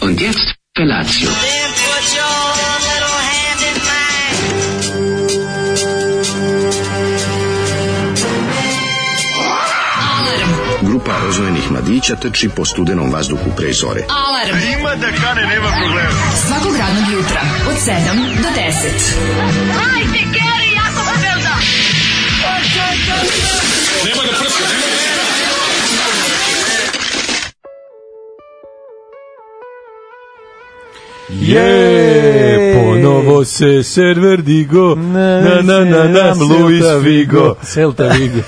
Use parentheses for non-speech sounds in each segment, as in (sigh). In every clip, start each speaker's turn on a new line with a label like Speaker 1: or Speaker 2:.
Speaker 1: Und jetzt Felatio.
Speaker 2: Then put your little hand in mine.
Speaker 3: Grupa rozvojenih mladića trči po studenom vazduhu pre zore.
Speaker 4: Alarm. Ima da kane, nema problema. Svakog radnog jutra, od 7 do 10.
Speaker 5: Je, ponovo se server digo, na na na na, Luis Figo.
Speaker 6: Celta Vigo.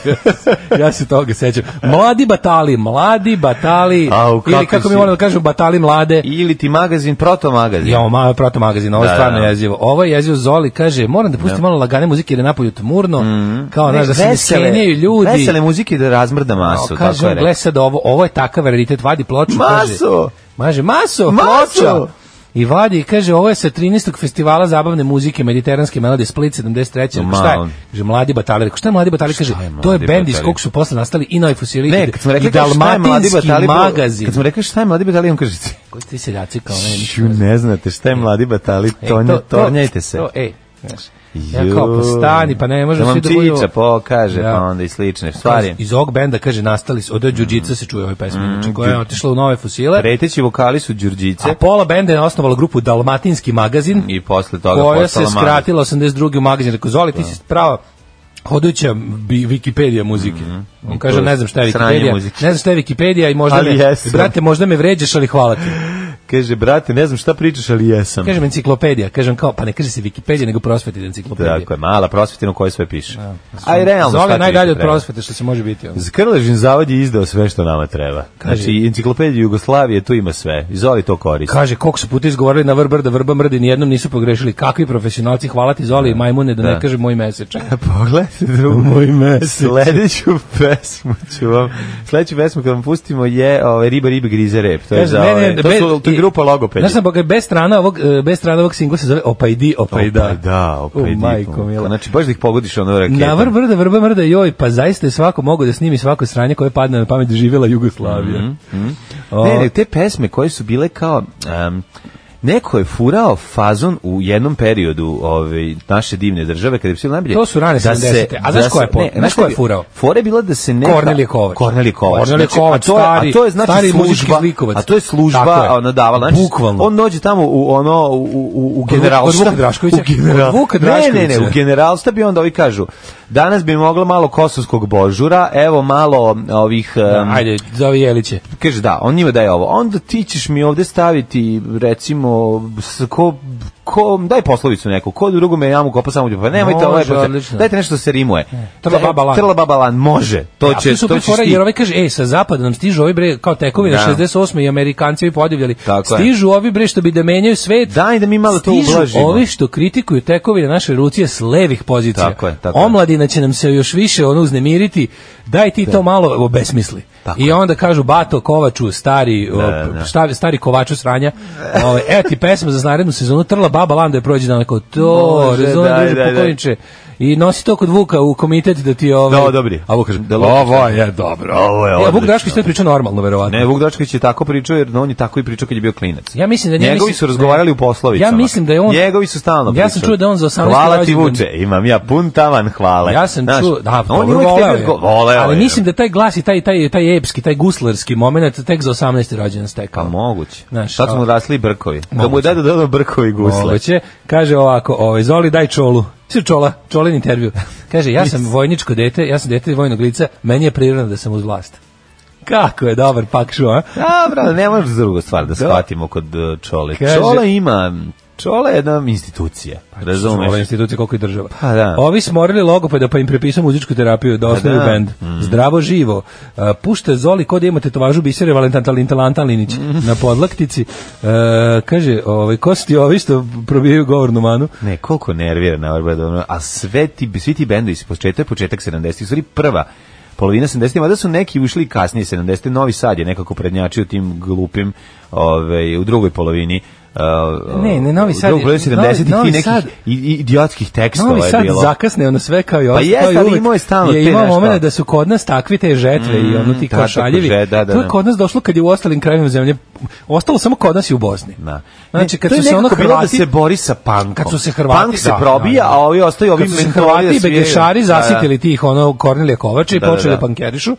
Speaker 6: (laughs) ja se toga sećam. Mladi batali, mladi batali.
Speaker 5: Au,
Speaker 6: ili
Speaker 5: kakvi
Speaker 6: kako mi
Speaker 5: si.
Speaker 6: volim da kažu, batali mlade.
Speaker 5: Ili ti magazin, proto magazin.
Speaker 6: Ja, ma, proto magazin, ovo je
Speaker 5: Da,
Speaker 6: stvarno
Speaker 5: da, da.
Speaker 6: jezivo. Ovo je jezivo Zoli, kaže, moram da pustim malo lagane muzike jer je napolju tmurno,
Speaker 5: Mhm.
Speaker 6: kao, znaš, da se mi skenjaju ljudi.
Speaker 5: Vesele muzike da razmrda masu,
Speaker 6: Kao, kaže,
Speaker 5: tako je
Speaker 6: on, gle
Speaker 5: rekao.
Speaker 6: sad ovo, ovo je takav raritet, vadi ploču, kaže.
Speaker 5: Maso!
Speaker 6: Maže, maso,
Speaker 5: Maso!
Speaker 6: ploča. I vadi i kaže, ovo je sa 13. festivala zabavne muzike mediteranske melodije Split 73. Ma,
Speaker 5: Ma,
Speaker 6: šta je?
Speaker 5: on.
Speaker 6: Kaže, mladi batali. Rekao, šta je mladi batali? Kaže,
Speaker 5: je Mladi
Speaker 6: to je bend iz
Speaker 5: Batali?
Speaker 6: kog su posle nastali i Novi Fusili
Speaker 5: Ne, kad smo
Speaker 6: i
Speaker 5: rekli kao šta je mladi
Speaker 6: Dalmatinski
Speaker 5: batali, bilo-
Speaker 6: magazin.
Speaker 5: kad smo rekli šta je mladi batali, on kaže,
Speaker 6: Koji ste ti seljaci kao
Speaker 5: "Ću,
Speaker 6: ne?
Speaker 5: ne znate šta je mladi batali,
Speaker 6: Ej,
Speaker 5: tonje,
Speaker 6: E, to- to-
Speaker 5: tornjajte se.
Speaker 6: To, ej, znaš, ja kao, pa stani, pa ne može
Speaker 5: da
Speaker 6: svi da budu...
Speaker 5: Čiča pokaže,
Speaker 6: Da.
Speaker 5: pa onda i slične stvari.
Speaker 6: Iz ovog benda, kaže, nastali su, od
Speaker 5: Mm.
Speaker 6: Đuđica se čuje ove pesme, znači, koja je otišla u Nove Fusile.
Speaker 5: Preteći vokali su Đurđice
Speaker 6: A pola benda je osnovala grupu Dalmatinski magazin,
Speaker 5: i posle toga
Speaker 6: koja se
Speaker 5: postala magazin.
Speaker 6: skratila 82. u magazin. Rekao, Zoli, ti si prava hoduća bi, Wikipedia muzike. On kaže,
Speaker 5: To je
Speaker 6: ne znam šta je
Speaker 5: sranje
Speaker 6: Wikipedia.
Speaker 5: muzike.
Speaker 6: Ne znam šta je Wikipedia i možda
Speaker 5: Ali
Speaker 6: me,
Speaker 5: jesam.
Speaker 6: brate, možda me vređaš, ali hvala (laughs) ti.
Speaker 5: Kaže, brate, ne znam šta pričaš, ali jesam.
Speaker 6: Kažem enciklopedija, kažem kao, pa ne kaže se Wikipedia, nego prosveti enciklopedija.
Speaker 5: Tako je, mala prosvetina u kojoj sve piše. A i realno šta
Speaker 6: Zoli je
Speaker 5: ti
Speaker 6: najdalje
Speaker 5: više
Speaker 6: od
Speaker 5: treba.
Speaker 6: prosvete što se može biti. Ono.
Speaker 5: Krležin zavod je izdao sve što nama treba.
Speaker 6: Kaže-
Speaker 5: Znači, enciklopediju Jugoslavije tu ima sve. I Zoli to koristi.
Speaker 6: Kaže, koliko su puta izgovorili na vrbrda, vrba mrdi, nijednom nisu pogrešili. Kakvi profesionalci, hvala ti Zoli i majmune, da ne
Speaker 5: Da.
Speaker 6: kažem moj (laughs) meseč.
Speaker 5: (laughs) Pogledajte drugu moj mesec. Sledeću pesmu ću vam, sledeću pesmu kad vam pustimo je ove, Riba ribe grize rep. To je,
Speaker 6: Kaže,
Speaker 5: za,
Speaker 6: ne, ne,
Speaker 5: ove- to,
Speaker 6: be-
Speaker 5: su, to je grupa logopedi.
Speaker 6: Znaš sam, pa ga je bez strana ovog, e, bez strana ovog singla se zove Opajdi, Opajda.
Speaker 5: Opaj Pa da, opaj
Speaker 6: U, majko mila.
Speaker 5: Znači, baš da ih pogodiš ono raketom.
Speaker 6: Na vrb brda, vrba mrda, joj, pa zaista je svako mogo da snimi svako sranje koje padne na pamet živjela Jugoslavija. O,
Speaker 5: Mhm, Ne, ne, te pesme koje su bile kao... em, neko je furao fazon u jednom periodu ove, naše divne države, kada je bilo najbolje.
Speaker 6: To su rane 70-te. A znaš ko je po-
Speaker 5: ne,
Speaker 6: znaš ko je furao?
Speaker 5: Fora je bila da se neka...
Speaker 6: Kornelije Kovač.
Speaker 5: Kornelije Kovač.
Speaker 6: Kornelije
Speaker 5: Znači,
Speaker 6: Kovač,
Speaker 5: a to je,
Speaker 6: stari-
Speaker 5: a to je znači
Speaker 6: stari muzički
Speaker 5: služba,
Speaker 6: klikovac.
Speaker 5: a to je
Speaker 6: Tako
Speaker 5: služba
Speaker 6: je.
Speaker 5: ona davala. Znači,
Speaker 6: Bukvalno.
Speaker 5: On dođe tamo u ono, u, u, u
Speaker 6: Vuka-
Speaker 5: generalštab.
Speaker 6: od Vuka Draškovića?
Speaker 5: U general...
Speaker 6: Od Vuka
Speaker 5: Ne, ne,
Speaker 6: Draškovića.
Speaker 5: ne, u generalštab i onda ovi kažu, danas bi moglo malo kosovskog božura, evo malo ovih... em,
Speaker 6: Ajde, zove Jeliće.
Speaker 5: kaže da, on njima daje ovo. Onda ti ćeš mi ovde staviti recimo s- ko, ko daj poslovicu neku. Ko drugome jamu kopa samo ljubav. Pa nemojte ovo. je
Speaker 6: Može,
Speaker 5: posle-
Speaker 6: odlično. E,
Speaker 5: Dajte nešto da se rimuje.
Speaker 6: Trla
Speaker 5: Daj-
Speaker 6: baba lan. E,
Speaker 5: Trla baba lan, može. To
Speaker 6: A
Speaker 5: će
Speaker 6: su
Speaker 5: to
Speaker 6: super
Speaker 5: će
Speaker 6: fora, jer ovaj kaže, ej, sa zapada nam stižu ovi bre, kao tekovi na
Speaker 5: Da.
Speaker 6: 68. i Amerikanci ovi podivljali.
Speaker 5: Tako je.
Speaker 6: stižu ovi bre što bi da menjaju svet.
Speaker 5: Daj da mi malo to
Speaker 6: Stižu
Speaker 5: ublažimo.
Speaker 6: ovi što kritikuju tekovine naše revolucije s levih pozicija.
Speaker 5: Tako je, tako je.
Speaker 6: Omladina će nam se još više ono uznemiriti. Daj ti to malo obesmisli.
Speaker 5: Tako
Speaker 6: I onda kažu Bato Kovaču, stari,
Speaker 5: Da,
Speaker 6: o,
Speaker 5: da.
Speaker 6: šta- stari Kovaču sranja, ovaj, evo ti pesma za narednu sezonu, trla baba landa je prođe dan, kao to,
Speaker 5: Može,
Speaker 6: razumem,
Speaker 5: daj,
Speaker 6: druže
Speaker 5: daj, daj.
Speaker 6: pokojniče. I nosi to kod Vuka u komitet da ti ovaj...
Speaker 5: Da, odobri.
Speaker 6: A Vuk kaže,
Speaker 5: Da,
Speaker 6: ovo je dobro.
Speaker 5: Ovo je
Speaker 6: Ja, Vuk
Speaker 5: odlično.
Speaker 6: Drašković to priča normalno, verovatno.
Speaker 5: Ne, Vuk Drašković je tako pričao jer on je tako i pričao kad je bio klinac.
Speaker 6: Ja mislim da njega
Speaker 5: Njegovi
Speaker 6: mislim-
Speaker 5: su razgovarali
Speaker 6: ne.
Speaker 5: u poslovicama.
Speaker 6: Ja mislim da je on-
Speaker 5: Njegovi su stalno
Speaker 6: Ja sam
Speaker 5: pričali.
Speaker 6: čuo da je on za 18
Speaker 5: Hvala ti
Speaker 6: rođendan-
Speaker 5: Vuče, imam ja pun tavan hvale.
Speaker 6: Ja sam
Speaker 5: Znaš,
Speaker 6: čuo, da,
Speaker 5: on je
Speaker 6: dobro,
Speaker 5: uvek
Speaker 6: voleo
Speaker 5: tebi
Speaker 6: je.
Speaker 5: razgo- voleo
Speaker 6: ali
Speaker 5: je.
Speaker 6: mislim da taj glas i taj, taj, taj epski, taj guslerski moment tek za 18. rođendan
Speaker 5: Pa
Speaker 6: stekao.
Speaker 5: moguće.
Speaker 6: Znaš,
Speaker 5: Sad
Speaker 6: a-
Speaker 5: smo rasli brkovi. Da mu je
Speaker 6: Moguće.
Speaker 5: deda dodao brkovi i gusle.
Speaker 6: Moguće. Kaže ovako, ovaj, Zoli daj čolu. Svi čola, čolin intervju. Kaže, ja sam vojničko dete, ja sam dete vojnog lica, meni je prirodno da sam uz vlast. Kako je dobar pak šo, a?
Speaker 5: Dobro, ne možeš drugu stvar da shvatimo kod uh, Čole.
Speaker 6: Kaže- Pa
Speaker 5: Čola ima, Čola je jedna institucija,
Speaker 6: Ove
Speaker 5: razumeš?
Speaker 6: institucije koliko i država.
Speaker 5: Pa da. Pa
Speaker 6: Ovi smo morali logopeda pa im prepisao muzičku terapiju da osnuju
Speaker 5: da. Mm.
Speaker 6: bend. Zdravo živo. E, pušte Zoli kod ima tetovažu bisere Valentan Talin Talantan Linić
Speaker 5: Mm.
Speaker 6: na podlaktici. E, kaže, ovaj, ko su ti ovi što probijaju govornu manu?
Speaker 5: Ne, koliko nervira na Arbadonu, a sve ti, svi ti bendovi iz početak, početak 70-ih, u stvari prva polovina 70-ih, mada su neki ušli kasnije 70-te, Novi Sad je nekako prednjačio tim glupim, ovaj, u drugoj polovini uh,
Speaker 6: Ne, ne, Novi Sad je-
Speaker 5: u drugom polovici
Speaker 6: Novi-
Speaker 5: 70-ih
Speaker 6: Novi
Speaker 5: i nekih
Speaker 6: Sad-
Speaker 5: i, i idiotskih tekstova
Speaker 6: Novi Sad
Speaker 5: je bilo. Pa
Speaker 6: zakasne ono sve kao i ostalo.
Speaker 5: jeste,
Speaker 6: i
Speaker 5: ali
Speaker 6: uvek
Speaker 5: imao je stalno
Speaker 6: je
Speaker 5: te
Speaker 6: imao
Speaker 5: nešto.
Speaker 6: momenat da su kod nas takvi te žetve i ono ti
Speaker 5: da,
Speaker 6: kao
Speaker 5: tako
Speaker 6: šaljevi.
Speaker 5: žet, da, da,
Speaker 6: to je
Speaker 5: da.
Speaker 6: kod nas došlo kad je u ostalim krajevima zemlje. Ostalo samo kod nas i u Bosni.
Speaker 5: Da.
Speaker 6: Znači, kad
Speaker 5: To je
Speaker 6: su se ono
Speaker 5: nekako bilo
Speaker 6: Hrvati...
Speaker 5: da se bori sa punkom.
Speaker 6: Kad su se Hrvati...
Speaker 5: Punk se
Speaker 6: da,
Speaker 5: probija,
Speaker 6: da, da.
Speaker 5: a ovi ostaju ovi
Speaker 6: Kad su se
Speaker 5: mentalni
Speaker 6: Hrvati i
Speaker 5: da sviraju.
Speaker 6: Begešari
Speaker 5: Da, da.
Speaker 6: zasitili tih ono Kornelija Kovača i
Speaker 5: Da, da,
Speaker 6: počeli
Speaker 5: da. Mhm.
Speaker 6: da pankerišu.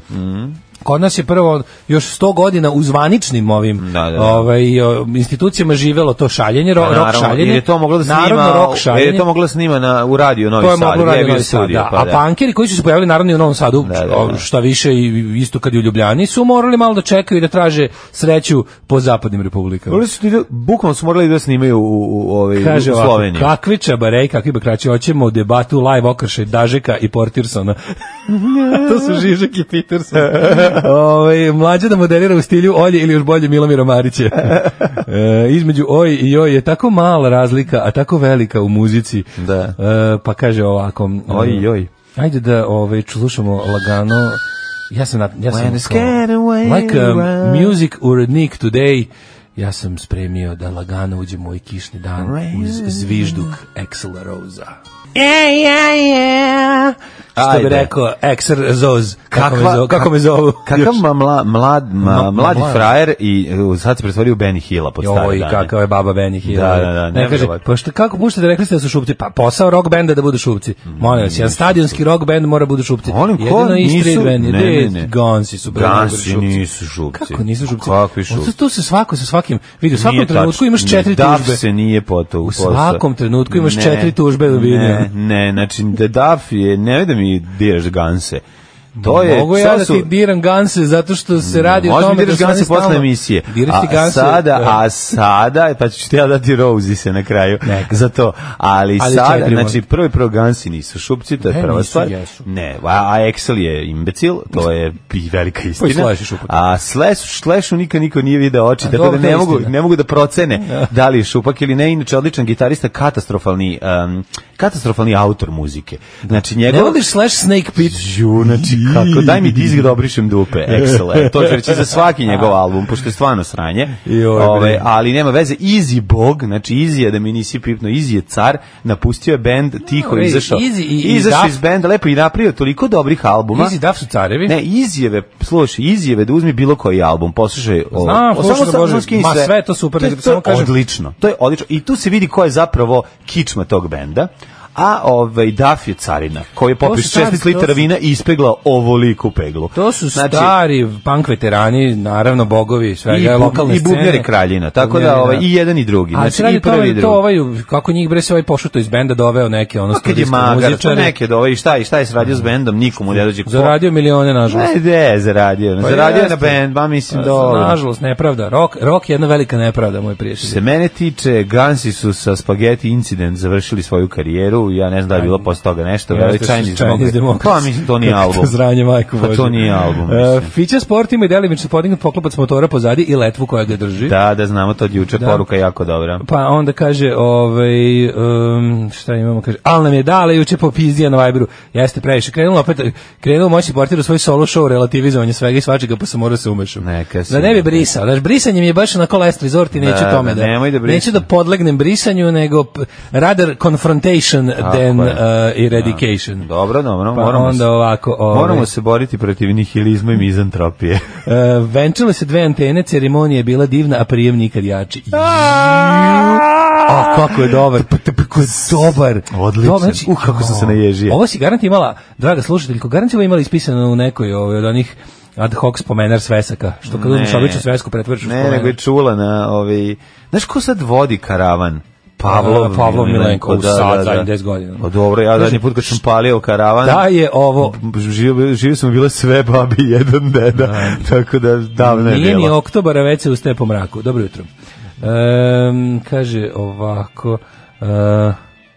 Speaker 6: Kod nas je prvo još 100 godina u zvaničnim ovim
Speaker 5: Da, da, da.
Speaker 6: ovaj, o, institucijama živelo to šaljenje, ro,
Speaker 5: Pa
Speaker 6: rok
Speaker 5: naravno,
Speaker 6: šaljenje.
Speaker 5: Jer je to moglo da snima,
Speaker 6: Narodno rok
Speaker 5: jer je
Speaker 6: šaljenje.
Speaker 5: to moglo da snima na, u radiju Novi
Speaker 6: To je
Speaker 5: Sad.
Speaker 6: moglo
Speaker 5: gdje je
Speaker 6: raditi
Speaker 5: bio
Speaker 6: Novi Sad,
Speaker 5: studio,
Speaker 6: da.
Speaker 5: pa
Speaker 6: A
Speaker 5: da.
Speaker 6: pankeri koji su se pojavili naravno i u Novom Sadu,
Speaker 5: Da, da, da.
Speaker 6: šta više i isto kad i u Ljubljani su morali malo da čekaju i da traže sreću po zapadnim republikama.
Speaker 5: Morali su ti da- bukvalno su morali da snimaju u, u, u, ovaj,
Speaker 6: Kaže
Speaker 5: u
Speaker 6: ovako,
Speaker 5: Sloveniji.
Speaker 6: kakvi čabarej, kakvi bakrači, hoćemo debatu live okršaj Dažeka i Portirsona. (laughs) to su Žižek i Peterson.
Speaker 5: (laughs)
Speaker 6: Ove, mlađa da moderira u stilju Olje ili još bolje Milomira
Speaker 5: (laughs)
Speaker 6: Marića. E, između Oj i Joj je tako mala razlika, a tako velika u muzici.
Speaker 5: Da.
Speaker 6: E, pa kaže ovako.
Speaker 5: Oj, joj.
Speaker 6: Ajde da ovaj slušamo lagano. Ja sam na, ja sam
Speaker 5: When it's getting away,
Speaker 6: like um,
Speaker 5: away.
Speaker 6: music urednik today. Ja sam spremio da lagano uđe moj kišni dan uz zvižduk Axel Rosa. Yeah, yeah, yeah. Što bi
Speaker 5: Ajde.
Speaker 6: rekao Axel Zoz, kako, me,
Speaker 5: Kakva-
Speaker 6: zo, kako me zovu?
Speaker 5: Kakav ma, mla, mlad, ma,
Speaker 6: Ma-
Speaker 5: mladi
Speaker 6: mlad.
Speaker 5: frajer i e, sad se pretvorio u Benny Hilla pod stare
Speaker 6: Joj,
Speaker 5: dane.
Speaker 6: kakav je baba Benny Hill.
Speaker 5: Da, da, da,
Speaker 6: Ne, kaže,
Speaker 5: nevjerovatno.
Speaker 6: pa šta, kako puštate, rekli ste da su šupci? Pa posao rock benda da budu šupci. Molim vas, jedan stadionski rock bend mora budu šupci.
Speaker 5: Mm, Molim, ko
Speaker 6: Jedino i
Speaker 5: nisu-
Speaker 6: street band,
Speaker 5: ne,
Speaker 6: ne,
Speaker 5: ne, ne.
Speaker 6: Gansi su bili najgori
Speaker 5: Gansi nisu šupci.
Speaker 6: Kako nisu šupci?
Speaker 5: Kakvi šupci?
Speaker 6: Oto- Tu se svako sa svakim, vidi, u svakom
Speaker 5: Nije
Speaker 6: trenutku
Speaker 5: tačno.
Speaker 6: imaš četiri
Speaker 5: Duff
Speaker 6: tužbe.
Speaker 5: se nije potu.
Speaker 6: U svakom trenutku imaš četiri tužbe do vidio.
Speaker 5: Ne, ne, znači da Duff je, ne da mi diraš ganse. To je,
Speaker 6: Mogu ja
Speaker 5: sad
Speaker 6: da
Speaker 5: su-
Speaker 6: ti diram ganse zato što se radi o
Speaker 5: Možda mi
Speaker 6: tome da
Speaker 5: diraš
Speaker 6: su oni
Speaker 5: ganse posle
Speaker 6: stalno-
Speaker 5: emisije.
Speaker 6: Diraš ti
Speaker 5: A
Speaker 6: ganse.
Speaker 5: Sada,
Speaker 6: da.
Speaker 5: a sada, pa ću ti ja dati Rozi se na kraju
Speaker 6: Neka.
Speaker 5: za to. Ali,
Speaker 6: Ali
Speaker 5: sada,
Speaker 6: četiri
Speaker 5: znači
Speaker 6: možda.
Speaker 5: prvi prvo gansi nisu šupci, to je
Speaker 6: Ne,
Speaker 5: prva
Speaker 6: nisu,
Speaker 5: stvar.
Speaker 6: jesu.
Speaker 5: Ne, a, a Excel je imbecil, to je i velika istina.
Speaker 6: Slash je šupak.
Speaker 5: A Slash, Slashu nikad niko nije video oči,
Speaker 6: A
Speaker 5: tako da
Speaker 6: dobro, to je
Speaker 5: ne mogu,
Speaker 6: istina.
Speaker 5: ne mogu da procene da li je šupak ili ne. Inače, odličan gitarista, katastrofalni, um, katastrofalni autor muzike. Znači,
Speaker 6: Ne
Speaker 5: njegov...
Speaker 6: voliš Slash Snake Pit?
Speaker 5: Ju, znači kako, daj mi disk da obrišem dupe, Excel, e, to ću reći za svaki njegov album, pošto je stvarno sranje,
Speaker 6: Joj, bre.
Speaker 5: Ove, ali nema veze, Easy Bog, znači Easy je da mi nisi pipno, Easy je car, napustio je bend, tiho
Speaker 6: Ej,
Speaker 5: izašao,
Speaker 6: Easy i- i
Speaker 5: izašao
Speaker 6: Duff.
Speaker 5: iz benda, lepo i napravio toliko dobrih albuma,
Speaker 6: Easy Duff su carevi.
Speaker 5: ne, izjeve, slušaj, izjeve da uzmi bilo koji album, poslušaj ovo.
Speaker 6: Znam,
Speaker 5: O,
Speaker 6: slušam,
Speaker 5: samo- samo
Speaker 6: Bože,
Speaker 5: skini
Speaker 6: ma, sve je to super,
Speaker 5: To je,
Speaker 6: nego samo
Speaker 5: to je
Speaker 6: kažem-
Speaker 5: odlično, to je odlično. I tu se vidi ko je zapravo kičma tog benda. A ovaj Duff je carina, koji je popis
Speaker 6: stari,
Speaker 5: 16
Speaker 6: to
Speaker 5: litara
Speaker 6: su-
Speaker 5: vina i ispegla ovoliku peglu.
Speaker 6: To su
Speaker 5: Znači-
Speaker 6: stari punk veterani, naravno bogovi
Speaker 5: i,
Speaker 6: svega,
Speaker 5: bu-
Speaker 6: lokalne
Speaker 5: i
Speaker 6: scene.
Speaker 5: bubnjari kraljina, tako
Speaker 6: Bubnjari,
Speaker 5: da ovaj, i jedan i drugi.
Speaker 6: A se
Speaker 5: znači,
Speaker 6: radi
Speaker 5: i
Speaker 6: to,
Speaker 5: prvi i
Speaker 6: ovaj,
Speaker 5: drugi.
Speaker 6: to ovaj, kako njih bre se ovaj pošuto iz benda doveo neke, ono,
Speaker 5: Pa kad je
Speaker 6: studijske
Speaker 5: magar, to
Speaker 6: muzičare.
Speaker 5: neke, da ovaj, šta, i šta je sradio s bendom, nikomu ne dođe. ko-
Speaker 6: Znači, Zaradio milione, nažalost. Pa
Speaker 5: Ne, ne, zaradio. zaradio
Speaker 6: jeste.
Speaker 5: je na
Speaker 6: Pa
Speaker 5: bend, ba mislim, dobro.
Speaker 6: Nažalost, nepravda. Rok, rok je jedna velika nepravda, moj prijatelj.
Speaker 5: se mene tiče, Gansi su sa Spaghetti Incident završili svoju karijeru, ja ne znam da je bilo posle toga nešto, ja,
Speaker 6: Jeste,
Speaker 5: Chinese,
Speaker 6: Chinese
Speaker 5: Democracy.
Speaker 6: Democracy.
Speaker 5: Pa mislim, to nije
Speaker 6: (laughs) Kako
Speaker 5: album.
Speaker 6: To zranje, majko
Speaker 5: Pa
Speaker 6: Bože.
Speaker 5: to nije album,
Speaker 6: E,
Speaker 5: mislim.
Speaker 6: Fića Sport ima i delimično podignut poklopac motora pozadi i letvu koja ga drži.
Speaker 5: Da, da znamo to od juče, poruka jako dobra.
Speaker 6: Pa onda kaže, ovaj, um, šta imamo, kaže, ali nam je dala juče popizdija na Viberu. Jeste previše. Krenulo opet, krenulo moćni portir u svoj solo show relativizovanje svega i svačega, pa sam morao se umešam.
Speaker 5: Neka se-
Speaker 6: da ne bi brisao. Znaš, brisanje mi je baš onako last resort i neću
Speaker 5: Da,
Speaker 6: tome
Speaker 5: da,
Speaker 6: da,
Speaker 5: nemoj da brisam.
Speaker 6: neću da podlegnem brisanju, nego p- rather confrontation than
Speaker 5: je.
Speaker 6: uh, eradication.
Speaker 5: Dobro, dobro,
Speaker 6: Pa
Speaker 5: moramo,
Speaker 6: onda
Speaker 5: se,
Speaker 6: ovako, ovaj,
Speaker 5: moramo se boriti protiv nihilizma i
Speaker 6: (laughs)
Speaker 5: mizantropije.
Speaker 6: e, venčale se dve antene, ceremonija je bila divna, a prijem nikad jači. A kako je dobar. Kako je dobar. znači,
Speaker 5: Odličan. Uh, kako sam se naježio.
Speaker 6: Ovo si garant imala, draga slušateljko, garant si ovo imala ispisano u nekoj ovaj, od onih ad hoc spomenar svesaka, što kad uzmeš običnu svesku pretvoriš u
Speaker 5: Ne,
Speaker 6: spomenar.
Speaker 5: nego je čula na ovaj... Znaš ko sad vodi karavan? Pavlov,
Speaker 6: A, Pavlov Milenko, u sad, zadnjih 10 godina.
Speaker 5: Pa dobro, ja
Speaker 6: Kaže-
Speaker 5: zadnji put kad sam palio karavan,
Speaker 6: Da je ovo,
Speaker 5: živio, živio sam bile sve babi (laughs) i jedan deda, tako da davno je
Speaker 6: Nije
Speaker 5: bilo.
Speaker 6: ni oktobar, a već se ustaje po mraku. Dobro jutro. Ehm, kaže ovako... e,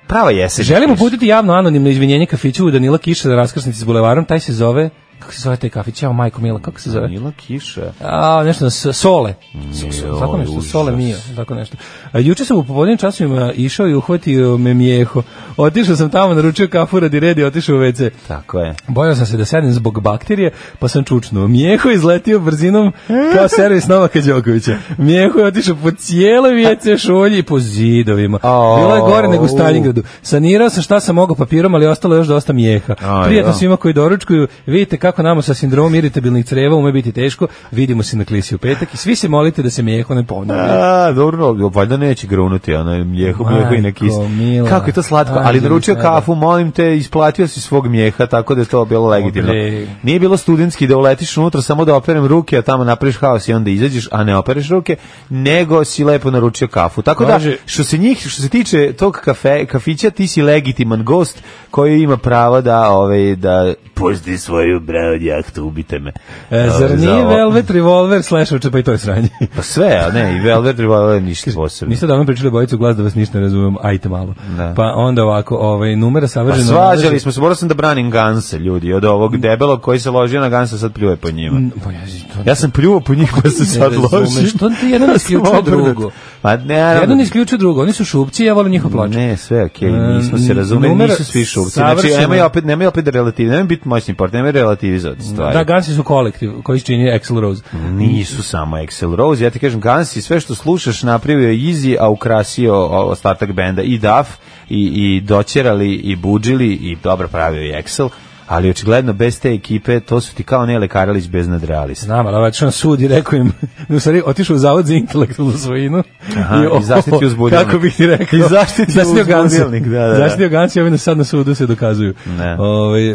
Speaker 5: Prava jesen.
Speaker 6: Želim uputiti javno anonimno izvinjenje kafiću u Danila Kiša na raskrsnici s bulevarom, taj se zove kako se zove taj kafić? Evo, majko Mila, kako se zove?
Speaker 5: Mila kiša.
Speaker 6: A, nešto na s- sole. S- s-
Speaker 5: Joj,
Speaker 6: Tako nešto,
Speaker 5: užas.
Speaker 6: sole mio, tako nešto. A, juče sam u popodnim časovima išao i uhvatio me mijeho. Otišao sam tamo, naručio kafu radi redi, otišao u WC.
Speaker 5: Tako je.
Speaker 6: Bojao sam se da sedem zbog bakterije, pa sam čučnuo. Mijeho je izletio brzinom kao servis Novaka Đokovića. Mijeho je otišao po cijeloj WC šolji i po zidovima.
Speaker 5: Au.
Speaker 6: Bilo je gore nego u Stalingradu. Sanirao sam šta sam mogao papirom, ali ostalo je još dosta mijeha.
Speaker 5: Aj,
Speaker 6: Prijetno
Speaker 5: da.
Speaker 6: svima koji doručkuju. Vidite kako nama sa sindromom iritabilnih creva ume biti teško. Vidimo se na klisi u petak i svi se molite da se mijeho ne ponovi.
Speaker 5: A, dobro, ali valjda neće grunuti, ona je mlijeho, mlijeho i na kis.
Speaker 6: Majko mila.
Speaker 5: Kako je to slatko, ali
Speaker 6: Anđeli
Speaker 5: naručio
Speaker 6: sada.
Speaker 5: kafu, molim te, isplatio si svog mlijeha, tako da je to bilo legitimno.
Speaker 6: Dobre.
Speaker 5: Nije bilo studentski da uletiš unutra samo da operem ruke, a tamo napraviš haos i onda izađeš, a ne opereš ruke, nego si lepo naručio kafu. Tako da,
Speaker 6: Može.
Speaker 5: što se njih, što se tiče tog kafe, kafića, ti si legitiman gost koji ima pravo da, ovaj, da pusti svoju brown jahtu, ubite me.
Speaker 6: E,
Speaker 5: Ovaj,
Speaker 6: zar
Speaker 5: za
Speaker 6: nije
Speaker 5: ovo.
Speaker 6: Velvet Revolver slash oče, pa i to je sranje.
Speaker 5: Pa sve, a ne, i Velvet Revolver ništa posebno.
Speaker 6: Niste davno pričali bojicu glas da vas ništa ne razumem, ajte malo.
Speaker 5: Da.
Speaker 6: Pa onda ovako, ovaj, numera
Speaker 5: Pa
Speaker 6: savržena...
Speaker 5: svađali smo se, morao sam da branim Gansa, ljudi, od ovog debelog koji se ložio na Gansa, sad pljuje po njima.
Speaker 6: Pa ja, to
Speaker 5: Ja sam pljuo po njih, pa se sad ložim.
Speaker 6: Što ti jedan
Speaker 5: (laughs) Ja sam
Speaker 6: isključuje
Speaker 5: obrnut.
Speaker 6: drugo?
Speaker 5: Pa ne, naravno.
Speaker 6: Jedan isključuje drugo, oni su šupci, ja volim njihov ploč.
Speaker 5: Ne, sve okej, okay, nismo se
Speaker 6: Mm,
Speaker 5: razumeli,
Speaker 6: numer
Speaker 5: nisu svi šupci. Znači,
Speaker 6: savršeno.
Speaker 5: nemoj opet, nemoj opet da relativi, nemoj biti moćni part, nemoj relativizovati stvari.
Speaker 6: Da, Gansi su kolektiv koji čini Axl Rose.
Speaker 5: Nisu samo Excel Rose, ja ti kažem Guns i sve što slušaš napravio je Easy, a ukrasio o- ostatak benda i Duff, i, i doćerali, i buđili, i dobro pravio je Excel, ali očigledno bez te ekipe to su ti kao Nele Karalić bez nadrealista.
Speaker 6: Znam, ali ovaj otišao na sud i rekao im, (laughs) u stvari, otišao u zavod za intelektualnu svojinu.
Speaker 5: Aha, i zaštitio uzbudilnik.
Speaker 6: Kako bih ti rekao?
Speaker 5: I zaštitio
Speaker 6: (laughs) Gansa.
Speaker 5: uzbudilnik, da, da, da.
Speaker 6: Zaštitio Gansi, ovi na sad na sudu se dokazuju.
Speaker 5: Ne.
Speaker 6: Ovaj, e,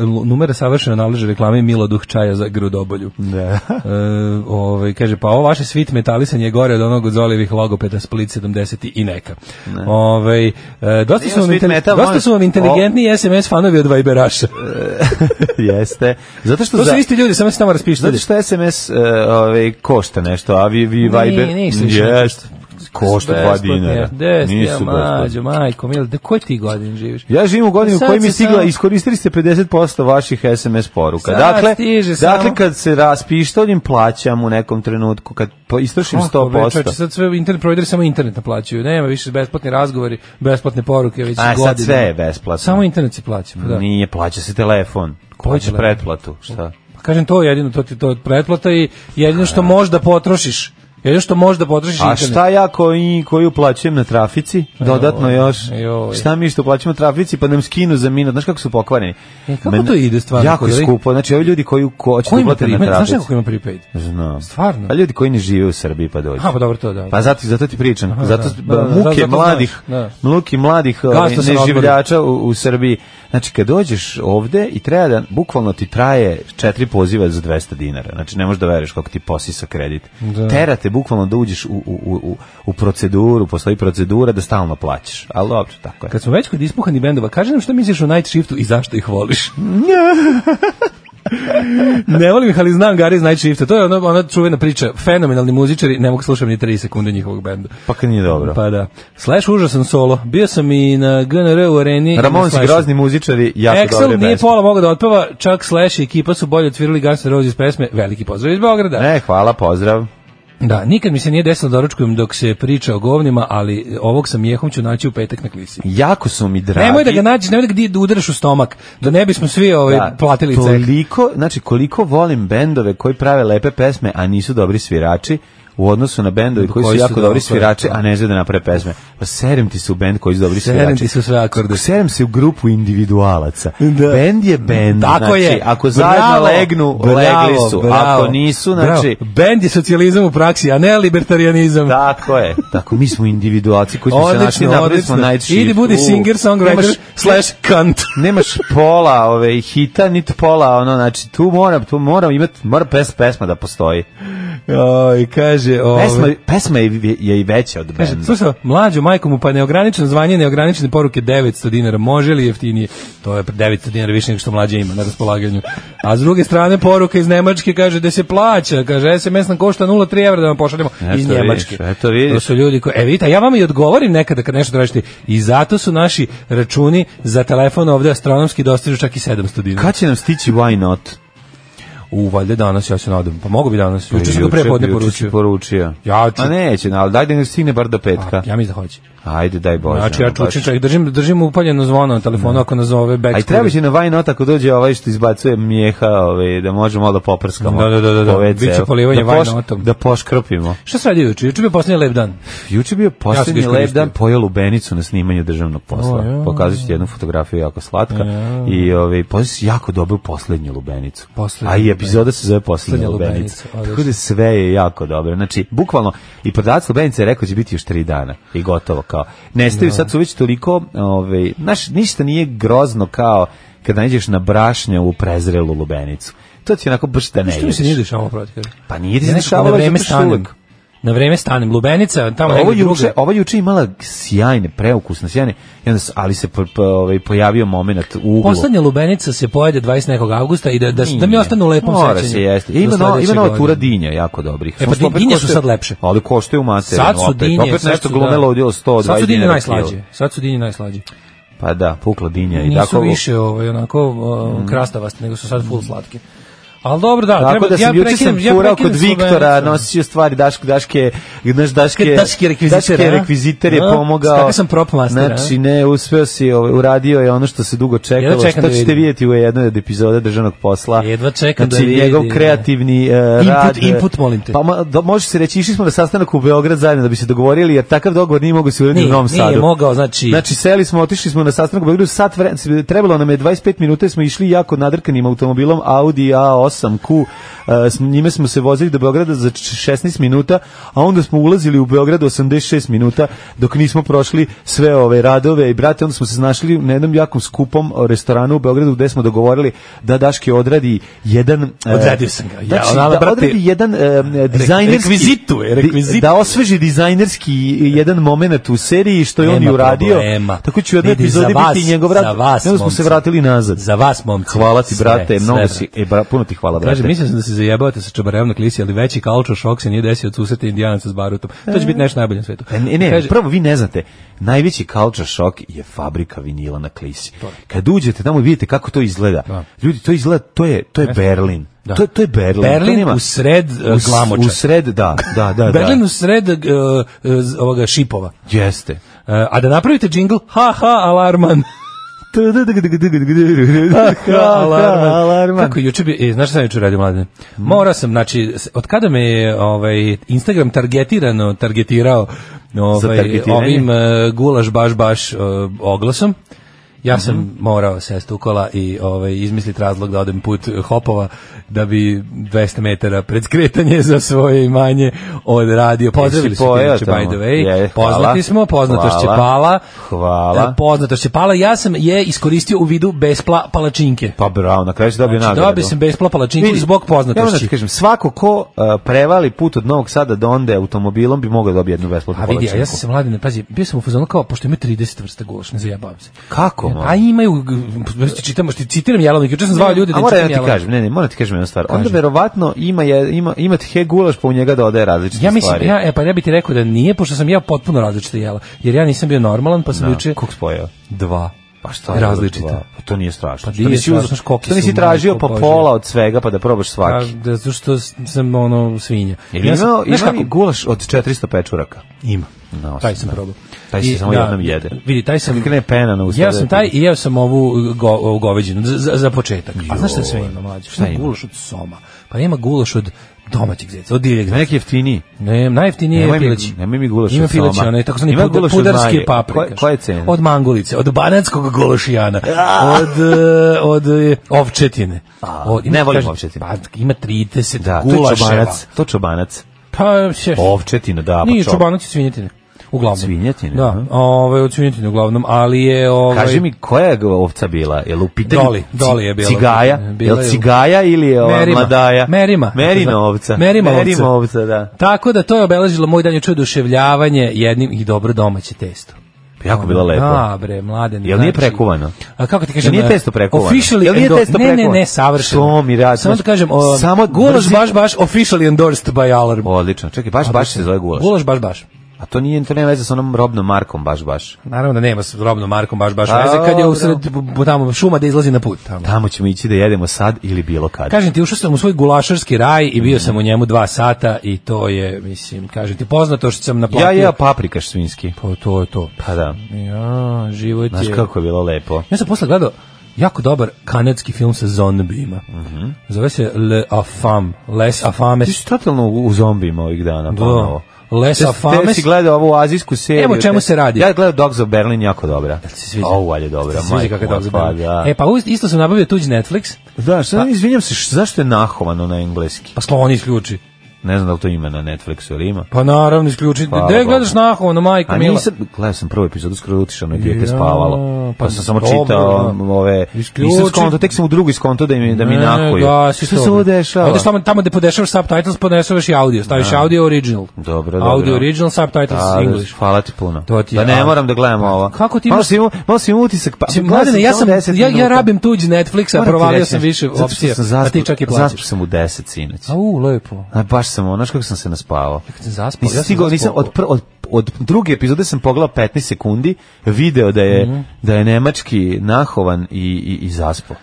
Speaker 6: l- numera savršeno nalaže reklame Mila Duh čaja za grudobolju.
Speaker 5: Da.
Speaker 6: E, ovaj, kaže, pa ovo vaše svit metalisanje je gore od onog od Zolijevih logopeda Split 70 i neka. Ovaj, e, dosta,
Speaker 5: Nije
Speaker 6: su vam
Speaker 5: sweet
Speaker 6: inteli-
Speaker 5: metal, ono
Speaker 6: dosta
Speaker 5: molim.
Speaker 6: su vam inteligentni SMS fanovi od Vajberaša.
Speaker 5: (laughs) Jeste. Zato što
Speaker 6: To
Speaker 5: za-
Speaker 6: su isti ljudi, samo se tamo raspištali.
Speaker 5: Zato što SMS e, ovaj, košta nešto, a vi, vi Viber...
Speaker 6: ništa više ne
Speaker 5: Jest, košta dva
Speaker 6: Besplatno je.
Speaker 5: dinara.
Speaker 6: Gde si ja,
Speaker 5: Nisu besplatni.
Speaker 6: mađo, majko, mil, da koji ti godin živiš?
Speaker 5: Ja živim u godini u
Speaker 6: Sad
Speaker 5: kojoj mi je
Speaker 6: se
Speaker 5: stigla,
Speaker 6: samo-
Speaker 5: iskoristili ste 50% vaših SMS poruka.
Speaker 6: Sad
Speaker 5: Dakle,
Speaker 6: stiže samo-
Speaker 5: dakle kad se raspištoljim plaćam u nekom trenutku, kad po- istrošim
Speaker 6: Kako, bre, čoveče,
Speaker 5: 100%.
Speaker 6: pa sad sve internet provideri samo internet naplaćuju. Nema više besplatni razgovori, besplatne poruke, već
Speaker 5: A sad
Speaker 6: godine.
Speaker 5: sve je besplatno.
Speaker 6: Samo internet se plaća, pa da.
Speaker 5: Nije, plaća se telefon. Koji će
Speaker 6: telefon?
Speaker 5: pretplatu? Šta?
Speaker 6: Pa kažem to je jedino, to ti to je pretplata i jedino što možeš da potrošiš. Jedino što možeš da potrošiš
Speaker 5: A
Speaker 6: internet.
Speaker 5: šta ja koji, koji uplaćujem na trafici? Dodatno još.
Speaker 6: joj.
Speaker 5: Šta mi što plaćamo trafici pa nam skinu za minut? Znaš kako su pokvareni?
Speaker 6: E, kako to ide stvarno
Speaker 5: Jako
Speaker 6: kod
Speaker 5: je
Speaker 6: ovih-
Speaker 5: skupo. Znači, ovi ljudi koji ko, hoće
Speaker 6: Ko
Speaker 5: da
Speaker 6: ima
Speaker 5: uplate na
Speaker 6: prepaid? Znaš
Speaker 5: trafici.
Speaker 6: neko ko ima prepaid?
Speaker 5: Znam.
Speaker 6: Stvarno?
Speaker 5: A ljudi koji ne žive u Srbiji pa dođu.
Speaker 6: A, pa dobro to da.
Speaker 5: Pa zato, zato ti pričam. zato
Speaker 6: da, da,
Speaker 5: muke
Speaker 6: zato znaš,
Speaker 5: mladih,
Speaker 6: da.
Speaker 5: muke mladih
Speaker 6: sam
Speaker 5: ovaj,
Speaker 6: na odboru.
Speaker 5: neživljača u, u Srbiji. Znači, kad dođeš ovde i treba da, bukvalno ti traje četiri poziva za 200 dinara. Znači, ne možeš da veriš kako ti posisa kredit.
Speaker 6: Da.
Speaker 5: Tera te bukvalno da uđeš u, u, u, u- u proceduru, postoji procedura da stalno plaćaš. Ali dobro, tako je.
Speaker 6: Kad smo već kod ispuhani bendova, kaži nam šta misliš o Night Shiftu i zašto ih
Speaker 5: (laughs)
Speaker 6: voliš. ne volim ih, ali znam Gary iz Night Shifta. To je ono, ona, ona čuvena priča. Fenomenalni muzičari, ne mogu slušati ni 3 sekunde njihovog benda.
Speaker 5: Pa kad nije dobro.
Speaker 6: Pa da. Slash užasan solo. Bio sam i na GNR u areni. i na
Speaker 5: Ramon si
Speaker 6: Slashu.
Speaker 5: grozni muzičari, jako dobre
Speaker 6: Axel nije
Speaker 5: pesme.
Speaker 6: pola mogao da otpeva, čak Slash i ekipa su bolje otvirali Guns N' Roses pesme. Veliki pozdrav iz Beograda.
Speaker 5: Ne, hvala, pozdrav.
Speaker 6: Da, nikad mi se nije desilo da doručkujem dok se priča o govnima, ali ovog sam jehom ću naći u petak na klisi.
Speaker 5: Jako su mi dragi.
Speaker 6: Nemoj da ga nađeš, nemoj da ga di- da udaraš u stomak, da ne bismo svi ovaj,
Speaker 5: Da,
Speaker 6: platili ceh.
Speaker 5: toliko, znači koliko volim bendove koji prave lepe pesme, a nisu dobri svirači, u odnosu na bendove koji,
Speaker 6: Koji
Speaker 5: su
Speaker 6: su
Speaker 5: jako dobri
Speaker 6: dobro,
Speaker 5: svirači,
Speaker 6: to.
Speaker 5: a ne znaju da naprave pesme. Pa serem ti se u bend koji su dobri
Speaker 6: Serem
Speaker 5: svirači.
Speaker 6: ti se u sve akorde.
Speaker 5: Serem se u grupu individualaca.
Speaker 6: Da.
Speaker 5: Bend je bend.
Speaker 6: Tako
Speaker 5: znači,
Speaker 6: je.
Speaker 5: Ako zajedno
Speaker 6: Bravo,
Speaker 5: legnu,
Speaker 6: bravo,
Speaker 5: legli su.
Speaker 6: bravo.
Speaker 5: Ako nisu, znači...
Speaker 6: Bravo. Bend je socijalizam u praksi, a ne libertarijanizam.
Speaker 5: Tako je. Tako, mi smo individualci koji smo se našli,
Speaker 6: Odlično,
Speaker 5: napravili smo
Speaker 6: odlično.
Speaker 5: night shift.
Speaker 6: Idi budi
Speaker 5: U,
Speaker 6: singer, songwriter,
Speaker 5: nemaš-
Speaker 6: slash cunt.
Speaker 5: nemaš pola ove hita niti pola ono znači tu moram tu moram imati mora pes, pesma da postoji
Speaker 6: Oj, kaže... Ovaj,
Speaker 5: pesma, pesma je, je i veća od
Speaker 6: Kaže,
Speaker 5: benda
Speaker 6: slušao, mlađo, majko mu, pa neograničeno zvanje, neograničene poruke 900 dinara, može li jeftinije? To je 900 dinara više nego što mlađe ima na raspolaganju. A s druge strane, poruka iz Nemačke kaže da se plaća, kaže, SMS nam košta 0,3 evra da vam pošaljemo
Speaker 5: Eto
Speaker 6: iz
Speaker 5: vidiš,
Speaker 6: Njemačke.
Speaker 5: eto vidiš.
Speaker 6: To su ljudi koji, e vidite, a ja vam i odgovorim nekada kad nešto tražite i zato su naši računi za telefon ovde astronomski dostižu čak i 700 dinara.
Speaker 5: kad će nam stići why not
Speaker 6: U, valjda danas, ja se nadam. Pa mogu bi danas. Juče sam ga
Speaker 5: Juče-
Speaker 6: pre podne
Speaker 5: juče si
Speaker 6: poručio.
Speaker 5: poručio.
Speaker 6: Ja ću-
Speaker 5: Ma neće, ali daj da ne stigne bar do petka.
Speaker 6: A, ja mislim da hoće.
Speaker 5: Ajde, daj Bože.
Speaker 6: Znači, ja
Speaker 5: ono, baš. Mm.
Speaker 6: čučim čak, držim, držim upaljeno zvono na telefonu ako nazove back
Speaker 5: A i treba će na Vajnot ako dođe ovaj što izbacuje mijeha, ovaj, da možemo malo da poprskamo.
Speaker 6: Da, da, da, da, da.
Speaker 5: po WC-u.
Speaker 6: Biće polivanje
Speaker 5: da poš-
Speaker 6: Vajnotom.
Speaker 5: Da poškrpimo.
Speaker 6: Šta se radi juče? Juče je bio posljednji lep dan.
Speaker 5: Juče bio posljednji
Speaker 6: iskoristio.
Speaker 5: lep dan, pojeo lubenicu na snimanju državnog posla.
Speaker 6: O, ja.
Speaker 5: Pokazat ću ti jednu fotografiju jako slatka. I ovaj, pojeo si jako dobru posljednju lubenicu.
Speaker 6: Posljednja
Speaker 5: A i epizoda se zove posljednja
Speaker 6: Posljednja
Speaker 5: lubenica.
Speaker 6: lubenica, odlično.
Speaker 5: (laughs) Tako da sve je jako dobro. Znači, bukvalno, i prodavac lubenice je rekao će biti još tri dana. I gotovo kao. Nestaju sad su već toliko, ovaj, znaš, ništa nije grozno kao kad nađeš na brašnje u prezrelu lubenicu. To ti onako baš da ne
Speaker 6: Što mi se
Speaker 5: jedeš.
Speaker 6: nije dešavalo protiv? kada?
Speaker 5: Pa nije
Speaker 6: Ja
Speaker 5: ti se
Speaker 6: nekako
Speaker 5: dešavalo,
Speaker 6: na vreme
Speaker 5: zato što
Speaker 6: stanem.
Speaker 5: uvek- Pa
Speaker 6: Na vreme stanem. Lubenica, tamo
Speaker 5: ovo
Speaker 6: negdje
Speaker 5: juče,
Speaker 6: druga.
Speaker 5: ovo juče imala sjajne, preukusne, sjajne, i onda s- ali se po, po- ovaj, pojavio moment u uglu.
Speaker 6: Poslednja lubenica se pojede 20 nekog augusta i da, da, da mi
Speaker 5: Nije.
Speaker 6: ostane u lepom sećanju.
Speaker 5: Mora se jesti.
Speaker 6: Do
Speaker 5: Ima, no, ima
Speaker 6: sledeće
Speaker 5: nova
Speaker 6: godine.
Speaker 5: tura dinja jako dobrih.
Speaker 6: E, pa
Speaker 5: Samo što opet
Speaker 6: dinje su
Speaker 5: koštaju-
Speaker 6: sad lepše.
Speaker 5: Ali koštaju materinu.
Speaker 6: Sad su
Speaker 5: opet.
Speaker 6: dinje,
Speaker 5: Opet
Speaker 6: sad
Speaker 5: nešto
Speaker 6: su, da.
Speaker 5: glumelo odjelo 120
Speaker 6: Sad su dinje
Speaker 5: dinara
Speaker 6: najslađe.
Speaker 5: kilo.
Speaker 6: Sad su dinje najslađe.
Speaker 5: Pa da, pukla dinja. I
Speaker 6: Nisu
Speaker 5: tako, Mhm.
Speaker 6: više ovaj, onako uh, krastavaste, nego su sad full slatke. Ali dobro, da,
Speaker 5: Tako
Speaker 6: treba,
Speaker 5: da sam
Speaker 6: ja
Speaker 5: juče sam
Speaker 6: prekinem- ja
Speaker 5: furao
Speaker 6: prekinem
Speaker 5: kod
Speaker 6: Slovenicu.
Speaker 5: Viktora, nosio stvari, daš, daške, znaš, daške,
Speaker 6: Daške rekvizitera,
Speaker 5: daške
Speaker 6: a?
Speaker 5: rekviziter je
Speaker 6: A?
Speaker 5: pomogao.
Speaker 6: Kakav sam prop master, a?
Speaker 5: Znači, ne, uspeo si, ovaj, uradio je ono što se dugo
Speaker 6: Jedva
Speaker 5: čekalo,
Speaker 6: čekam
Speaker 5: što
Speaker 6: da
Speaker 5: ćete
Speaker 6: vidim.
Speaker 5: vidjeti u jednoj od epizoda državnog posla.
Speaker 6: Jedva čekam
Speaker 5: znači,
Speaker 6: da vidim,
Speaker 5: njegov
Speaker 6: da.
Speaker 5: kreativni eh,
Speaker 6: Input,
Speaker 5: rad. eh,
Speaker 6: input, molim te.
Speaker 5: Pa ma- da, može se reći, išli smo na sastanak u Beograd zajedno da bi se dogovorili, jer takav dogovor nije mogao se uraditi u
Speaker 6: Nije,
Speaker 5: Novom
Speaker 6: nije
Speaker 5: Sadu.
Speaker 6: mogao, znači-
Speaker 5: Znači, seli smo, otišli smo na sastanak u Beogradu, sat vremena, trebalo nam je 25 minuta, jer smo išli jako nadrkanim automobilom Audi A8 Q, e, s njime smo se vozili do Beograda za č- 16 minuta, a onda smo ulazili u Beograd 86 minuta, dok nismo prošli sve ove radove i brate, onda smo se znašli na jednom jakom skupom e, restoranu u Beogradu gde smo dogovorili da Daške odradi jedan... e,
Speaker 6: Odradio sam ga, ja,
Speaker 5: znači,
Speaker 6: ali,
Speaker 5: da
Speaker 6: brate,
Speaker 5: odradi jedan e, dizajnerski...
Speaker 6: rekvizitu je, rekvizitu.
Speaker 5: Da osveži dizajnerski jedan moment u seriji, što je on i
Speaker 6: Nema
Speaker 5: uradio.
Speaker 6: problema.
Speaker 5: Tako ću u jednoj
Speaker 6: Vidi, za
Speaker 5: epizodi
Speaker 6: vas-
Speaker 5: biti i njegov
Speaker 6: za
Speaker 5: rad.
Speaker 6: vas,
Speaker 5: I onda smo
Speaker 6: momci.
Speaker 5: se vratili nazad.
Speaker 6: Za vas, momci.
Speaker 5: Hvala ti,
Speaker 6: Sve,
Speaker 5: brate,
Speaker 6: sve,
Speaker 5: mnogo
Speaker 6: brate.
Speaker 5: si, e, bra- puno ti hvala, brate.
Speaker 6: Kaže, mislio sam da se zajebavate sa čabarevnom klisi, ali veći culture šok se nije desio od susreta indijanaca s barutom. To će biti nešto najbolje na svetu.
Speaker 5: E, Ne, ne,
Speaker 6: Kaže,
Speaker 5: prvo vi ne znate, najveći culture shock je fabrika vinila na Klisi. Kad uđete tamo i vidite kako to izgleda. Ljudi, to izgleda, to je, to je Berlin.
Speaker 6: Da.
Speaker 5: To, to je Berlin. to
Speaker 6: Berlin
Speaker 5: nema-
Speaker 6: u sred, e,
Speaker 5: U s-
Speaker 6: glamoča.
Speaker 5: U sred, da, da, da.
Speaker 6: Berlin
Speaker 5: da.
Speaker 6: u sred e, e, z- ovoga šipova.
Speaker 5: Jeste.
Speaker 6: E, a da napravite džingl, ha ha, alarman. alarman. Kako juče bi, e, znaš šta sam juče radio mladine? Morao sam, znači, s- od kada me je ovaj, Instagram targetirano, targetirao
Speaker 5: Za
Speaker 6: ovaj,
Speaker 5: targetiranje?
Speaker 6: ovim e, gulaš baš baš e, oglasom, ja sam
Speaker 5: Mhm.
Speaker 6: morao sest u kola i ovaj, izmisliti razlog da odem put hopova da bi 200 metara pred skretanje za svoje imanje odradio. Pozdravili
Speaker 5: Jesi
Speaker 6: su
Speaker 5: pojeo
Speaker 6: inače, by
Speaker 5: tamo?
Speaker 6: the way.
Speaker 5: Je, hvala.
Speaker 6: Poznati smo, poznatošće
Speaker 5: Hvala.
Speaker 6: pala.
Speaker 5: Hvala.
Speaker 6: E, Poznatošće pala. Ja sam je iskoristio u vidu bespla palačinke.
Speaker 5: Pa bravo, na kraju si dobio
Speaker 6: Znači,
Speaker 5: nagradu.
Speaker 6: dobio sam bespla palačinku
Speaker 5: Vidi,
Speaker 6: zbog
Speaker 5: Ja moram da ti
Speaker 6: poznatošći.
Speaker 5: kažem, svako ko uh, prevali put od Novog Sada do onde automobilom bi mogao dobiti jednu besplatnu
Speaker 6: A vidi, a ja
Speaker 5: kolačinku.
Speaker 6: sam se mladi ne pazi, bio sam u fazonu kao, pošto ima 30 vrsta gulaš, ne zajebavam se.
Speaker 5: Kako? man?
Speaker 6: A imaju, g- baš ti čitam, što ti citiram jelovnik, juče sam zvao ljude da
Speaker 5: A
Speaker 6: im
Speaker 5: moram ja
Speaker 6: čitam
Speaker 5: ti
Speaker 6: jelovnik.
Speaker 5: kažem, ne, ne, moram ti kažem jednu stvar. Onda verovatno ima, je, ima, ima he gulaš pa u njega dodaje različite
Speaker 6: Ja mislim,
Speaker 5: stvari.
Speaker 6: ja, e, pa ja bih ti rekao da nije, pošto sam ja potpuno različite jela, jer ja nisam bio normalan, pa sam
Speaker 5: Da.
Speaker 6: juče
Speaker 5: Kog spojao?
Speaker 6: dva.
Speaker 5: Pa šta je
Speaker 6: Različita.
Speaker 5: dva? Pa to nije strašno.
Speaker 6: Pa
Speaker 5: što
Speaker 6: nije
Speaker 5: nisi,
Speaker 6: strašno,
Speaker 5: uzeo-
Speaker 6: znaš koliki
Speaker 5: što
Speaker 6: su
Speaker 5: nisi
Speaker 6: mali,
Speaker 5: tražio pa
Speaker 6: ko Bože.
Speaker 5: pola od svega pa da probaš
Speaker 6: A,
Speaker 5: svaki?
Speaker 6: da, zato što s- sam ono svinja.
Speaker 5: Ili
Speaker 6: Ja
Speaker 5: ima,
Speaker 6: sam-
Speaker 5: ima
Speaker 6: znaš kako?
Speaker 5: li gulaš od 400 pečuraka?
Speaker 6: Ima.
Speaker 5: No,
Speaker 6: taj sam
Speaker 5: da.
Speaker 6: probao.
Speaker 5: Taj se
Speaker 6: I,
Speaker 5: samo jednom jede.
Speaker 6: Vidi, taj sam...
Speaker 5: Kad krene pena na usta,
Speaker 6: Ja
Speaker 5: da
Speaker 6: sam
Speaker 5: je
Speaker 6: taj
Speaker 5: to-
Speaker 6: i jeo sam ovu go, ovu goveđinu za, za, za početak. A znaš šta sve
Speaker 5: Joj.
Speaker 6: ima mlađe?
Speaker 5: Šta
Speaker 6: Šta
Speaker 5: ima?
Speaker 6: ima? Gulaš od soma. Pa nema gulaš od domaćeg zeca, od divljeg
Speaker 5: Ima
Speaker 6: zeca.
Speaker 5: neki jeftiniji.
Speaker 6: Ne, najjeftinije
Speaker 5: Nemoj
Speaker 6: je
Speaker 5: mi-
Speaker 6: pileći.
Speaker 5: nemoj mi gulaš
Speaker 6: Ima
Speaker 5: od soma.
Speaker 6: pileći, onaj takozvani
Speaker 5: Ima
Speaker 6: pud-
Speaker 5: gulaš od
Speaker 6: pudarske
Speaker 5: Maje.
Speaker 6: paprike.
Speaker 5: Koje- koje cene?
Speaker 6: Od mangulice, od banatskog
Speaker 5: (laughs)
Speaker 6: gulašijana, od, eh, od eh, ovčetine. Od, ima-
Speaker 5: ne volim
Speaker 6: kaže,
Speaker 5: ovčetine.
Speaker 6: Pa, ima 30
Speaker 5: Da, to je
Speaker 6: gulaševa.
Speaker 5: čobanac. To je čobanac.
Speaker 6: Pa, šeš.
Speaker 5: Ovčetina, da, pa
Speaker 6: Nije
Speaker 5: čob-
Speaker 6: čobanac je svinjetina. Uglavnom.
Speaker 5: Svinjetina, aha.
Speaker 6: Da, ovaj, od svinjetine uglavnom, ali je... Ovaj,
Speaker 5: Kaži mi koja je ovca bila? Je li u pitanju
Speaker 6: Doli,
Speaker 5: ci-
Speaker 6: Doli je bila.
Speaker 5: Cigaja?
Speaker 6: Bila
Speaker 5: je
Speaker 6: je
Speaker 5: li
Speaker 6: u-
Speaker 5: cigaja ili je ova
Speaker 6: Merima.
Speaker 5: mladaja?
Speaker 6: Merima.
Speaker 5: Merina
Speaker 6: Tako da.
Speaker 5: ovca.
Speaker 6: Merima ovca.
Speaker 5: ovca, da.
Speaker 6: Tako da to je obeležilo moj dan juče oduševljavanje jednim i dobro domaće testo.
Speaker 5: Pa jako bila lepo.
Speaker 6: Da, bre, mladen. znači-
Speaker 5: Jel nije prekuvano?
Speaker 6: A kako ti
Speaker 5: Jel
Speaker 6: kažem?
Speaker 5: nije
Speaker 6: e,
Speaker 5: testo prekovano?
Speaker 6: Officially
Speaker 5: Jel nije
Speaker 6: endo-
Speaker 5: testo
Speaker 6: Ne, ne,
Speaker 5: prekovano?
Speaker 6: ne, savršeno.
Speaker 5: Što mi radiš?
Speaker 6: Samo da kažem, o,
Speaker 5: Samo
Speaker 6: gulaš
Speaker 5: brzi-
Speaker 6: baš baš officially endorsed by Alarm.
Speaker 5: Odlično. Čekaj, baš, baš se zove gulaš.
Speaker 6: Gulaš baš baš.
Speaker 5: A to nije, to nema veze sa onom robnom markom baš baš.
Speaker 6: Naravno da nema s Robnom Markom baš baš
Speaker 5: A,
Speaker 6: veze kad je
Speaker 5: dobro.
Speaker 6: usred bu- tamo šuma da izlazi na put tamo.
Speaker 5: Tamo ćemo ići da jedemo sad ili bilo kad.
Speaker 6: Kažem ti, ušao sam u svoj gulašarski raj i bio sam u njemu dva sata i to je, mislim, kažem ti, poznato što sam naplatio.
Speaker 5: ja jeo paprikaš svinski.
Speaker 6: Pa to je to.
Speaker 5: Pa da.
Speaker 6: Ja, život
Speaker 5: Znaš
Speaker 6: je...
Speaker 5: kako je bilo lepo.
Speaker 6: Ja sam posle gledao jako dobar kanadski film sa zombijima. Zove se Le Affam, Les Affames.
Speaker 5: Ti si totalno u u zombijima ovih dana.
Speaker 6: Da.
Speaker 5: ponovo.
Speaker 6: Les
Speaker 5: Te- Te
Speaker 6: Affames.
Speaker 5: si gledao ovu azijsku seriju.
Speaker 6: E, Evo o čemu
Speaker 5: te-
Speaker 6: se radi.
Speaker 5: Ja gledao Dogs of Berlin, jako dobra. Da
Speaker 6: se sviđa?
Speaker 5: je dobra.
Speaker 6: Sviđa kako je
Speaker 5: majko
Speaker 6: dobro.
Speaker 5: moja,
Speaker 6: bilo.
Speaker 5: Pa, da.
Speaker 6: E, pa uz- isto sam nabavio tuđi Netflix,
Speaker 5: Da, šta, izvinjam se, š- zašto je nahovano na engleski?
Speaker 6: pa skloni isključi.
Speaker 5: Ne znam da li to ima na Netflixu ili ima.
Speaker 6: Pa naravno, isključi.
Speaker 5: Hvala
Speaker 6: Gde
Speaker 5: Bogu.
Speaker 6: gledaš nahovno, majko
Speaker 5: A
Speaker 6: mila?
Speaker 5: nisam, gledao sam prvu epizodu, skoro utišano je dijete
Speaker 6: Pa Ja,
Speaker 5: spavalo.
Speaker 6: pa
Speaker 5: Pa sam samo
Speaker 6: dobro,
Speaker 5: čitao
Speaker 6: da.
Speaker 5: ove... Nisam
Speaker 6: Isključi.
Speaker 5: skonto, tek sam u drugu skonto da mi, da mi nakuju.
Speaker 6: E, gasi
Speaker 5: Što
Speaker 6: to.
Speaker 5: se ovo dešava?
Speaker 6: Odeš tamo, tamo gde podešavaš subtitles, podešavaš i audio. Staviš audio original.
Speaker 5: Dobro, dobro.
Speaker 6: Audio original, subtitles
Speaker 5: A, da,
Speaker 6: English.
Speaker 5: Pa, Hvala ti puno.
Speaker 6: To ti je-
Speaker 5: da ne
Speaker 6: a-
Speaker 5: moram da gledam ovo.
Speaker 6: Kako ti
Speaker 5: Malo
Speaker 6: imaš-
Speaker 5: sam imao, malo sam imao utisak. Pa,
Speaker 6: Mislim,
Speaker 5: gledao
Speaker 6: mladine, ja
Speaker 5: samo
Speaker 6: sam,
Speaker 5: 10
Speaker 6: ja, ja
Speaker 5: minuta.
Speaker 6: rabim tuđi Netflix, a
Speaker 5: Moram ti
Speaker 6: provalio
Speaker 5: reći
Speaker 6: sam
Speaker 5: nešto.
Speaker 6: više
Speaker 5: Zato što
Speaker 6: opcija,
Speaker 5: sam
Speaker 6: a ti
Speaker 5: zaspao-
Speaker 6: čak i plaćaš.
Speaker 5: Zaspao sam u 10 sinoć.
Speaker 6: Au, lepo.
Speaker 5: A baš sam, ono, znaš kako sam se naspavao.
Speaker 6: Kad sam zaspao,
Speaker 5: Nisam
Speaker 6: ja sam
Speaker 5: stigao,
Speaker 6: zaspao.
Speaker 5: nisam, od, pr, od, od druge epizode sam pogledao 15 sekundi, video da je,
Speaker 6: Mhm.
Speaker 5: da je nemački nahovan i, i, i zaspao.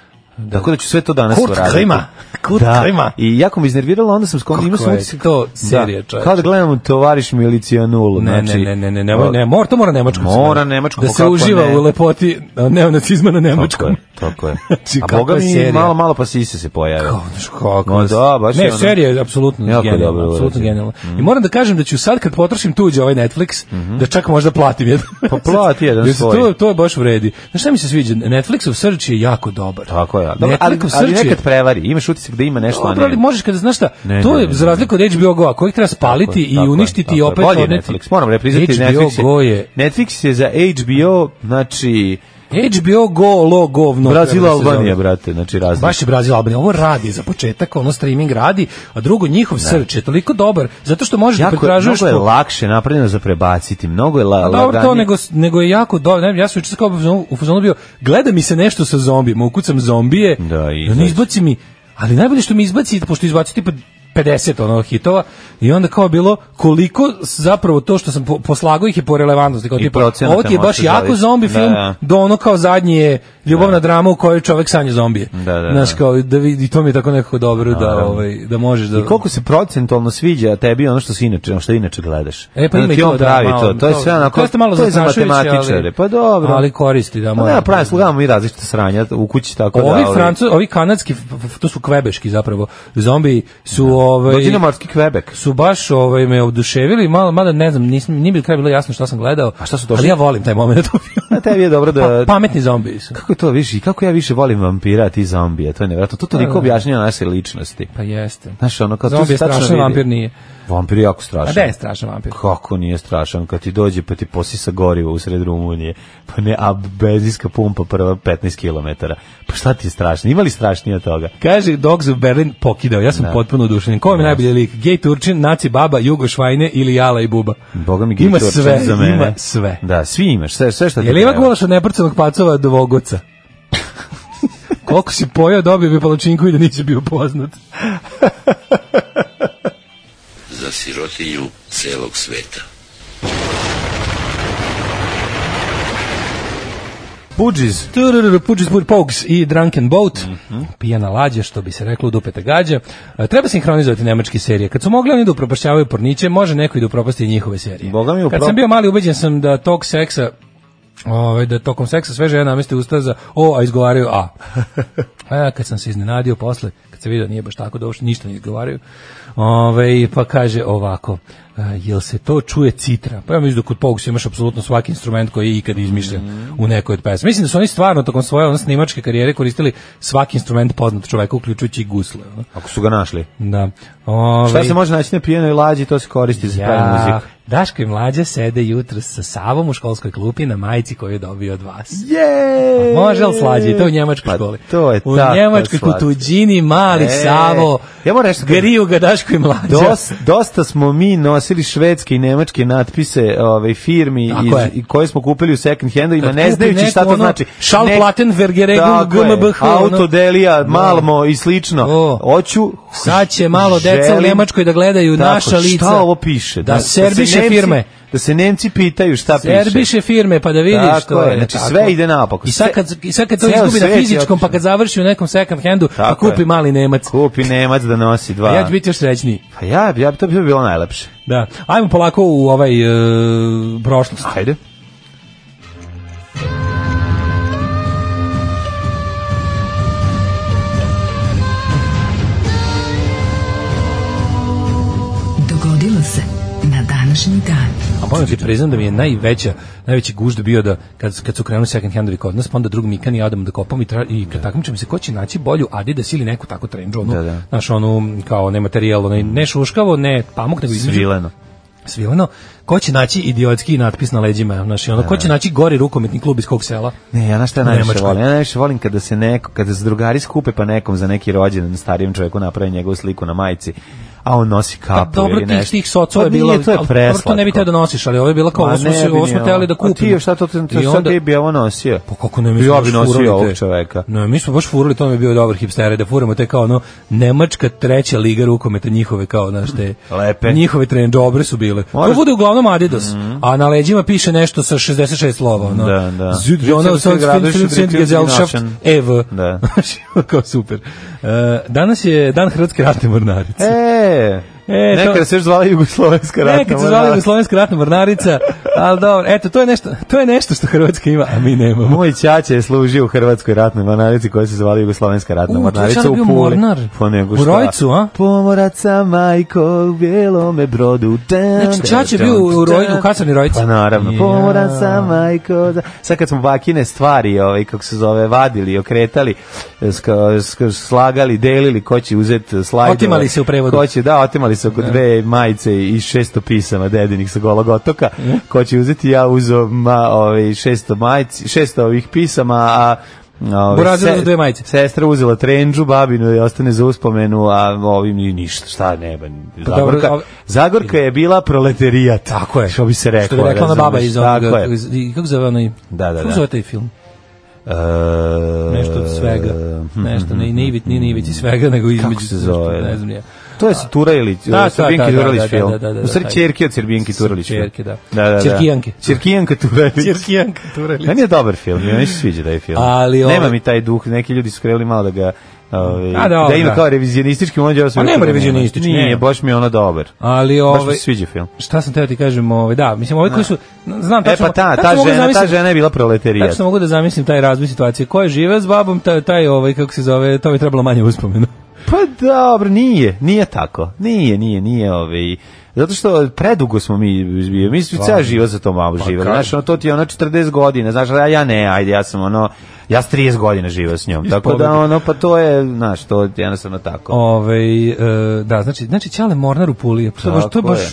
Speaker 5: Tako da ću sve to danas
Speaker 6: Kurt
Speaker 5: uraditi.
Speaker 6: Klima. Kurt
Speaker 5: da,
Speaker 6: Klima.
Speaker 5: I jako me iznerviralo, onda sam skonto
Speaker 6: Kako
Speaker 5: imao sam
Speaker 6: je
Speaker 5: utisak-
Speaker 6: to serija,
Speaker 5: da,
Speaker 6: čoveče.
Speaker 5: Kao da gledam tovariš milicijanulu.
Speaker 6: Ne,
Speaker 5: znači,
Speaker 6: ne, ne, ne, ne, ne, ne, mora, to mora nemačko.
Speaker 5: Mora nemačko,
Speaker 6: Da
Speaker 5: pa
Speaker 6: se
Speaker 5: kako
Speaker 6: uživa
Speaker 5: ne?
Speaker 6: u lepoti a, neonacizma na
Speaker 5: Tako je,
Speaker 6: nemačkom.
Speaker 5: tako je.
Speaker 6: (laughs) Znači,
Speaker 5: A
Speaker 6: kakva
Speaker 5: boga mi
Speaker 6: serija.
Speaker 5: malo, malo pa sise se pojave.
Speaker 6: Kao, znaš kako.
Speaker 5: Ma da, baš
Speaker 6: ne,
Speaker 5: je ono-
Speaker 6: serija je apsolutno
Speaker 5: Jako je
Speaker 6: genijalna,
Speaker 5: dobro Mhm.
Speaker 6: apsolutno
Speaker 5: urađeno.
Speaker 6: genijalna. I moram da kažem da ću sad kad potrošim tuđi ovaj Netflix, da čak možda platim jedan.
Speaker 5: Mhm.
Speaker 6: (laughs)
Speaker 5: Pa plati jedan
Speaker 6: Jer se
Speaker 5: svoj.
Speaker 6: To, to je baš vredi. Znaš šta mi se sviđa? Netflixov search je jako dobar.
Speaker 5: Tako je. Dobro, ali,
Speaker 6: Netflixov
Speaker 5: ali
Speaker 6: search je-
Speaker 5: nekad prevari. Imaš utisak da ima nešto, a
Speaker 6: Dobro,
Speaker 5: Pa, ne.
Speaker 6: ali možeš kada, znaš šta,
Speaker 5: Ne,
Speaker 6: to
Speaker 5: ne,
Speaker 6: je
Speaker 5: ne,
Speaker 6: za
Speaker 5: ne.
Speaker 6: razliku od HBO Go-a, kojeg treba spaliti i
Speaker 5: Tako je,
Speaker 6: uništiti
Speaker 5: tako
Speaker 6: i
Speaker 5: je.
Speaker 6: opet
Speaker 5: Bolje je
Speaker 6: odneti.
Speaker 5: Netflix. Moram repriznati
Speaker 6: HBO
Speaker 5: Netflix.
Speaker 6: Go je,
Speaker 5: Netflix je za HBO, znači
Speaker 6: HBO Go lo govno.
Speaker 5: Brazil
Speaker 6: treba da se zove.
Speaker 5: Albanija, brate, znači razlika.
Speaker 6: Baš je Brazil Albanija. Ovo radi za početak, ono streaming radi, a drugo njihov search je toliko dobar, zato što možeš da
Speaker 5: Jako je,
Speaker 6: pretražuješ
Speaker 5: mnogo je
Speaker 6: po-
Speaker 5: lakše napravljeno za prebaciti, mnogo je la,
Speaker 6: Pa dobro to,
Speaker 5: laganije.
Speaker 6: nego, nego je jako dobro. Ne, znam, ja sam juče kao u fazonu- u fazonu bio, gleda mi se nešto sa zombijima, ukucam zombije,
Speaker 5: Da, i
Speaker 6: i ono
Speaker 5: izađe.
Speaker 6: izbaci mi, ali najbolje što mi izbaci, pošto izbaci tipa 50 ono hitova i onda kao bilo koliko s- zapravo to što sam po, poslagao ih je po relevantnosti kao
Speaker 5: I
Speaker 6: tipa
Speaker 5: procenata
Speaker 6: ovo ti je baš
Speaker 5: možeš
Speaker 6: jako
Speaker 5: zavisi.
Speaker 6: zombi
Speaker 5: Da,
Speaker 6: film
Speaker 5: da.
Speaker 6: do ono kao zadnji je ljubavna drama u kojoj čovek sanja zombije
Speaker 5: Da, da,
Speaker 6: znaš
Speaker 5: da.
Speaker 6: kao da vidi i to mi je tako nekako dobro da,
Speaker 5: Naravno.
Speaker 6: ovaj, da možeš da
Speaker 5: I koliko se procentualno sviđa tebi ono što si inače, ono što inače gledaš.
Speaker 6: E pa
Speaker 5: Onda
Speaker 6: ima i
Speaker 5: ti
Speaker 6: to,
Speaker 5: Znači, on
Speaker 6: da,
Speaker 5: pravi
Speaker 6: malo,
Speaker 5: to. To je sve onako,
Speaker 6: jeste malo
Speaker 5: to je za
Speaker 6: zastrašujuće, ali-
Speaker 5: matematičare. Pa dobro.
Speaker 6: ali koristi da
Speaker 5: Pa
Speaker 6: mora
Speaker 5: ne, pravim slugamo i različite sranja u kući, tako da...
Speaker 6: ovi
Speaker 5: ovaj,
Speaker 6: francu, ovi kanadski, f- f- to su kvebeški zapravo, zombi su ovaj
Speaker 5: Dođi na morski Quebec.
Speaker 6: su baš ovaj me oduševili, malo mada ne znam, nisam nije mi do kraja bilo jasno šta sam gledao. A
Speaker 5: šta su došli?
Speaker 6: Ali ja volim taj
Speaker 5: (laughs)
Speaker 6: moment u filmu.
Speaker 5: Na tebi je dobro da...
Speaker 6: Pa, pametni zombi su.
Speaker 5: Kako je to više? Kako ja više volim vampira, a ti zombije? To je nevjerojatno. To toliko objašnjava naše ličnosti.
Speaker 6: Pa jeste.
Speaker 5: Znaš, ono, kao tu
Speaker 6: Zombi
Speaker 5: se
Speaker 6: je
Speaker 5: tačno
Speaker 6: strašan,
Speaker 5: vidi.
Speaker 6: vampir nije.
Speaker 5: Vampir je jako
Speaker 6: A
Speaker 5: strašan.
Speaker 6: da je strašan vampir?
Speaker 5: Kako nije strašan kad ti dođe pa ti posisa gorivo usred Rumunije, pa ne, a benzinska pumpa prva 15 km. Pa šta ti je strašno? Ima li strašnije od toga?
Speaker 6: Kaže, Dogs of Berlin pokidao, ja sam potpuno oduševljen. Ko mi je najbolji lik? Gej Turčin, Naci Baba, Jugo Švajne ili Jala i Buba?
Speaker 5: Boga mi
Speaker 6: Ima
Speaker 5: Gitorčin
Speaker 6: sve,
Speaker 5: za mene.
Speaker 6: ima sve.
Speaker 5: Da, svi imaš, sve, sve šta ti
Speaker 6: Je li ima
Speaker 5: treba.
Speaker 6: gulaš od neprcenog pacova do
Speaker 5: (laughs)
Speaker 6: vogoca? Koliko si pojao, dobio bi palačinku i da nisi bio poznat.
Speaker 1: (laughs) za sirotinju celog sveta.
Speaker 5: Budžis.
Speaker 6: Turururu, Puđis Bur Pogs i Drunken Boat,
Speaker 5: Mhm.
Speaker 6: pijana lađa, što bi se reklo, dupeta gađa. E, Treba sinhronizovati nemačke serije. Kad su mogli oni da upropašćavaju porniće, može neko i da upropasti i njihove serije.
Speaker 5: Boga mi,
Speaker 6: Kad
Speaker 5: uprop-
Speaker 6: sam bio mali, ubeđen sam da tog seksa Ovaj da tokom seksa sve žene nameste usta za o, a izgovaraju
Speaker 5: (laughs)
Speaker 6: a. A kad sam se iznenadio posle, kad se vidio da nije baš tako da uopšte ništa ne izgovaraju. Ovaj pa kaže ovako, e, jel se to čuje citra? Pa ja mislim da kod Pogusa imaš apsolutno svaki instrument koji je ikad izmišljen u nekoj od pesama. Mislim da su oni stvarno tokom svoje ono, snimačke karijere koristili svaki instrument poznat čoveka, uključujući i gusle. ono.
Speaker 5: Ako su ga našli.
Speaker 6: Da. Ovaj,
Speaker 5: Šta se može naći na pijenoj lađi, to se koristi za pravi muziku.
Speaker 6: Daško i mlađa sede jutro sa Savom u školskoj klupi na majici koju je dobio od vas.
Speaker 5: Je!
Speaker 6: Pa Može li slađe, to je u njemačkoj
Speaker 5: Pa,
Speaker 6: školi.
Speaker 5: to je
Speaker 6: u
Speaker 5: tako
Speaker 6: njemačkoj
Speaker 5: slatko.
Speaker 6: kutuđini, mali
Speaker 5: E,
Speaker 6: Savo,
Speaker 5: ja moram nešto kažem.
Speaker 6: griju ga Daško i mlađa.
Speaker 5: Dos, dosta smo mi nosili švedske i nemačke natpise ovaj, firmi
Speaker 6: Tako
Speaker 5: iz,
Speaker 6: je.
Speaker 5: i koje smo kupili u second handu ima
Speaker 6: Kad
Speaker 5: ne
Speaker 6: kupi
Speaker 5: znajući
Speaker 6: neko
Speaker 5: šta to
Speaker 6: ono
Speaker 5: znači.
Speaker 6: Schallplatten, Vergeregung,
Speaker 5: Tako je.
Speaker 6: GmbH, ono.
Speaker 5: Autodelija, Malmo i slično.
Speaker 6: O.
Speaker 5: Hoću
Speaker 6: Sad će malo deca u
Speaker 5: želim-
Speaker 6: Njemačkoj da gledaju
Speaker 5: Tako,
Speaker 6: naša lica.
Speaker 5: Šta ovo piše?
Speaker 6: Da,
Speaker 5: se
Speaker 6: serbiše
Speaker 5: Nemci-
Speaker 6: firme.
Speaker 5: da se Nemci pitaju šta piše.
Speaker 6: Erbiše firme pa da vidiš
Speaker 5: Tako
Speaker 6: to
Speaker 5: je, znači sve ide naopako.
Speaker 6: I sad kad, i sad kad to
Speaker 5: Ceo
Speaker 6: izgubi na
Speaker 5: svet je
Speaker 6: fizičkom pa
Speaker 5: opšten.
Speaker 6: kad završi u nekom second handu pa
Speaker 5: Tako
Speaker 6: kupi
Speaker 5: je.
Speaker 6: mali Nemac.
Speaker 5: Kupi Nemac da nosi dva.
Speaker 6: A ja ću biti još srećniji.
Speaker 5: Pa ja, bi- ja, bi- to bi bilo najlepše.
Speaker 6: Da. Ajmo polako u ovaj e, prošlost.
Speaker 5: Ajde.
Speaker 4: Dogodilo se na današnji dan.
Speaker 6: A moram ti priznam da mi je najveća, najveći gužd bio da kad, kad su krenuli second handovi kod nas, pa onda drug Mikan i ja odemo da kopam i, tra, i takmičem se ko će naći bolju Adidas ili neku takvu trendžu, ono,
Speaker 5: Da, da.
Speaker 6: znaš, onu, kao ne materijal, onaj, ne šuškavo, ne pamuk, nego između-
Speaker 5: Svileno.
Speaker 6: svileno, ko će naći idiotski natpis na leđima, znaš, i ono, ko će naći gori rukometni klub iz kog sela?
Speaker 5: Ne, ja na šta
Speaker 6: U
Speaker 5: najviše
Speaker 6: Nemačkoj.
Speaker 5: volim? Ja najviše volim kada se neko, kada se drugari skupe pa nekom za neki rođendan starijem čovjeku napravi njegovu sliku na majici, a on nosi kapu
Speaker 6: Pa dobro,
Speaker 5: ili
Speaker 6: tih,
Speaker 5: nešto.
Speaker 6: tih socova je
Speaker 5: Pa nije,
Speaker 6: bilo,
Speaker 5: to je
Speaker 6: ali
Speaker 5: preslatko.
Speaker 6: dobro, to ne bi teo da nosiš, ali ovo je bilo kao,
Speaker 5: Ma
Speaker 6: ovo smo,
Speaker 5: ne
Speaker 6: se,
Speaker 5: bi
Speaker 6: ovo
Speaker 5: ni
Speaker 6: smo
Speaker 5: ono.
Speaker 6: teli da
Speaker 5: A ti
Speaker 6: kupimo.
Speaker 5: još šta to, to,
Speaker 6: I
Speaker 5: to
Speaker 6: onda-
Speaker 5: sad ti bi ovo nosio?
Speaker 6: Pa kako ne, mi
Speaker 5: Ja
Speaker 6: smo
Speaker 5: bi
Speaker 6: baš
Speaker 5: nosio
Speaker 6: furali
Speaker 5: ovog
Speaker 6: te-
Speaker 5: čoveka.
Speaker 6: Ne, mi smo baš furali, to mi je bio dobar hipstere, da furamo te kao ono, Nemačka treća liga rukometa njihove kao, znaš, te,
Speaker 5: Lepe.
Speaker 6: njihove trend, dobre su bile. To
Speaker 5: Možda-
Speaker 6: bude uglavnom Adidas, a na leđima piše nešto sa 66 slova, ono.
Speaker 5: Da, da.
Speaker 6: Züd, ono,
Speaker 5: Sitzen Gradović,
Speaker 6: Gesellschaft,
Speaker 5: Sitzen
Speaker 6: EV. (laughs)
Speaker 5: Da.
Speaker 6: kao super. E, danas je dan Hrvatske ratne mornarice.
Speaker 5: E,
Speaker 6: E, to-
Speaker 5: nekada se još zvala Jugoslovenska ratna.
Speaker 6: Nekad se
Speaker 5: mornara.
Speaker 6: žali Jugoslovenska ratna mornarica, ali dobro, eto, to je, nešto, to je nešto što Hrvatska ima, a mi nemamo.
Speaker 5: Moj ćaća je služio u Hrvatskoj ratnoj mornarici koja se zvala Jugoslovenska ratna
Speaker 6: U,
Speaker 5: mornarica
Speaker 6: tvoj
Speaker 5: u
Speaker 6: čale bio
Speaker 5: Puli.
Speaker 6: mornar.
Speaker 5: Pa nego
Speaker 6: U
Speaker 5: šta.
Speaker 6: Rojcu, a?
Speaker 5: Pomoraca, majko, u bijelome brodu. Dun,
Speaker 6: Znači, Čače je
Speaker 5: dun,
Speaker 6: bio u
Speaker 5: dun,
Speaker 6: Roj-
Speaker 5: dun.
Speaker 6: u kasarni Rojci.
Speaker 5: Pa naravno.
Speaker 6: Ja.
Speaker 5: Pomoraca, majko. da- Sad kad smo vakine stvari, ovaj, kako se zove, vadili, okretali, ska- ska- slagali, delili, ko će uzeti slajdove.
Speaker 6: Otimali se u prevodu.
Speaker 5: Ko će, da, otimali se oko dve majice i 600 pisama dedinih sa golog otoka. Ko će uzeti, ja uzo ma, ovaj, 600, majici, 600 ovih pisama, a Ovi,
Speaker 6: Burazir uzeo dve majice.
Speaker 5: Sestra uzela trenđu, babinu i ostane za uspomenu, a ovim i ništa, šta neba.
Speaker 6: Pa dobro,
Speaker 5: Zagorka,
Speaker 6: ovi-
Speaker 5: Zagorka je bila proletarijat.
Speaker 6: Tako je.
Speaker 5: Što bi se reklo.
Speaker 6: Što bi rekla ona
Speaker 5: razumeš?
Speaker 6: baba iz
Speaker 5: Tako
Speaker 6: onoga,
Speaker 5: je.
Speaker 6: iz- i kako zove onaj,
Speaker 5: Da, da,
Speaker 6: kako
Speaker 5: da.
Speaker 6: zove taj film?
Speaker 5: E,
Speaker 6: Nešto od svega,
Speaker 5: hm,
Speaker 6: nešto, ne, ne ivit, nije ne ivit i svega, nego između,
Speaker 5: Kako se zove?
Speaker 6: ne znam, ja.
Speaker 5: To je Turajlić,
Speaker 6: Da, da,
Speaker 5: da, Srbinki
Speaker 6: da, da,
Speaker 5: Turajlić
Speaker 6: da,
Speaker 5: film.
Speaker 6: da, da, da,
Speaker 5: U stvari
Speaker 6: taj.
Speaker 5: Čerke od Srbinki Turajlić film.
Speaker 6: Čerke, da.
Speaker 5: da, da.
Speaker 6: Čerkijanke.
Speaker 5: Čerkijanka Turajlić.
Speaker 6: Čirkijanka, Turelić.
Speaker 5: Meni je dobar film, meni se sviđa da je film.
Speaker 6: Ali ovo-
Speaker 5: Nema mi taj duh, neki ljudi su krenuli malo da ga ovaj,
Speaker 6: A, dobro,
Speaker 5: da ima
Speaker 6: da.
Speaker 5: kao revizionistički, on
Speaker 6: A nema revizionistički,
Speaker 5: Nije,
Speaker 6: nema.
Speaker 5: baš mi je ono dobar.
Speaker 6: Ali
Speaker 5: Baš mi
Speaker 6: ovaj
Speaker 5: se sviđa film.
Speaker 6: šta sam teo ti kažem, ovaj da, mislim ovaj koji su znam
Speaker 5: E
Speaker 6: tačno-
Speaker 5: pa ta, ta
Speaker 6: tačno mogu
Speaker 5: žena, ta
Speaker 6: zamislim-
Speaker 5: žena je bila proletarijat.
Speaker 6: Tačno mogu da zamislim taj razvoj situacije. Ko je žive s babom, taj, taj ovaj, kako se zove, to bi trebalo manje uspomenu.
Speaker 5: Pa dobro, nije, nije tako. Nije, nije, nije ovaj Zato što predugo smo mi izbio. Mi smo ceo život za to malo živeli.
Speaker 6: kažem.
Speaker 5: Znaš, ono, to ti je ono 40 godina. Znaš, a ja ne, ajde, ja sam ono, ja s 30 godina živeo s njom. Tako da,
Speaker 6: pobjede.
Speaker 5: ono, pa to je, znaš, to je jednostavno tako.
Speaker 6: Ovaj e, da, znači, znači Ćale Mornar u Puli. To, je baš, to je
Speaker 5: Tako
Speaker 6: baš,
Speaker 5: je.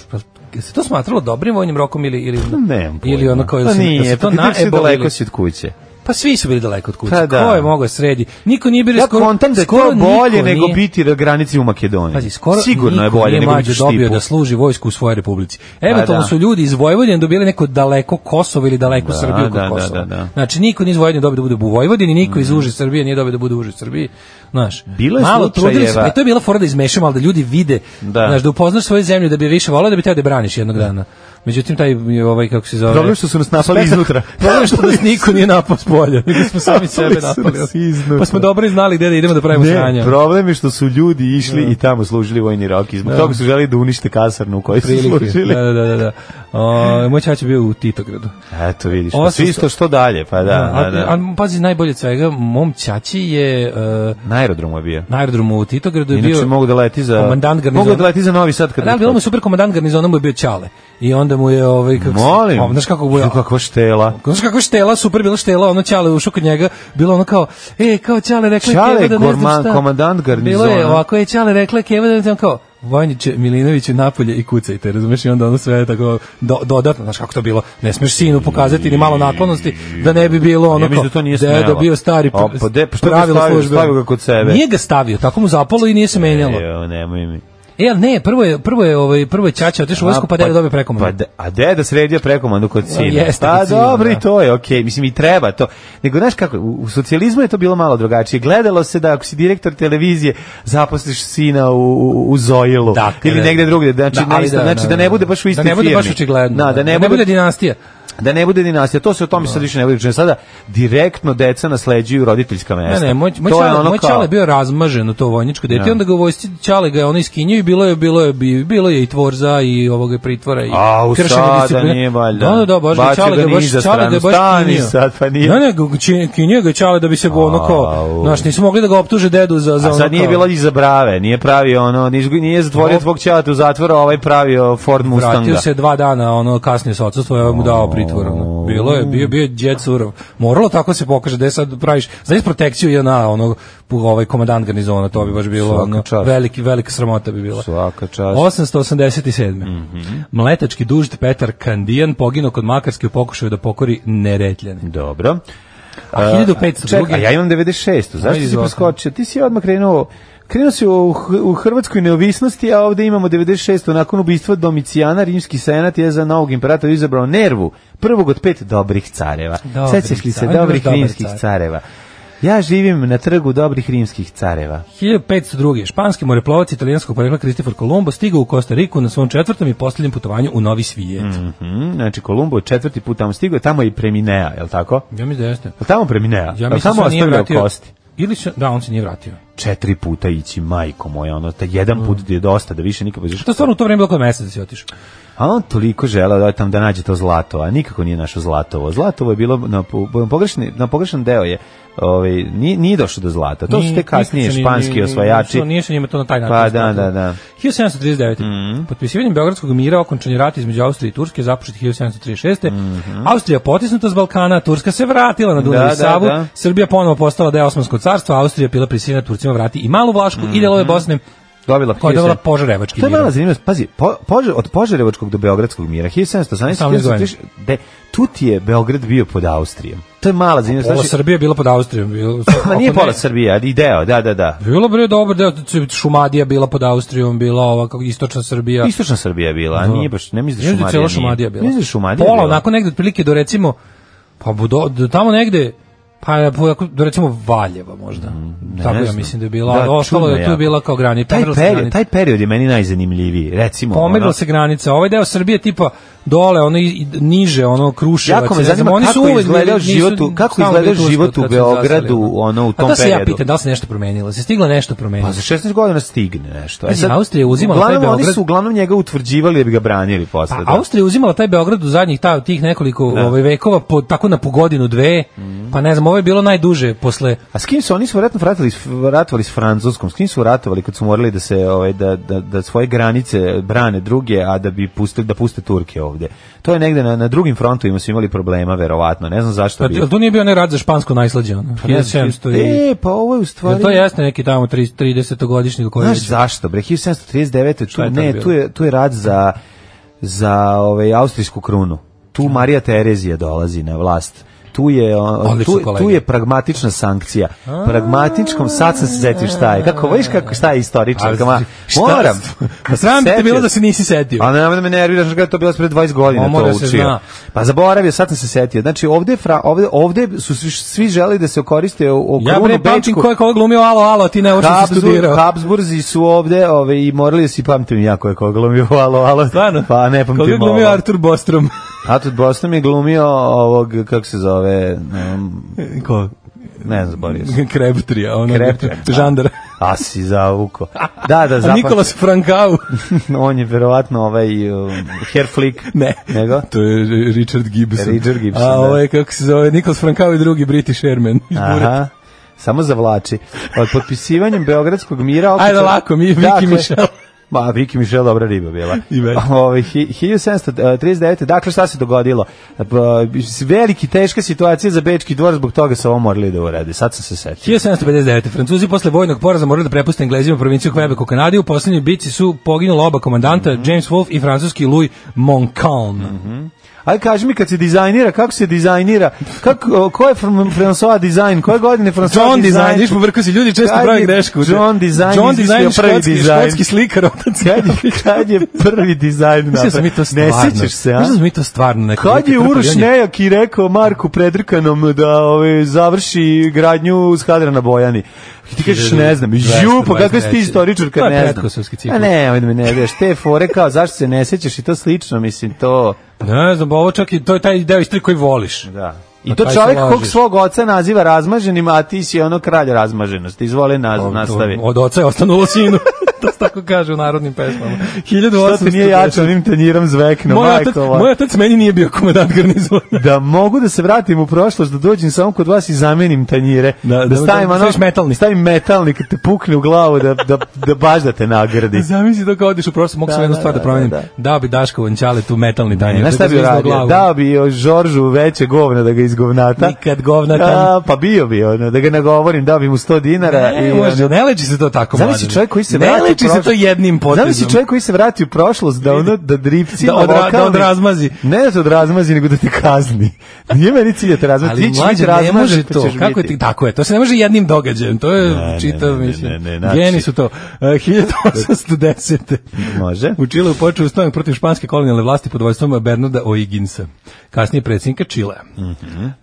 Speaker 6: pa, se to smatralo dobrim vojnim rokom ili... ili
Speaker 5: pa Nemam pojma.
Speaker 6: Ili ono kao...
Speaker 5: pa
Speaker 6: jel se- jel
Speaker 5: nije,
Speaker 6: se
Speaker 5: to
Speaker 6: to e,
Speaker 5: na si
Speaker 6: naebalo
Speaker 5: daleko
Speaker 6: ili-
Speaker 5: si od kuće.
Speaker 6: Pa svi su bili daleko od kuće.
Speaker 5: Pa da.
Speaker 6: Ko je mogao sredi? Niko nije bio
Speaker 5: Ja
Speaker 6: skoro...
Speaker 5: kontam da je
Speaker 6: skoro
Speaker 5: to bolje
Speaker 6: niko
Speaker 5: nego
Speaker 6: nije-
Speaker 5: biti na granici u Makedoniji.
Speaker 6: Pazi, skoro
Speaker 5: Sigurno je
Speaker 6: niko
Speaker 5: bolje
Speaker 6: nije
Speaker 5: nego biti
Speaker 6: mlađe
Speaker 5: u
Speaker 6: dobio
Speaker 5: štipu.
Speaker 6: (laughs)
Speaker 5: Pa
Speaker 6: da služi vojsku u svojoj republici. Eventualno
Speaker 5: da.
Speaker 6: su ljudi iz Vojvodine dobili neko daleko Kosovo ili daleko Srbiju kod
Speaker 5: da, da,
Speaker 6: Kosova.
Speaker 5: da, da.
Speaker 6: Znači, niko nije iz Vojvodine dobio da bude u Vojvodini, niko iz uže Srbije nije dobio da bude u uže Srbiji. Znaš,
Speaker 5: Bilo je
Speaker 6: malo trudili se,
Speaker 5: slučajeva-
Speaker 6: pa i to je bila fora da izmešamo, ali da ljudi vide,
Speaker 5: Da.
Speaker 6: znaš, da upoznaš svoju zemlju, da bi je više volao, da bi teo da je braniš jednog dana. Međutim, taj, ovaj, kako se zove...
Speaker 5: Problem je što su nas napali
Speaker 6: Spektakl-
Speaker 5: iznutra.
Speaker 6: Problem je
Speaker 5: (laughs)
Speaker 6: što nas niko nije napao s polja. Mi smo sami
Speaker 5: Napali
Speaker 6: sebe
Speaker 5: su nas
Speaker 6: napali.
Speaker 5: iznutra.
Speaker 6: Pa smo dobro i znali gde da idemo da pravimo sranja.
Speaker 5: Ne, problem je što su ljudi išli i tamo služili vojni rok i zbog toga su želi da unište kasarnu u kojoj su
Speaker 6: prilike.
Speaker 5: služili.
Speaker 6: Da, da, da, da, da. O, moj čač je bio u Titogradu.
Speaker 5: Eto vidiš, pa
Speaker 6: Osamsto-
Speaker 5: svi isto što dalje, pa da, da,
Speaker 6: a,
Speaker 5: da.
Speaker 6: a, pazi, najbolje od svega, mom ćaći je e,
Speaker 5: Na aerodromu je bio.
Speaker 6: na aerodromu u Titogradu je
Speaker 5: Inače
Speaker 6: bio...
Speaker 5: mogu da leti za...
Speaker 6: komandant garnizona.
Speaker 5: Mogu da leti za Novi Sad kad...
Speaker 6: Da, ali bilo mu super komandant garnizona mu je bio Ćale. I onda mu je ovaj kako se-
Speaker 5: Molim.
Speaker 6: O, znaš kako mu je
Speaker 5: Ju, Kakva štela.
Speaker 6: Znaš kako je štela, super bila štela, ono Ćale ušao kod njega, bilo ono kao, e, kao Ćale rekla
Speaker 5: Ćale
Speaker 6: Keva
Speaker 5: je
Speaker 6: da ne znam
Speaker 5: gorman-
Speaker 6: šta.
Speaker 5: komandant garnizona.
Speaker 6: Bilo je, ovako je Ćale rekla Keva da ne znam kao, Vojniće Milinoviću napolje i kucajte, razumeš? I onda ono sve tako do, dodatno, znaš kako to bilo, ne smeš sinu pokazati ni malo naklonosti, da ne bi bilo ono
Speaker 5: Ja mislim da to nije smelo.
Speaker 6: dedo bio stari
Speaker 5: A, pa de- pa što ga stavio? Stavio ga kod sebe. E,
Speaker 6: Nije ga stavio, tako mu zapalo i nije se menjalo.
Speaker 5: Jo, nemoj mi.
Speaker 6: E, ali ne, prvo je, prvo je, ovaj, prvo je Ćaća otišao u vojsku, pa deda dobio prekomandu.
Speaker 5: Pa, de- a deda sredio prekomandu kod sina.
Speaker 6: (laughs) jeste
Speaker 5: pa
Speaker 6: kod sina,
Speaker 5: dobro,
Speaker 6: da.
Speaker 5: i to je okej. Mislim, i treba to. Nego, znaš kako, u, u socijalizmu je to bilo malo drugačije. Gledalo se da ako si direktor televizije, zaposliš sina u, u, u Zoilu.
Speaker 6: Dakle,
Speaker 5: ili negde drugde. Znači,
Speaker 6: da,
Speaker 5: na
Speaker 6: ali
Speaker 5: isto- znači, da ne bude baš u istoj
Speaker 6: Da ne bude baš
Speaker 5: firmi.
Speaker 6: očigledno.
Speaker 5: Da, da ne bude-
Speaker 6: dinastija.
Speaker 5: Da ne bude dinastija, to se o tome sad više ne bude pričati. Sada direktno deca nasleđuju roditeljska
Speaker 6: Ne,
Speaker 5: mesta.
Speaker 6: ne, moj, moj,
Speaker 5: To je
Speaker 6: čale,
Speaker 5: ono
Speaker 6: moj
Speaker 5: kao-
Speaker 6: čale je bio razmažen u to vojničko dete,
Speaker 5: Ja.
Speaker 6: onda ga u vojsci čale ga je ono iskinio i bilo je, bilo je, bi- bilo je i tvorza i ovoga pritvora i
Speaker 5: A, u
Speaker 6: kršenja
Speaker 5: sada
Speaker 6: discipline.
Speaker 5: nije valjda.
Speaker 6: Da, da, da, baš ga
Speaker 5: Bacio
Speaker 6: čale
Speaker 5: ga
Speaker 6: ga je
Speaker 5: niza
Speaker 6: baš, čale ga je
Speaker 5: stranu.
Speaker 6: baš
Speaker 5: Stani
Speaker 6: kinio.
Speaker 5: sad, pa nije-
Speaker 6: Ne, ne, ga- či- kinio ga je čale da bi se go ono kao,
Speaker 5: Au.
Speaker 6: znaš, nisu mogli da ga optuže dedu za, za
Speaker 5: A
Speaker 6: ono
Speaker 5: sad nije
Speaker 6: kao-
Speaker 5: bilo iza brave, nije pravio ono, nije, izgu- nije zatvorio
Speaker 6: Op.
Speaker 5: tvog ćata u zatvora, ovaj pravio Ford Mustanga.
Speaker 6: Vratio se dva dana, ono, kasnije sa odsutstvo, ja mu dao pritvor, ono. Bilo je, bio, bio je djed surov. Moralo tako se pokaže, da je sad praviš, znaš protekciju JNA, ono, pu- ovaj komandant garnizona, to bi baš bilo,
Speaker 5: Svaka
Speaker 6: ono,
Speaker 5: čast.
Speaker 6: veliki, velika sramota bi bila.
Speaker 5: Svaka čast. Mhm.
Speaker 6: 887. Mletački dužd Petar Kandijan poginuo kod Makarske u pokušaju da pokori Neretljane.
Speaker 5: Dobro.
Speaker 6: A
Speaker 5: E,
Speaker 6: 1502.
Speaker 5: Čekaj, a ja imam 96.
Speaker 6: Ajde,
Speaker 5: Zašto si
Speaker 6: izvolite.
Speaker 5: preskočio? Ti si odmah krenuo Krenuo si u, H- u Hrvatskoj neovisnosti, a ovde imamo 96. Nakon ubistva Domicijana, rimski senat je za novog imperatora izabrao Nervu, prvog od pet dobrih careva.
Speaker 6: Dobrih
Speaker 5: Sećaš li se
Speaker 6: careva,
Speaker 5: dobrih
Speaker 6: dobar
Speaker 5: rimskih
Speaker 6: car.
Speaker 5: careva? Ja živim na trgu dobrih rimskih careva.
Speaker 6: 1502. Španski moreplovac italijanskog porekla Kristofor Kolumbo stigao u Kostariku na svom četvrtom i posljednjem putovanju u Novi svijet.
Speaker 5: Mhm, znači, Kolumbo je četvrti put tamo stigao, tamo je i preminea, je li tako?
Speaker 6: Ja mislim da jeste.
Speaker 5: Je li tamo preminea?
Speaker 6: Ja
Speaker 5: je li
Speaker 6: mislim
Speaker 5: tamo
Speaker 6: se nije
Speaker 5: ostavljao
Speaker 6: vratio.
Speaker 5: kosti?
Speaker 6: Ili se, da, on se nije vratio.
Speaker 5: Četiri puta ići, majko moja, ono, taj jedan put je dosta, da više nikad poziš.
Speaker 6: To je stvarno u to vrijeme bilo kod mjesec da si otišao.
Speaker 5: A on toliko želeo da ode tamo da nađe to zlato, a nikako nije našao zlatovo. Zlatovo je bilo na, po- pogrešni, na pogrešan deo je, ovaj, nije, nije došao do zlata. To su te
Speaker 6: Nije-
Speaker 5: kasnije
Speaker 6: nikad se ni-
Speaker 5: španski
Speaker 6: ni-
Speaker 5: osvajači.
Speaker 6: Nije, nije se njima to na taj način.
Speaker 5: Pa da,
Speaker 6: isplatilo.
Speaker 5: da, da. Mhm.
Speaker 6: 1739. Potpisivanjem Beogradskog mira okončan je rat između Austrije i Turske započet 1736. Austrija potisnuta s Balkana, Turska se vratila na Dunav
Speaker 5: Mhm. Da,
Speaker 6: i
Speaker 5: da,
Speaker 6: Savu,
Speaker 5: da.
Speaker 6: Srbija ponovo postala deo Osmanskog carstva, Austrija je bila prisiljena Turcima vrati i malu Vlašku i delove Bosne
Speaker 5: Dobila
Speaker 6: koja je dobila
Speaker 5: 1000.
Speaker 6: požarevački
Speaker 5: Mhm. To je mala
Speaker 6: mir.
Speaker 5: zanimljivost. Pazi, po, požar, od Požarevačkog do Beogradskog mira, 1718,
Speaker 6: 18 godina.
Speaker 5: 1730, de, tu ti je Beograd bio pod Austrijom. To je mala zanimljivost.
Speaker 6: Pola
Speaker 5: Znači,
Speaker 6: Srbije je bila pod Austrijom. Bilo,
Speaker 5: (laughs) Ma nije
Speaker 6: ako ne-
Speaker 5: pola Srbije, ali i deo, da, da, da.
Speaker 6: Bilo bre dobar deo, znači, Šumadija bila pod Austrijom, bila ova kako istočna Srbija.
Speaker 5: Istočna Srbija je bila, a nije baš, ne mislim da
Speaker 6: Mislim da je cijela
Speaker 5: Šumadija nije.
Speaker 6: Šumadija bila.
Speaker 5: Mislim da je Šumadija
Speaker 6: Pola,
Speaker 5: bila.
Speaker 6: onako negde otprilike do recimo, pa budo, do, tamo negde, pa ja- po- ako- do recimo Valjeva možda. Tako ja
Speaker 5: Mm, znam.
Speaker 6: mislim da je bila.
Speaker 5: Da,
Speaker 6: Da, ostalo
Speaker 5: čudno
Speaker 6: je tu
Speaker 5: jako.
Speaker 6: je bila kao granica.
Speaker 5: Taj
Speaker 6: pomerila se
Speaker 5: period,
Speaker 6: granica.
Speaker 5: taj period je meni najzanimljiviji, recimo.
Speaker 6: Pomerila
Speaker 5: ono,
Speaker 6: se granica. Ovaj deo Srbije tipa dole, ono i, i niže, ono Kruševac.
Speaker 5: Jako me
Speaker 6: ne znam,
Speaker 5: zanima kako
Speaker 6: uvek
Speaker 5: izgledao
Speaker 6: bili- nisu
Speaker 5: život u- kako
Speaker 6: stalno
Speaker 5: izgledao
Speaker 6: bili
Speaker 5: život
Speaker 6: Turska
Speaker 5: u
Speaker 6: od kad su
Speaker 5: Beogradu,
Speaker 6: zaseli,
Speaker 5: ono, u
Speaker 6: A
Speaker 5: tom
Speaker 6: to se ja
Speaker 5: periodu.
Speaker 6: pitam, da li se nešto promenilo? Se stiglo nešto promenilo?
Speaker 5: Pa za 16 godina stigne nešto. E
Speaker 6: Pazi, Austrija je uzimala taj
Speaker 5: uglavnom, oni
Speaker 6: Beograd-
Speaker 5: su uglavnom njega utvrđivali da bi ga branili posle.
Speaker 6: Pa
Speaker 5: da.
Speaker 6: Austrija je uzimala taj Beograd u zadnjih ta, tih nekoliko ovaj, vekova, po, tako na po godinu, dve,
Speaker 5: Mhm.
Speaker 6: pa ne znam, ovo je bilo najduže posle
Speaker 5: A s kim su oni su vjerojatno vratili, s- ratovali s Francuskom? S kim su ratovali kad su morali da se ovaj da, da, da svoje granice brane druge, a da bi pustili da puste Turke ovde. To je negde na, na drugim frontovima su imali problema verovatno. Ne znam zašto bi.
Speaker 6: Jel pa to nije bio onaj rad za špansko najslađe, ono?
Speaker 5: Pa Ne znam,
Speaker 6: 1700 i...
Speaker 5: E, pa ovo je u
Speaker 6: Jel
Speaker 5: stvari
Speaker 6: to jeste neki tamo 30-godišnji koji
Speaker 5: Znaš
Speaker 6: je...
Speaker 5: zašto? Bre 1739 tu
Speaker 6: je tad
Speaker 5: ne,
Speaker 6: bilo?
Speaker 5: tu je tu je rad za za ovaj austrijsku krunu. Tu Marija Terezija dolazi na vlast. Tu je, o,
Speaker 6: Odlično,
Speaker 5: tu, tu
Speaker 6: kolega.
Speaker 5: je pragmatična sankcija. Pragmatičkom, sad sam se zetio šta je. Kako, viš kako šta je istoričarka? Ma,
Speaker 6: Šta-
Speaker 5: moram.
Speaker 6: Pa Sram te
Speaker 5: Setio Pa,
Speaker 6: bilo
Speaker 5: se.
Speaker 6: da se nisi setio.
Speaker 5: A ne, me nerviraš kada je to bilo pre 20 godina
Speaker 6: Ma, mora
Speaker 5: to
Speaker 6: se
Speaker 5: učio.
Speaker 6: zna.
Speaker 5: Pa zaboravio, sad sam se setio. Znači, ovde, fra, ovde, ovde su svi, svi želi da se okoriste o, o
Speaker 6: Ja
Speaker 5: krunu
Speaker 6: bre pamtim
Speaker 5: bečku.
Speaker 6: ko je koga glumio, alo, alo, ti ne, ovo što si
Speaker 5: Habsburg-
Speaker 6: studirao.
Speaker 5: Habsburzi su ovde ove, i morali da si pamtim jako je koga glumio, alo, alo.
Speaker 6: Stvarno?
Speaker 5: Pa ne pamtim
Speaker 6: Koga je glumio
Speaker 5: ovo.
Speaker 6: Artur Bostrom? (laughs)
Speaker 5: Artur Bostom je glumio ovog, kako se zove, ne,
Speaker 6: Ko?
Speaker 5: ne znam, zaboravio sam.
Speaker 6: Kreptrija, ono.
Speaker 5: Kreptrija, da.
Speaker 6: Žandar.
Speaker 5: A si zavuko. Da,
Speaker 6: (laughs)
Speaker 5: da,
Speaker 6: A
Speaker 5: zapamtim.
Speaker 6: Nikolas Frankau.
Speaker 5: On je verovatno ovaj um, Herflik.
Speaker 6: Ne.
Speaker 5: Nego?
Speaker 6: To je Richard Gibson.
Speaker 5: Richard Gibson,
Speaker 6: A
Speaker 5: da.
Speaker 6: ovo je, kako se zove, Nikolas Frankau i drugi British Airman. iz Bure.
Speaker 5: Aha. Samo zavlači. Od potpisivanjem Beogradskog mira...
Speaker 6: Ajde lako, mi- Viki
Speaker 5: Dakle,
Speaker 6: Mišel.
Speaker 5: Ma, Viki Mišel dobra riba bila.
Speaker 6: I već.
Speaker 5: Ove, hi- 1739. Dakle, šta se dogodilo? B- Veliki, teška situacija za Bečki dvor, zbog toga se ovo morali da uradi. Sad sam se setio.
Speaker 6: 1759. Francuzi posle vojnog poraza morali da prepuste Englezima provinciju Quebec u Kanadi. U
Speaker 5: Mhm.
Speaker 6: posljednjoj bitci su poginula oba komandanta, James Wolfe i francuski Louis Montcalm.
Speaker 5: Aj kaži mi kad se dizajnira, kako se dizajnira? Kako o, ko je Fran- François dizajn? Koje godine François
Speaker 6: John
Speaker 5: dizajn?
Speaker 6: dizajn, viš povrko si, ljudi često
Speaker 5: Kad
Speaker 6: pravi
Speaker 5: je
Speaker 6: grešku.
Speaker 5: John dizajn
Speaker 6: John
Speaker 5: izmislio
Speaker 6: dizajn,
Speaker 5: prvi
Speaker 6: škotski,
Speaker 5: dizajn?
Speaker 6: škotski slikar, otac.
Speaker 5: Kad je, kad je prvi dizajn
Speaker 6: Mislim da smo mi to
Speaker 5: Ne
Speaker 6: stvarno.
Speaker 5: sjećaš se, a?
Speaker 6: Mislim da smo mi to stvarno neko.
Speaker 5: Kad je
Speaker 6: neko
Speaker 5: Uroš
Speaker 6: napravljanje.
Speaker 5: Nejaki rekao Marku Predrkanom da ove, završi gradnju s Hadra na Bojani? I ti kažeš, ne znam, ju, pa kakve si ti istoričarka,
Speaker 6: To je
Speaker 5: ne znam.
Speaker 6: pretkosovski ciklus.
Speaker 5: A ne, ovdje me ne vidiš, te fore kao, zašto se ne sjećaš i to slično, mislim, to,
Speaker 6: Ne znam, ovo čak i, to je taj deo istri koji voliš.
Speaker 5: da. I
Speaker 6: Na
Speaker 5: to
Speaker 6: kraju
Speaker 5: čovjek
Speaker 6: Pa se lažeš.
Speaker 5: kog svog oca naziva razmaženim, a ti si ono kralj razmaženosti. Izvoli
Speaker 6: Pa,
Speaker 5: naz,
Speaker 6: To- to-
Speaker 5: nastavi.
Speaker 6: Od oca je ostanulo sinu. (laughs) to se tako kaže u narodnim pesmama. 1800.
Speaker 5: Što ti nije jače ovim tanjirom zvekno,
Speaker 6: Moj otac,
Speaker 5: majko? moja.
Speaker 6: moj otac meni nije bio komandant garnizona.
Speaker 5: Da mogu da se vratim u prošlost, da dođem samo kod vas i zamenim tanjire.
Speaker 6: Da,
Speaker 5: Da,
Speaker 6: da-
Speaker 5: stavim
Speaker 6: da
Speaker 5: ono,
Speaker 6: staviš metalni.
Speaker 5: Stavim metalni kad te pukne u glavu da, da, da baš da te nagrdi.
Speaker 6: Zamisli to kao odiš u prošlost, mogu
Speaker 5: Da,
Speaker 6: sam jednu
Speaker 5: da,
Speaker 6: stvar da
Speaker 5: da,
Speaker 6: promenim.
Speaker 5: da.
Speaker 6: Dao bi Daško Vančale tu metalni tanjir.
Speaker 5: Znaš šta bi uradio? Dao bi o Žoržu veće govna da ga izgovnata.
Speaker 6: Nikad govnatan.
Speaker 5: A, pa bio bi ono, da ga nagovorim, dao bi mu 100 dinara. i,
Speaker 6: Ne,
Speaker 5: ono,
Speaker 6: može, ne leči se to tako,
Speaker 5: Zamisli
Speaker 6: mladen.
Speaker 5: čovjek koji se
Speaker 6: Ne
Speaker 5: vrati u
Speaker 6: leči se
Speaker 5: prošlost.
Speaker 6: to jednim potezom.
Speaker 5: Znam si čovjek koji se vrati u prošlost da ono da dripci
Speaker 6: Da odra- da odrazmazi.
Speaker 5: Ne da se odrazmazi nego da te kazni. Nije meni cilj da te razmazi.
Speaker 6: Ali
Speaker 5: Ti ćeš biti
Speaker 6: mlađe ne
Speaker 5: razmažen,
Speaker 6: može
Speaker 5: pa
Speaker 6: to.
Speaker 5: ćeš
Speaker 6: Kako je
Speaker 5: biti.
Speaker 6: ti, tako je, to se ne može jednim događajem. To je
Speaker 5: Ne, ne,
Speaker 6: čitav,
Speaker 5: ne, ne,
Speaker 6: mislim.
Speaker 5: ne, ne, znači-
Speaker 6: Geni su to. E, 1810.
Speaker 5: (laughs) Može.
Speaker 6: U Čileu počeo ustanak protiv španske kolonijalne vlasti pod vojstvom Bernarda Oiginsa, kasnije predsjednika Čilea.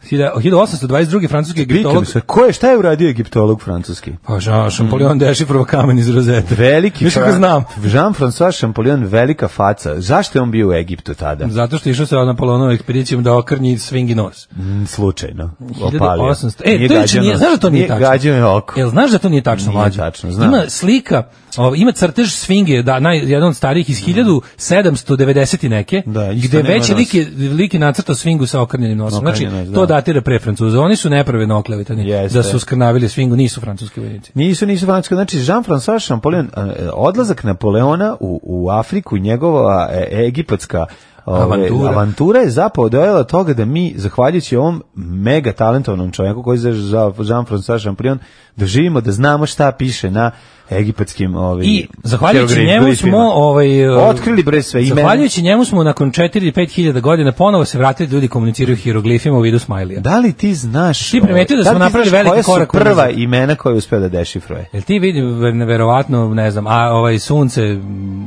Speaker 6: Hilja- 1822. francuski
Speaker 5: Pitam
Speaker 6: egiptolog
Speaker 5: se, ko je, šta je uradio egiptolog francuski?
Speaker 6: Pa žao, Šampolion dešifrova kamen iz rozete.
Speaker 5: Veliki
Speaker 6: Viš kako
Speaker 5: Fran-
Speaker 6: znam.
Speaker 5: Jean-François Champollion, velika faca. Zašto je on bio u Egiptu tada?
Speaker 6: Zato što je išao sa Napoleonovom ekspedicijom da okrnji svingi nos.
Speaker 5: Mm, Slučajno. Opalio.
Speaker 6: 1800. E,
Speaker 5: Nije
Speaker 6: to je,
Speaker 5: gađao
Speaker 6: nije,
Speaker 5: nos.
Speaker 6: znaš da to nije, tačno?
Speaker 5: Gađao je oko.
Speaker 6: Jel znaš da to nije tačno,
Speaker 5: Nije
Speaker 6: mlađe?
Speaker 5: tačno, znam.
Speaker 6: Ima slika, o, ima crtež sfinge, da, naj, jedan od starijih iz 1790 i neke,
Speaker 5: Da, isto
Speaker 6: gde
Speaker 5: nema
Speaker 6: već
Speaker 5: nos.
Speaker 6: lik je, lik je nacrtao sfingu sa okrnjenim nosom. Znači,
Speaker 5: Okrnjen nos, da.
Speaker 6: to datira pre Francuza. Oni su nepravedno oklevetani
Speaker 5: Jeste.
Speaker 6: da su skrnavili sfingu, nisu francuski vojnici.
Speaker 5: Nisu, nisu francuski. Znači, Jean-François Champollion, e, e, odlazak Napoleona u, u Afriku, njegova e, egipatska ove,
Speaker 6: Avantura.
Speaker 5: avantura je zapao dojela toga da mi, zahvaljujući ovom mega talentovnom čovjeku koji se zove Jean-François Champollion, doživimo da znamo šta piše na egipatskim ovim
Speaker 6: I zahvaljujući
Speaker 5: hieroglifima.
Speaker 6: njemu smo ovaj e,
Speaker 5: Otkrili bre sve imena.
Speaker 6: Zahvaljujući njemu smo nakon 4-5 hiljada godina ponovo se vratili da ljudi komuniciraju hieroglifima u vidu smajlija.
Speaker 5: Da li ti znaš...
Speaker 6: Ti primetio da
Speaker 5: ovaj,
Speaker 6: smo
Speaker 5: li ti
Speaker 6: napravili
Speaker 5: znaš
Speaker 6: veliki
Speaker 5: koja su
Speaker 6: korak
Speaker 5: prva
Speaker 6: unazad?
Speaker 5: imena koje je uspeo da dešifruje?
Speaker 6: Jel ti vidi neverovatno, ne znam, a ovaj sunce, m,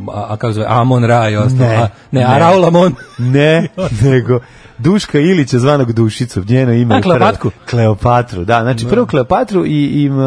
Speaker 6: a, a kako zove, Amon Ra i ostalo.
Speaker 5: Ne,
Speaker 6: a, ne,
Speaker 5: ne.
Speaker 6: a Raul Amon.
Speaker 5: Ne, nego Duška Ilića zvanog Dušicu, njeno ime
Speaker 6: A,
Speaker 5: je prvo.
Speaker 6: Kleopatku?
Speaker 5: Kleopatru, da, znači prvo Kleopatru i, i, m,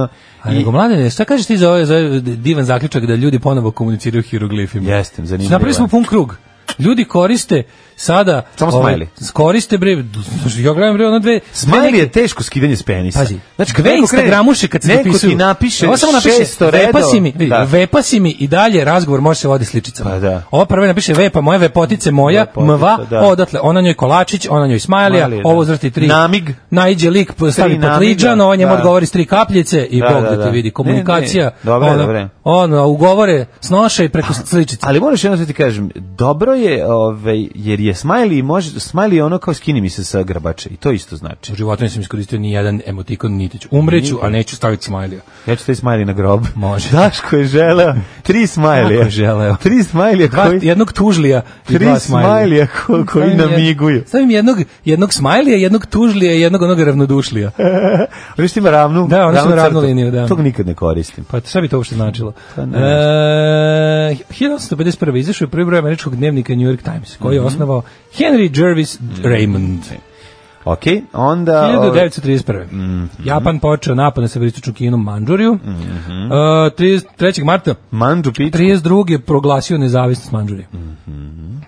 Speaker 6: A
Speaker 5: i
Speaker 6: nego mladene, šta kažeš ti za ovaj, za ovaj divan zaključak da ljudi ponovo komuniciraju hieroglifima?
Speaker 5: Jeste, zanimljivo
Speaker 6: Napravili smo
Speaker 5: je.
Speaker 6: pun krug. Ljudi koriste sada...
Speaker 5: Samo
Speaker 6: ovaj,
Speaker 5: smajli.
Speaker 6: Koriste, bre, znači, ja gledam, bre, ono dve... dve
Speaker 5: Smajli
Speaker 6: neke-
Speaker 5: je teško skidanje s penisa.
Speaker 6: Pazi,
Speaker 5: znači, kad
Speaker 6: dve
Speaker 5: neko krene-
Speaker 6: Instagramuše kad se
Speaker 5: neko
Speaker 6: dopisuju.
Speaker 5: ti napiše
Speaker 6: Ovo samo napiše,
Speaker 5: 600
Speaker 6: vepa
Speaker 5: redova.
Speaker 6: si mi, vidi,
Speaker 5: Da.
Speaker 6: vepa si mi i dalje razgovor može se voditi sličicama.
Speaker 5: Pa da.
Speaker 6: Ovo prvo napiše vepa moja, vepotice moja,
Speaker 5: Lepotica,
Speaker 6: mva,
Speaker 5: da.
Speaker 6: odatle, ona njoj kolačić, ona njoj smajlija,
Speaker 5: Smajlija, da.
Speaker 6: ovo uzvrti tri.
Speaker 5: Namig.
Speaker 6: Naiđe lik, p- stavi
Speaker 5: namiga,
Speaker 6: potliđan, ovo njemu
Speaker 5: da.
Speaker 6: odgovori s tri kapljice i
Speaker 5: Da,
Speaker 6: Bog
Speaker 5: da,
Speaker 6: da te
Speaker 5: da.
Speaker 6: vidi.
Speaker 5: Ne,
Speaker 6: Komunikacija,
Speaker 5: ne, dobro je,
Speaker 6: ono-
Speaker 5: dobro je.
Speaker 6: ono, ugovore, snoše i preko sličica.
Speaker 5: Pa, Ali moraš jedno da ti kažem, dobro je, ovaj, jer je smajli, može, smajli je ono kao skini mi se sa grbače i to isto znači.
Speaker 6: U životu nisam iskoristio ni jedan emotikon, niti ću. Umreću, a neću staviti smajlija.
Speaker 5: Ja ću taj smajli na grob.
Speaker 6: Može.
Speaker 5: (laughs) Daško je želeo tri smajlija.
Speaker 6: Kako je želeo?
Speaker 5: Tri smajlija
Speaker 6: Dva,
Speaker 5: koji...
Speaker 6: jednog tužlija i
Speaker 5: Tri
Speaker 6: dva
Speaker 5: smajlija
Speaker 6: smajlija.
Speaker 5: ko- koji
Speaker 6: Stavim jed-
Speaker 5: namiguju.
Speaker 6: Stavim jednog, jednog smajlija, jednog tužlija i jednog onog
Speaker 5: (laughs)
Speaker 6: ravnodušlija.
Speaker 5: Oni što ima ravnu,
Speaker 6: Da, oni su na ravnu
Speaker 5: crtu.
Speaker 6: liniju, da.
Speaker 5: Tog nikad ne koristim.
Speaker 6: Pa šta bi to uopšte značilo?
Speaker 5: Pa ne
Speaker 6: e, 1851. izašao je prvi broj američkog dnevnika New York Times, koji je
Speaker 5: Mhm.
Speaker 6: osnovao Henry Jervis Raymond.
Speaker 5: Ok, onda... ovaj,
Speaker 6: 1931. Japan počeo napad na severistočnu Kinu Manđuriju.
Speaker 5: Mhm.
Speaker 6: E, 30 3. marta
Speaker 5: Mandu pičku.
Speaker 6: 32. je proglasio nezavisnost Manđurije.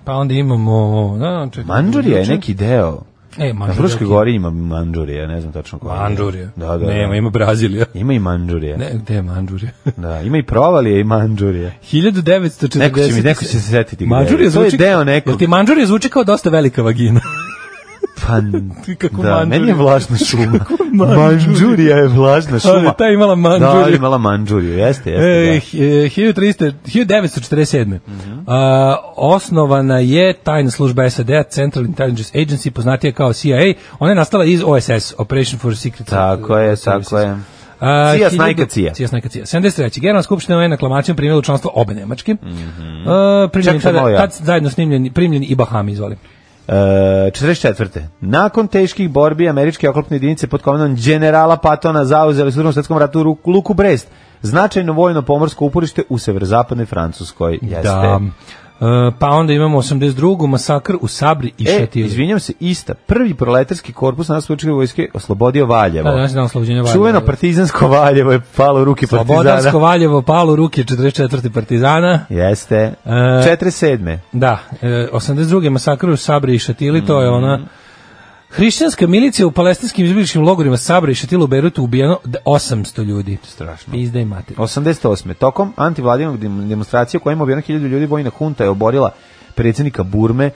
Speaker 6: Pa onda imamo... Da, čekaj,
Speaker 5: Manđurija Mhm. je neki deo.
Speaker 6: E,
Speaker 5: Na
Speaker 6: Manđurija.
Speaker 5: Fruškoj gori ima Manđurija, ne znam tačno koja. je.
Speaker 6: Manđurija.
Speaker 5: Da, da. da.
Speaker 6: Nema, ima Brazilija.
Speaker 5: Ima i Manđurija.
Speaker 6: Ne, gde je (laughs) Manđurija?
Speaker 5: Da, ima i provalije i Manđurija.
Speaker 6: 1940.
Speaker 5: Neko će mi- neko će se setiti gde je.
Speaker 6: Manđurija
Speaker 5: To je
Speaker 6: zvuči-
Speaker 5: deo nekog-
Speaker 6: Jel ti Manđurija zvuči kao dosta velika vagina?
Speaker 5: Pa,
Speaker 6: Ti (laughs) kako
Speaker 5: da,
Speaker 6: Manđurija.
Speaker 5: meni je
Speaker 6: (laughs)
Speaker 5: vlažna šuma.
Speaker 6: Manđurija.
Speaker 5: Manđurija je vlažna šuma.
Speaker 6: Ali ta je imala Manđuriju.
Speaker 5: Da, imala Manđuriju, jeste, jeste.
Speaker 6: E, (laughs)
Speaker 5: da. Mhm.
Speaker 6: h- e, 1300 1947. A, osnovana je tajna služba SAD-a, Central Intelligence Agency, poznatija kao CIA. Ona je nastala iz OSS, Operation for Secret
Speaker 5: Tako je,
Speaker 6: Services.
Speaker 5: tako je.
Speaker 6: A,
Speaker 5: Cija,
Speaker 6: 1000
Speaker 5: snajka, cija.
Speaker 6: Cija, snajka, cija. 73. Generalna skupština UN aklamacijom primjela u članstvo obe Nemačke. Mm -hmm.
Speaker 5: Mhm. Čekaj,
Speaker 6: tada,
Speaker 5: malo ja.
Speaker 6: tad zajedno snimljeni, primljeni i Bahami, izvoli.
Speaker 5: E, 44. Nakon teških borbi američke oklopne jedinice pod komandom generala Patona zauzeli su u drugom svetskom ratu Ru- Luku Brest, značajno vojno pomorsko uporište u severozapadnoj Francuskoj. Jeste.
Speaker 6: Da. E, pa onda imamo 82. masakr u Sabri i
Speaker 5: E,
Speaker 6: Šatiru.
Speaker 5: izvinjam se, ista. Prvi proletarski korpus nas vojske oslobodio Valjevo.
Speaker 6: Da, danas je dan oslobođenja Valjeva.
Speaker 5: Čuveno partizansko Valjevo je palo u ruke partizana.
Speaker 6: Slobodansko Valjevo palo u ruke 44. partizana.
Speaker 5: Jeste.
Speaker 6: E,
Speaker 5: 47.
Speaker 6: Da, e, 82. masakr u Sabri i Šatili, to
Speaker 5: Mm.
Speaker 6: je ona Hrišćanska milicija u palestinskim izbjegličkim logorima Sabra i Šatila u Berutu ubijeno d- 800 ljudi.
Speaker 5: Strašno.
Speaker 6: Pizda i mater.
Speaker 5: 88. Tokom antivladinog dem- demonstracije u kojima je objeno hiljadu ljudi vojna hunta je oborila predsjednika Burme e,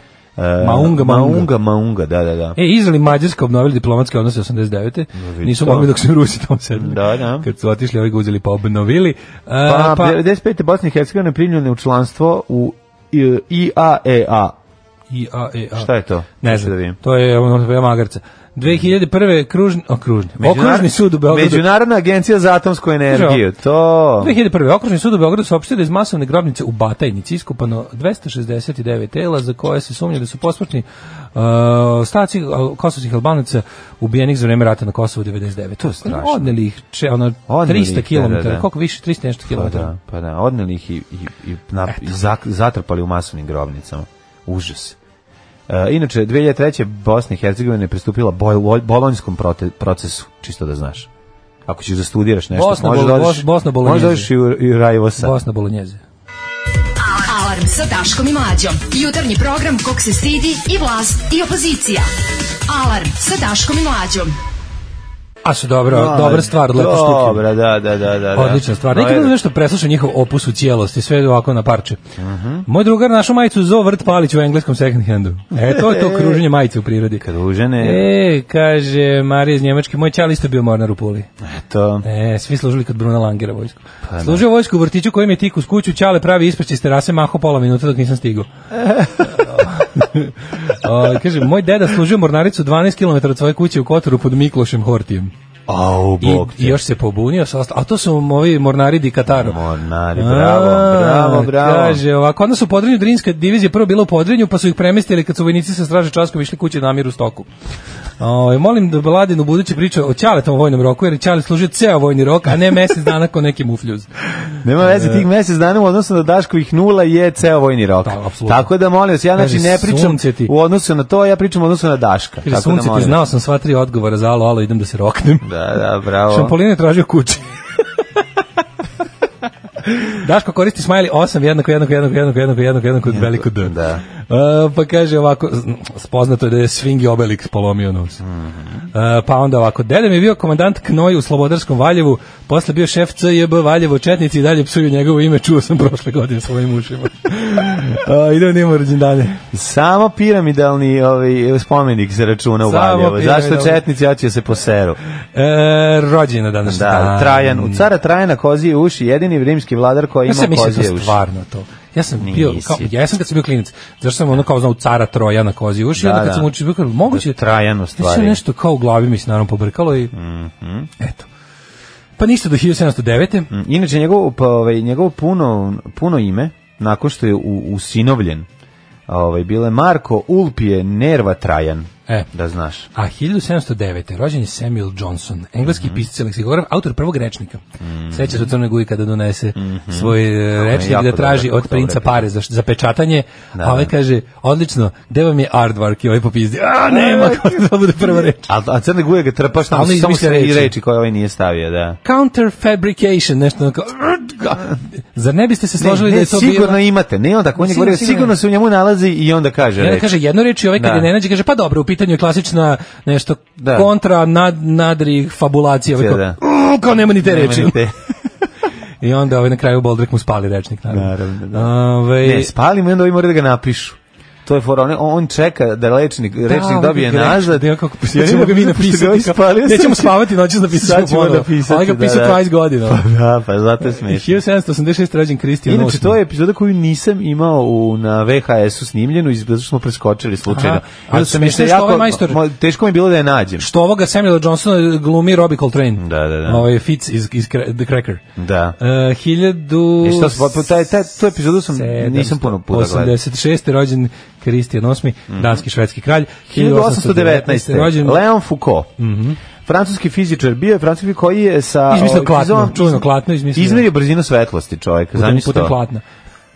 Speaker 6: Maunga, Maunga.
Speaker 5: Maunga, Maunga, da, da, da.
Speaker 6: E, Izrael i Mađarska obnovili diplomatske odnose 89.
Speaker 5: vidi
Speaker 6: Nisu
Speaker 5: to.
Speaker 6: mogli dok su Rusi tamo sedeli.
Speaker 5: Da, da.
Speaker 6: Kad su otišli, ovi ga uzeli pa obnovili. E,
Speaker 5: Pa, 95. Bosna i Hercegovina je primljena u članstvo u I- IAEA.
Speaker 6: I, a, e, a.
Speaker 5: Šta je to?
Speaker 6: Ne
Speaker 5: Šta da vidim?
Speaker 6: znam, to je ono, ja magarca. 2001. Kružni, o, kružni, okružni sud u Beogradu.
Speaker 5: Međunarodna agencija za atomsku energiju. To.
Speaker 6: 2001. Okružni sud u Beogradu saopštio da je iz masovne grobnice u Batajnici iskopano 269 tela za koje se sumnja da su posmrtni uh, staci kosovskih albanaca ubijenih za vreme rata na Kosovu 99. To je
Speaker 5: strašno.
Speaker 6: Odneli ih če, ono,
Speaker 5: Odneli
Speaker 6: 300
Speaker 5: ih,
Speaker 6: km,
Speaker 5: da, da, da.
Speaker 6: koliko više, 300 nešto
Speaker 5: Pa
Speaker 6: kilometara.
Speaker 5: da, pa da, odneli ih i, i, i, na, i zak- zatrpali u masovnim grobnicama. Užas. E, inače, 2003. Bosna i Hercegovina je pristupila boj- boj- bolonjskom prote- procesu, čisto da znaš. Ako ćeš da studiraš nešto,
Speaker 6: Bosna
Speaker 5: možeš da
Speaker 6: bol-
Speaker 5: odeš,
Speaker 6: Bos- Bosna
Speaker 5: možeš da
Speaker 6: Bolonjezi.
Speaker 5: odeš i u, i u Rajvosa.
Speaker 6: Bosna Bolonjeze.
Speaker 4: Alarm sa Daškom i Mlađom. Jutarnji program kog se stidi i vlast i opozicija. Alarm sa Daškom i Mlađom.
Speaker 6: A su dobro,
Speaker 5: Da,
Speaker 6: dobra stvar, lepo štuki.
Speaker 5: Dobra, da, da, da, da. Pa da.
Speaker 6: Odlična stvar.
Speaker 5: No,
Speaker 6: Nekad
Speaker 5: evo,
Speaker 6: ono nešto preslušao njihov opus u cijelosti, sve ovako na parče.
Speaker 5: Mhm.
Speaker 6: Moj drugar našao majicu Zo Vrt Palić u engleskom second handu. E, to je
Speaker 5: (laughs)
Speaker 6: to kruženje majice u prirodi.
Speaker 5: Kad užene,
Speaker 6: E, kaže Marija iz Njemačke, moj čal isto bio mornar u Puli.
Speaker 5: to...
Speaker 6: E, svi služili kod Bruna Langera vojsku.
Speaker 5: Pa
Speaker 6: Služio vojsku u vrtiću kojim je tik uz kuću, čale pravi ispreć iz terase, maho pola minuta dok nisam
Speaker 5: (laughs)
Speaker 6: stigao. O, kaže, moj deda služio mornaricu 12 km od svoje kuće u Kotoru pod Miklošem Hortijem.
Speaker 5: Au,
Speaker 6: I,
Speaker 5: bog
Speaker 6: i
Speaker 5: te.
Speaker 6: još se pobunio, sa osta- a to su ovi mornari di Kataro.
Speaker 5: Mornari, bravo,
Speaker 6: A,
Speaker 5: bravo, bravo.
Speaker 6: Kaže, ovako, onda su u Podrinju, Drinska divizija prvo bila u Podrinju, pa su ih premestili kad su vojnici sa straže Časkova išli kuće na miru stoku. O, molim da Vladin u budući priča o Ćaletom vojnom roku, jer je Ćale služio ceo vojni rok, a ne mesec dana ko neki mufljuz.
Speaker 5: Nema
Speaker 6: E,
Speaker 5: veze, tih mesec dana u odnosu na Daškovih nula je ceo vojni rok.
Speaker 6: Da, apsolutno.
Speaker 5: Tako da molim vas, ja znači
Speaker 6: Kaže,
Speaker 5: ne pričam
Speaker 6: sunce ti.
Speaker 5: u odnosu na to, ja pričam u odnosu na Daška.
Speaker 6: Kaže,
Speaker 5: Tako
Speaker 6: sunce
Speaker 5: da
Speaker 6: ti
Speaker 5: molim
Speaker 6: znao sam sva tri odgovora za alo, alo, idem da se roknem.
Speaker 5: Da, da, bravo.
Speaker 6: Šampolin je tražio kući. Daško koristi smajli 8 jednako jednako jednako jednako jednako jednako jednako jednako veliko D.
Speaker 5: Da.
Speaker 6: E, pa kaže ovako, zn- spoznato je da je Svingi Obelix polomio nos.
Speaker 5: Mhm.
Speaker 6: E, pa onda ovako, deda mi je bio komandant Knoju u Slobodarskom Valjevu, posle bio šef CJB Valjevo Četnici i dalje psuju njegovo ime, čuo sam prošle godine svojim
Speaker 5: (laughs)
Speaker 6: ušima. E, idemo, idemo rođendane.
Speaker 5: Samo piramidalni ovaj, spomenik se računa u
Speaker 6: Samo
Speaker 5: Valjevo. Zašto
Speaker 6: piramidalni.
Speaker 5: četnici hoće da se poseru?
Speaker 6: E, rođena danas.
Speaker 5: Da, Trajan. U cara Trajana kozije uši, jedini rimski vladar koji
Speaker 6: Ja
Speaker 5: ima
Speaker 6: sam mislio
Speaker 5: kozije
Speaker 6: to
Speaker 5: uši.
Speaker 6: stvarno to. Ja sam bio,
Speaker 5: Nisi.
Speaker 6: kao, ja sam kad sam bio klinac, zašto sam ono kao znao cara Troja na kozi uši,
Speaker 5: Da,
Speaker 6: onda kad
Speaker 5: da.
Speaker 6: sam učio, bio kao, moguće
Speaker 5: Da, Trajan u stvari. Mhm.
Speaker 6: Ja sam nešto kao u glavi mi se naravno pobrkalo i, eto. Pa ništa do 1709.
Speaker 5: Inače, njegovo, pa, ovaj, njegovo puno, puno ime, nakon što je u, usinovljen, ovaj, bile Marko Ulpije Nerva Trajan.
Speaker 6: E.
Speaker 5: Da znaš.
Speaker 6: A 1709. rođen je Samuel Johnson, engleski
Speaker 5: Mhm.
Speaker 6: pisac i leksikograf, autor prvog rečnika. Seća se u Crnoj Guji kada donese svoj e, rečnik
Speaker 5: Mhm. jako
Speaker 6: da traži
Speaker 5: dobar,
Speaker 6: od princa
Speaker 5: dobar.
Speaker 6: pare za, za pečatanje, a ovaj kaže, odlično, gde vam je aardvark? I ovaj popizdi, a
Speaker 5: (laughs)
Speaker 6: nema, (laughs) kako da bude prva reč.
Speaker 5: A, a Crne Guje ga trpaš
Speaker 6: Stalno
Speaker 5: tamo samo
Speaker 6: izmišlja
Speaker 5: sve i
Speaker 6: reči.
Speaker 5: reči koje ovaj nije stavio, da.
Speaker 6: counter fabrication, nešto onako. Zar ne biste se složili da
Speaker 5: ne, ne,
Speaker 6: je to
Speaker 5: sigurno
Speaker 6: bilo?
Speaker 5: imate. Ne, on tako on je
Speaker 6: Sigurno,
Speaker 5: govorio,
Speaker 6: sigurno.
Speaker 5: sigurno se u njemu nalazi i onda kaže
Speaker 6: I onda
Speaker 5: reč.
Speaker 6: kaže jednu reč i ovaj kad
Speaker 5: Da.
Speaker 6: je ne nađe kaže pa dobro u pitanju je klasična nešto
Speaker 5: Da.
Speaker 6: kontra nad, nadri fabulacija ovaj kao,
Speaker 5: Da.
Speaker 6: "Mm, kao nema ni te
Speaker 5: Nema
Speaker 6: reči
Speaker 5: ni te.
Speaker 6: i onda ovaj na kraju Boldrek mu spali rečnik naravno,
Speaker 5: (laughs) Naravno, da.
Speaker 6: Ovaj,
Speaker 5: Ne, spalimo i onda ovi moraju da ga napišu. To je fora, on, on čeka da lečnik, rečnik
Speaker 6: ovaj
Speaker 5: dobije
Speaker 6: ga rečnik,
Speaker 5: nazad.
Speaker 6: da ja kako- pa,
Speaker 5: Ja
Speaker 6: ja ćemo ga mi
Speaker 5: ne znam što ga ovi
Speaker 6: napisati.
Speaker 5: spalio,
Speaker 6: Nećemo
Speaker 5: sad će-
Speaker 6: spavati noćas napisat
Speaker 5: sad
Speaker 6: ćemo
Speaker 5: ćemo
Speaker 6: ponovo.
Speaker 5: napisati,
Speaker 6: Ali ga
Speaker 5: da,
Speaker 6: pišu
Speaker 5: da.
Speaker 6: 20 godina.
Speaker 5: Pa da, pa zato je smiješno.
Speaker 6: 1786 rođen Kristijan
Speaker 5: Inače, to je epizoda koju nisam imao u, na VHS-u snimljenu, iz- zato što smo preskočili slučajno.
Speaker 6: Aha.
Speaker 5: I onda
Speaker 6: Ali
Speaker 5: sam mislio
Speaker 6: smiješno je što ovaj majstor-
Speaker 5: mo- teško mi je bilo da je nađem.
Speaker 6: što ovoga Samuel Johnson glumi Robbie Coltrane.
Speaker 5: Da, da, da.
Speaker 6: Ovaj Fitz iz, iz Cra- The Cracker.
Speaker 5: Da.
Speaker 6: Uh, 1000...
Speaker 5: I šta su, pa, taj, taj, tu epizodu sam, nisam puno puta gledao. Mhm.
Speaker 6: 86. rođen Kristijan VIII, danski švedski kralj.
Speaker 5: 1819.
Speaker 6: Rođen,
Speaker 5: Leon Foucault. Francuski fizičar bio je francuski koji je sa
Speaker 6: Mhm. Izmislio
Speaker 5: o,
Speaker 6: klatno,
Speaker 5: izom-
Speaker 6: čuveno klatno izmislio.
Speaker 5: Izmerio brzinu svetlosti, čovjek,
Speaker 6: putem,
Speaker 5: zamisli
Speaker 6: putem
Speaker 5: to.
Speaker 6: klatna.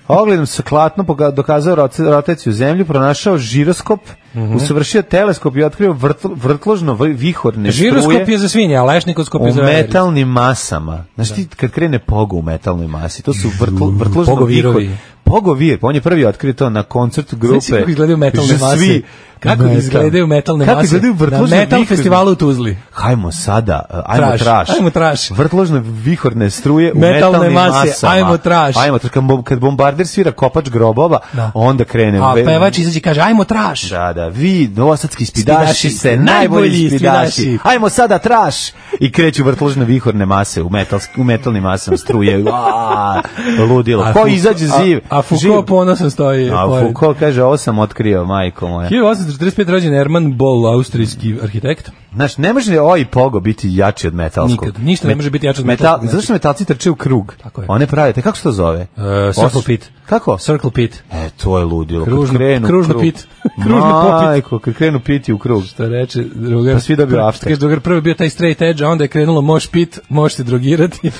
Speaker 5: Ogledom sa klatno poga- dokazao rote- rotaciju zemlju, pronašao žiroskop,
Speaker 6: Mhm.
Speaker 5: usavršio teleskop i otkrio vrtl- vrtložno vi- vihorne
Speaker 6: Žiroskop
Speaker 5: struje
Speaker 6: je za svinje, a lešnikoskop je
Speaker 5: u
Speaker 6: za veverice.
Speaker 5: metalnim masama. Znaš ti, kad krene pogo u metalnoj masi, to su vrtl, vrtložno
Speaker 6: pogovirovi.
Speaker 5: vihor- Pogovir, on je prvi otkrio to na koncertu grupe.
Speaker 6: Znaš kako izgledaju metalne
Speaker 5: Svi-
Speaker 6: mase? Kako
Speaker 5: Metal.
Speaker 6: izgledaju metalne
Speaker 5: Kako
Speaker 6: mase?
Speaker 5: izgledaju
Speaker 6: Na
Speaker 5: vrtložno
Speaker 6: metal
Speaker 5: vihorne-
Speaker 6: festivalu u Tuzli.
Speaker 5: Hajmo sada, uh, ajmo
Speaker 6: Traš,
Speaker 5: traš.
Speaker 6: ajmo traš.
Speaker 5: Vrtložne vihorne struje u
Speaker 6: Metalne
Speaker 5: metalnim
Speaker 6: mase,
Speaker 5: masama.
Speaker 6: ajmo traš.
Speaker 5: Ajmo traš. Kad, bom- kad bombarder svira kopač grobova,
Speaker 6: Da.
Speaker 5: onda krene.
Speaker 6: A
Speaker 5: ve-
Speaker 6: pevač izađe i kaže, ajmo traš.
Speaker 5: Da, da, vi novosadski spidaši
Speaker 6: Spidaši,
Speaker 5: ste najbolji
Speaker 6: najbolji
Speaker 5: spidaši.
Speaker 6: spidaši.
Speaker 5: Ajmo sada traš. I kreću vrtložne vihorne mase u, metal, u metalnim masama struje.
Speaker 6: (laughs)
Speaker 5: Ua, ludilo.
Speaker 6: A
Speaker 5: Ko
Speaker 6: Fu-
Speaker 5: izađe
Speaker 6: a-
Speaker 5: živ?
Speaker 6: A
Speaker 5: živ.
Speaker 6: Foucault ponosan stoji.
Speaker 5: A
Speaker 6: pored.
Speaker 5: Foucault kaže, ovo sam otkrio, majko moja.
Speaker 6: 1845 rođen Erman Boll, austrijski arhitekt.
Speaker 5: Znaš, ne može oj pogo biti jači od metalskog.
Speaker 6: Nikad. Ništa ne može biti jače od metalskog, znači.
Speaker 5: Zato što metalci trče u krug.
Speaker 6: Tako je.
Speaker 5: One prave, te kako se to zove?
Speaker 6: Uh, circle
Speaker 5: Os-
Speaker 6: pit.
Speaker 5: Kako?
Speaker 6: Circle pit.
Speaker 5: E, to je ludilo. Kad
Speaker 6: Kružno-
Speaker 5: krenu u
Speaker 6: kružno
Speaker 5: krug.
Speaker 6: pit. (laughs) Kružno popit.
Speaker 5: Majko, kad krenu piti u krug.
Speaker 6: Što reče drugar.
Speaker 5: Pa svi dobiju
Speaker 6: Prvo-
Speaker 5: after.
Speaker 6: Kaže drugar, prvo je bio taj straight edge, a onda je krenulo moš pit, moš se drogirati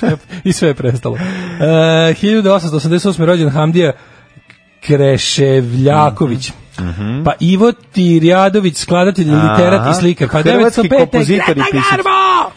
Speaker 6: i sve je prestalo. Uh, 1888. rođen Hamdija Kreševljaković. Pa Ivo Tirjadović, skladatelj, literat
Speaker 5: Mm-hmm. Aha.
Speaker 6: i slikar. Pa
Speaker 5: Hrvatski
Speaker 6: 905.
Speaker 5: kompozitor i
Speaker 6: Greta
Speaker 5: pisac.
Speaker 6: Garbo!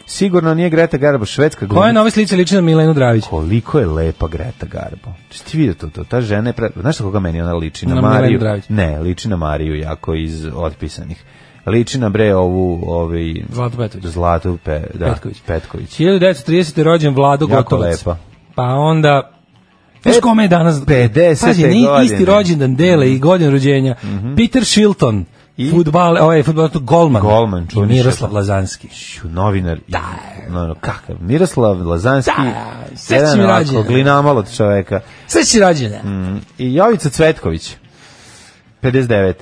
Speaker 5: Sigurno nije Greta Garbo, švedska
Speaker 6: Koja je
Speaker 5: glumica.
Speaker 6: na ovoj slici liči na Milenu Dravić?
Speaker 5: Koliko je lepa Greta Garbo. Či ti vidio to, to? Ta žena je... Pre... Znaš na koga meni ona liči? Na,
Speaker 6: Na Milenu
Speaker 5: Mariju.
Speaker 6: Dravić.
Speaker 5: Ne, liči na Mariju jako iz Otpisanih. Liči na bre ovu... Ovaj...
Speaker 6: Zlatu Petrović.
Speaker 5: Zlatu Pe... da,
Speaker 6: Petković.
Speaker 5: Petković.
Speaker 6: 1930. je rođen Vlado
Speaker 5: Jako
Speaker 6: Gotovac.
Speaker 5: lepa.
Speaker 6: Pa onda... Znaš
Speaker 5: E,
Speaker 6: kome je danas...
Speaker 5: 50.
Speaker 6: Pazi, ni-
Speaker 5: godine. Mhm.
Speaker 6: isti rođendan dele i godin rođenja. Peter Shilton,
Speaker 5: I?
Speaker 6: futbal, ovaj futbal, golman.
Speaker 5: Golman,
Speaker 6: I
Speaker 5: čuveni
Speaker 6: Miroslav Lazanski.
Speaker 5: Ću, novinar i no, no, kakav Miroslav Lazanski
Speaker 6: Da, sve si
Speaker 5: jedan
Speaker 6: mi
Speaker 5: ovako
Speaker 6: rađen.
Speaker 5: glinamal od čoveka
Speaker 6: Sve si rođenja.
Speaker 5: Mm, i Jovica Cvetković 59.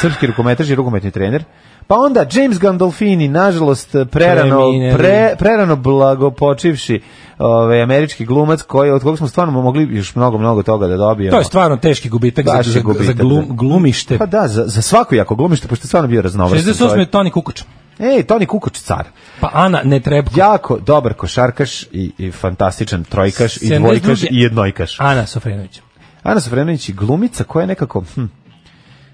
Speaker 5: srpski rukometaš i rukometni trener pa onda James Gandolfini nažalost prerano
Speaker 6: Preminuli.
Speaker 5: pre, prerano blagopočivši ovaj američki glumac koji od kog smo stvarno mogli još mnogo mnogo toga da dobijemo
Speaker 6: To je stvarno teški gubitak za,
Speaker 5: Baš je
Speaker 6: za, za
Speaker 5: gubitak,
Speaker 6: glum-
Speaker 5: da.
Speaker 6: glumište.
Speaker 5: pa da za, za svako jako glumište pošto je stvarno bio raznovrstan
Speaker 6: 68. je
Speaker 5: čovjek.
Speaker 6: Toni Kukoč.
Speaker 5: ej Toni Kukoč car
Speaker 6: Pa Ana Netrebko.
Speaker 5: jako dobar košarkaš i, i fantastičan trojkaš i
Speaker 6: 72.
Speaker 5: dvojkaš i jednojkaš.
Speaker 6: Ana Sofrenović.
Speaker 5: Ana Sofrenović je glumica koja je nekako... Hm,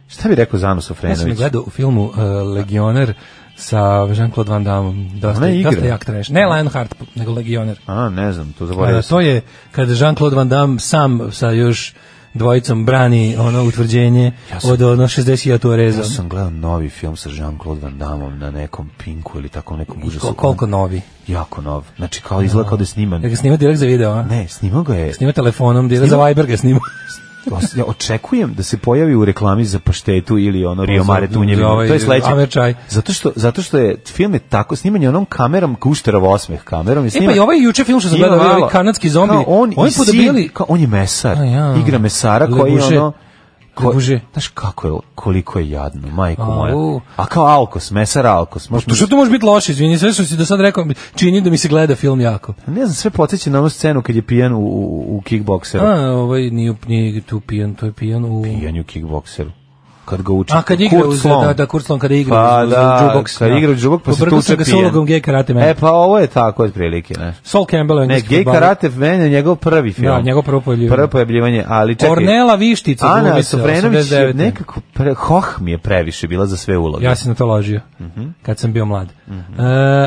Speaker 5: šta bi rekao za Anu
Speaker 6: Ja sam je
Speaker 5: Sofrenović?
Speaker 6: gledao u filmu uh, Legioner sa Jean-Claude Van Damme. Dosta,
Speaker 5: Ona igra?
Speaker 6: dosta jak trash. Ne Lionheart, nego Legioner.
Speaker 5: A, ne znam, to
Speaker 6: A,
Speaker 5: zaboravio sam.
Speaker 6: Pa to je kad Jean-Claude Van Damme sam sa još dvojicom brani ono utvrđenje od ono 60 ja
Speaker 5: Ja sam gledao novi film sa Jean-Claude Van Damom na nekom pinku ili tako nekom užasu.
Speaker 6: koliko novi.
Speaker 5: Jako nov. Znači, kao izgleda kao da je sniman.
Speaker 6: Ja ga snima direkt za video, a?
Speaker 5: Ne, snimao ga je.
Speaker 6: Snima telefonom, direkt
Speaker 5: Snima- E,
Speaker 6: za Viber ga snima.
Speaker 5: Os- Ja očekujem da se pojavi u reklami za paštetu ili ono Rio Mare
Speaker 6: Pa za-
Speaker 5: tunjevinu.
Speaker 6: za ovaj
Speaker 5: to je sledeće.
Speaker 6: Amer čaj.
Speaker 5: Zato što, zato što je film je tako snimanje onom kamerom Kušterov osmeh kamerom. Je
Speaker 6: E pa
Speaker 5: sniman-
Speaker 6: i ovaj juče film što sam gledao,
Speaker 5: Ima
Speaker 6: ovaj
Speaker 5: malo-
Speaker 6: kanadski zombi,
Speaker 5: Kao on,
Speaker 6: oni
Speaker 5: i sin,
Speaker 6: podobili-
Speaker 5: kao on je mesar.
Speaker 6: A ja.
Speaker 5: Igra mesara
Speaker 6: Le
Speaker 5: koji je
Speaker 6: Bourget.
Speaker 5: ono ko-
Speaker 6: Le Bourget.
Speaker 5: Znaš kako je, koliko je jadno, majko
Speaker 6: Au.
Speaker 5: moja. A kao Alkos, mesar Alkos. Možeš
Speaker 6: To Pa što to može biti loše, izvini, sve što si do sad rekao, čini da mi se gleda film jako.
Speaker 5: Ne znam, sve podsjeća na onu scenu kad je pijan u, u, u kickbokseru.
Speaker 6: A, ovaj nije, u- nije tu pijan, to je pijan u...
Speaker 5: Pijan je u kickbokseru. Kad ga uči.
Speaker 6: A kad igra uz, da, da Kurtlon kada igra
Speaker 5: pa
Speaker 6: uz, uz
Speaker 5: da,
Speaker 6: jukebox,
Speaker 5: kad
Speaker 6: da.
Speaker 5: igra u džubok, pa se
Speaker 6: Pobrkao sam
Speaker 5: tuče
Speaker 6: ga sa
Speaker 5: pijan.
Speaker 6: ulogom gej karate mene.
Speaker 5: E, pa ovo je tako, otprilike, ne.
Speaker 6: Sol Campbell,
Speaker 5: Ne,
Speaker 6: engleski
Speaker 5: gej
Speaker 6: fudbaler.
Speaker 5: karate men je njegov prvi film.
Speaker 6: Da, njegov prvo pojavljivanje.
Speaker 5: Prvo pojavljivanje, ali čekaj.
Speaker 6: Kornela Vištica,
Speaker 5: Ana
Speaker 6: glumica,
Speaker 5: Sofrenović je
Speaker 6: 89..
Speaker 5: nekako pre, hoh mi je previše bila za sve uloge.
Speaker 6: Ja sam na to ložio,
Speaker 5: Mhm.
Speaker 6: kad sam bio mlad. E,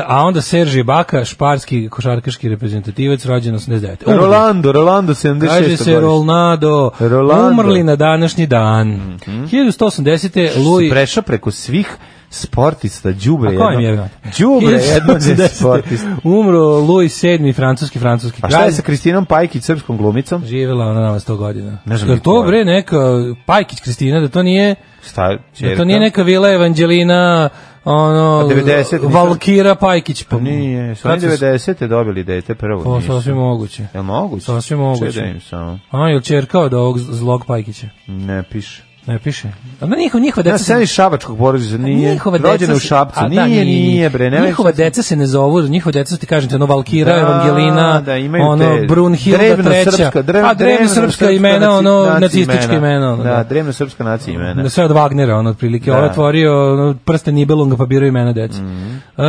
Speaker 6: a onda Serži Baka, šparski košarkaški reprezentativac, rođen 89. Umrli.
Speaker 5: Rolando, Rolando 76.
Speaker 6: Kaže se
Speaker 5: godište.
Speaker 6: Rolnado,
Speaker 5: Rolando. Mhm.
Speaker 6: umrli na današnji dan. 1180.
Speaker 5: Si
Speaker 6: Louis
Speaker 5: prešao preko svih sportista, đubre
Speaker 6: A kojem
Speaker 5: jedno.
Speaker 6: je?
Speaker 5: Đubre jedno je
Speaker 6: 1810.
Speaker 5: sportista.
Speaker 6: Umro Louis VII, francuski, francuski
Speaker 5: A šta
Speaker 6: kralj.
Speaker 5: je sa Kristinom Pajkić, srpskom glumicom?
Speaker 6: Živela ona nama 100 godina.
Speaker 5: Ne znam
Speaker 6: Jel
Speaker 5: ni ko
Speaker 6: to
Speaker 5: je.
Speaker 6: bre neka Pajkić Kristina, da to nije
Speaker 5: Šta je?
Speaker 6: da to nije neka Vila Evanđelina ono
Speaker 5: A 90 nisu?
Speaker 6: Valkira Pajkić pa
Speaker 5: Nije, su oni
Speaker 6: Kad su-
Speaker 5: 90. dobili dete prvo.
Speaker 6: Pa,
Speaker 5: nisu.
Speaker 6: sasvim moguće.
Speaker 5: Jel moguće?
Speaker 6: Sasvim moguće.
Speaker 5: Čekaj da im samo.
Speaker 6: A, jel čerka od ovog zlog Pajkića?
Speaker 5: Ne piše.
Speaker 6: Ne piše. Ona njihova, njihova
Speaker 5: Ja
Speaker 6: deca... se-
Speaker 5: sam iz šabačkog porodica, nije.
Speaker 6: Pa njihova deca
Speaker 5: rođena u
Speaker 6: se-
Speaker 5: Šapcu.
Speaker 6: A,
Speaker 5: nije,
Speaker 6: da,
Speaker 5: nije, bre, ne
Speaker 6: njihova deca se ne zovu, njihova deca su ti kažem, te ono Valkira,
Speaker 5: Da,
Speaker 6: Evangelina,
Speaker 5: da, imaju
Speaker 6: ono
Speaker 5: te
Speaker 6: Brunhilda
Speaker 5: drevno
Speaker 6: treća.
Speaker 5: srpska, drevno,
Speaker 6: a drevno srpska imena,
Speaker 5: naci-
Speaker 6: ono
Speaker 5: naci
Speaker 6: nacistička imena. ono,
Speaker 5: da, drevno srpska nacija imena.
Speaker 6: Na sve od Wagnera, ono, otprilike.
Speaker 5: Da. Mhm.
Speaker 6: Ovo je tvorio ono, prste Nibelunga, pa birao imena deci. E,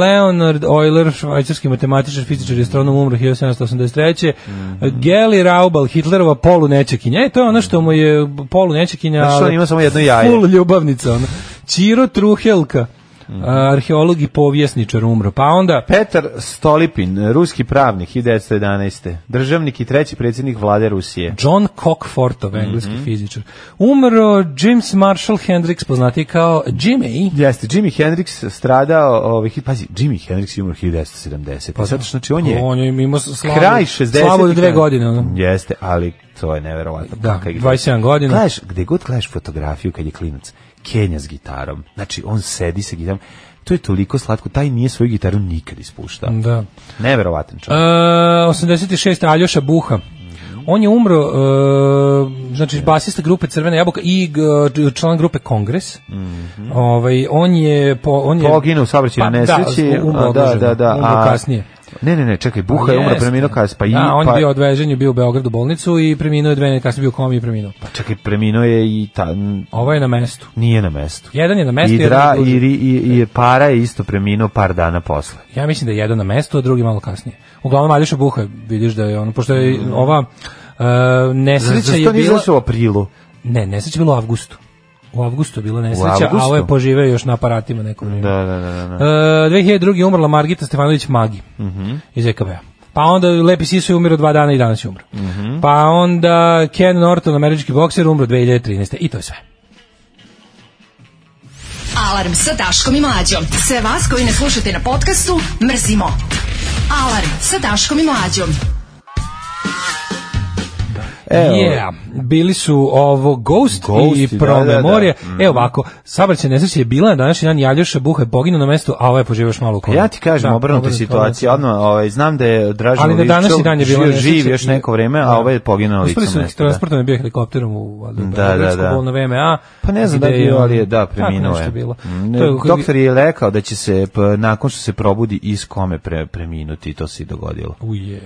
Speaker 6: Leonard Euler, švajcarski matematičar, fizičar i astronom, umro 1783.
Speaker 5: Mhm.
Speaker 6: Geli Raubal, Hitlerova polu nečekinja. E, to je ono što mu je polu nečekinja,
Speaker 5: Znaš, on
Speaker 6: ali
Speaker 5: ima samo jedno jaje.
Speaker 6: Full ljubavnica, ono. Čiro Truhelka,
Speaker 5: Mhm.
Speaker 6: arheolog i povjesničar umro. Pa onda,
Speaker 5: Petar Stolipin, ruski pravnik 1911. Državnik i treći predsjednik vlade Rusije.
Speaker 6: John Cockfortov, engleski
Speaker 5: Mhm.
Speaker 6: fizičar. Umro James Marshall Hendricks, poznati kao Jimmy.
Speaker 5: Jeste, Jimi Hendrix stradao, ovaj, hi- pazi, Jimi Hendrix je umro 1970. Pa sad, znači, on je
Speaker 6: On je imao slavu,
Speaker 5: kraj 60.
Speaker 6: slavu od dve godine. Ono.
Speaker 5: Jeste, ali to je neverovatno.
Speaker 6: Da,
Speaker 5: Kakva je
Speaker 6: 27
Speaker 5: gleda-
Speaker 6: godina.
Speaker 5: Gledaš, gde god gledaš fotografiju kad je klinac, Kenja s gitarom, znači on sedi sa gitarom, to je toliko slatko, taj nije svoju gitaru nikad ispuštao.
Speaker 6: Da.
Speaker 5: Neverovatan čovjek.
Speaker 6: E, 86. Aljoša Buha. On je umro, e, znači basista grupe Crvena jabuka i g- član grupe Kongres. ovaj, on je... Po, on je
Speaker 5: Mhm. Poginuo u saobraćajnoj
Speaker 6: Pa,
Speaker 5: nesreći.
Speaker 6: Da, umro
Speaker 5: a, da, da, da.
Speaker 6: Umro
Speaker 5: a-
Speaker 6: kasnije.
Speaker 5: Ne, ne, ne, čekaj, Buha je umro
Speaker 6: Jeste.
Speaker 5: preminuo kasnije, pa i
Speaker 6: Da, on
Speaker 5: pa,
Speaker 6: je bio odvežen, je bio u Beogradu u bolnicu i preminuo je dve nedelje kasnije bio u komi i preminuo. Pa
Speaker 5: pa čekaj, preminuo je i ta n-
Speaker 6: Ovo je na mestu.
Speaker 5: nije na mestu.
Speaker 6: Jedan je na mestu,
Speaker 5: I,
Speaker 6: jedan
Speaker 5: dra,
Speaker 6: je
Speaker 5: i,
Speaker 6: drugi.
Speaker 5: ri- i, i para je isto preminuo par dana posle.
Speaker 6: Ja mislim da je jedan na mestu, a drugi malo kasnije. Uglavnom Aljoša Buha, vidiš da je ono, pošto je ova e,
Speaker 5: Za,
Speaker 6: nesreća je
Speaker 5: zašto nije
Speaker 6: bila...
Speaker 5: izašao u aprilu?
Speaker 6: Ne, nesreća je bila u avgustu. U avgustu je bila nesreća,
Speaker 5: avgustu?
Speaker 6: a ovo je poživeo još na aparatima neko vrijeme.
Speaker 5: Da, da, da, da. da. Mhm.
Speaker 6: E, 2002. umrla Margita Stefanović Magi iz EKB-a. Pa onda Lepi Siso je umro dva dana i danas je umro.
Speaker 5: Mhm.
Speaker 6: Pa onda Ken Norton, američki bokser, umro 2013. I to je sve.
Speaker 4: Alarm sa Daškom i Mlađom. Sve vas koji ne slušate na podcastu, mrzimo. Alarm sa Daškom i Mlađom.
Speaker 5: Evo.
Speaker 6: Yeah. Bili su ovo Ghost,
Speaker 5: Ghost, da, Mhm.
Speaker 6: i Promemorija.
Speaker 5: da, da.
Speaker 6: Evo ovako, sabraće nesreće je bila na današnji dan Aljoša Buha je poginuo na mestu, a ovo je poživio još malo u komu.
Speaker 5: Pa Ja ti kažem, obrnuta situacija, odmah, ovaj, znam da je Dražan
Speaker 6: Ali na današnji dan je bilo
Speaker 5: žio, živ još neko vreme, a ovaj je poginuo
Speaker 6: lice.
Speaker 5: licom
Speaker 6: Uspeli su ih
Speaker 5: mesta. da.
Speaker 6: transportom je bio helikopterom u valjda, u
Speaker 5: Da, da,
Speaker 6: Beogradsku
Speaker 5: da.
Speaker 6: bolno VMA.
Speaker 5: Pa ne znam da
Speaker 6: gde
Speaker 5: je bio, ali je, da,
Speaker 6: Tako
Speaker 5: preminuo
Speaker 6: nešto
Speaker 5: je. Mm,
Speaker 6: bilo.
Speaker 5: Ne,
Speaker 6: To je-
Speaker 5: Doktor je rekao da će se, p- nakon što se probudi, iz kome pre, preminuti, i to se i dogodilo.
Speaker 6: Uje.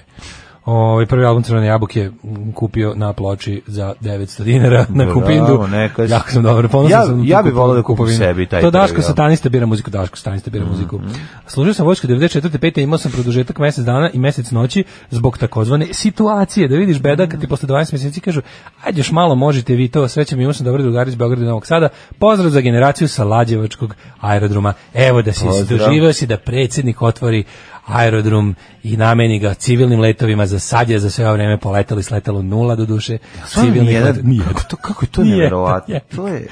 Speaker 6: Ovaj prvi album Crvene jabuke m, kupio na ploči za 900 dinara na
Speaker 5: Bravo,
Speaker 6: Kupindu.
Speaker 5: neka si-
Speaker 6: Jako sam dobar, ponosan
Speaker 5: Ja-
Speaker 6: sam. na tu
Speaker 5: ja bi
Speaker 6: kupovinu-
Speaker 5: volao da kupim
Speaker 6: kupovinu.
Speaker 5: sebi taj
Speaker 6: To
Speaker 5: prvi
Speaker 6: Daško
Speaker 5: album.
Speaker 6: satanista bira muziku, Daško satanista
Speaker 5: Mhm.
Speaker 6: bira muziku. Služio sam vojsku 94. 5. imao sam produžetak mesec dana i mesec noći zbog takozvane situacije. Da vidiš beda kad ti
Speaker 5: Mhm.
Speaker 6: posle 12 meseci kažu ajde još malo možete vi to, srećem imao sam dobar drugar iz Beograda i Novog Sada. Pozdrav za generaciju sa Lađevačkog aerodroma. Evo da si
Speaker 5: Pozdrav.
Speaker 6: doživio Želeo si da predsjednik otvori aerodrom i nameni ga civilnim letovima za sad je za sve ovo vreme poletali sletalo nula do duše
Speaker 5: Stvarno nijedan-
Speaker 6: let- nijedan.
Speaker 5: Kako to-
Speaker 6: (laughs)
Speaker 5: kako je to
Speaker 6: Nijedan,
Speaker 5: neverovatno?
Speaker 6: nijedan.
Speaker 5: To je-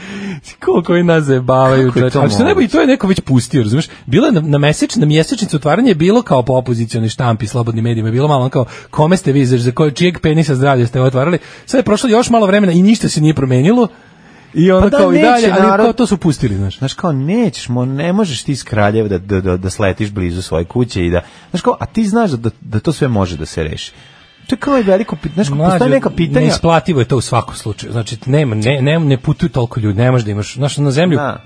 Speaker 6: koliko i nas zajebavaju
Speaker 5: Kako je
Speaker 6: čoveče.
Speaker 5: to
Speaker 6: ali što najbolje,
Speaker 5: moguće?
Speaker 6: to je neko već pustio razumeš bilo je na, na meseč na mjesečnicu otvaranje je bilo kao po opozicioni štampi slobodnim medijima je bilo malo ono kao kome ste vi za- za koje čijeg penisa zdravlja ste otvarali sad je prošlo još malo vremena i ništa se nije promenilo i ono
Speaker 5: Pa da,
Speaker 6: kao i
Speaker 5: neće
Speaker 6: dalje ali
Speaker 5: narod-
Speaker 6: kao to su pustili znaš
Speaker 5: Znaš kao, nećeš, mo, ne možeš ti iz Kraljeva da, da, da, da sletiš blizu svoje kuće i da, znaš kao, a ti znaš da, da, da to sve može da se reši. To je kao i veliko pitanje, znaš kao, postoje
Speaker 6: Mlađe,
Speaker 5: neka pitanja.
Speaker 6: Neisplativo je to u svakom slučaju. Znači nema ne ne ne putuju toliko ljudi, ne možeš da imaš znaš, na zemlju.
Speaker 5: Da.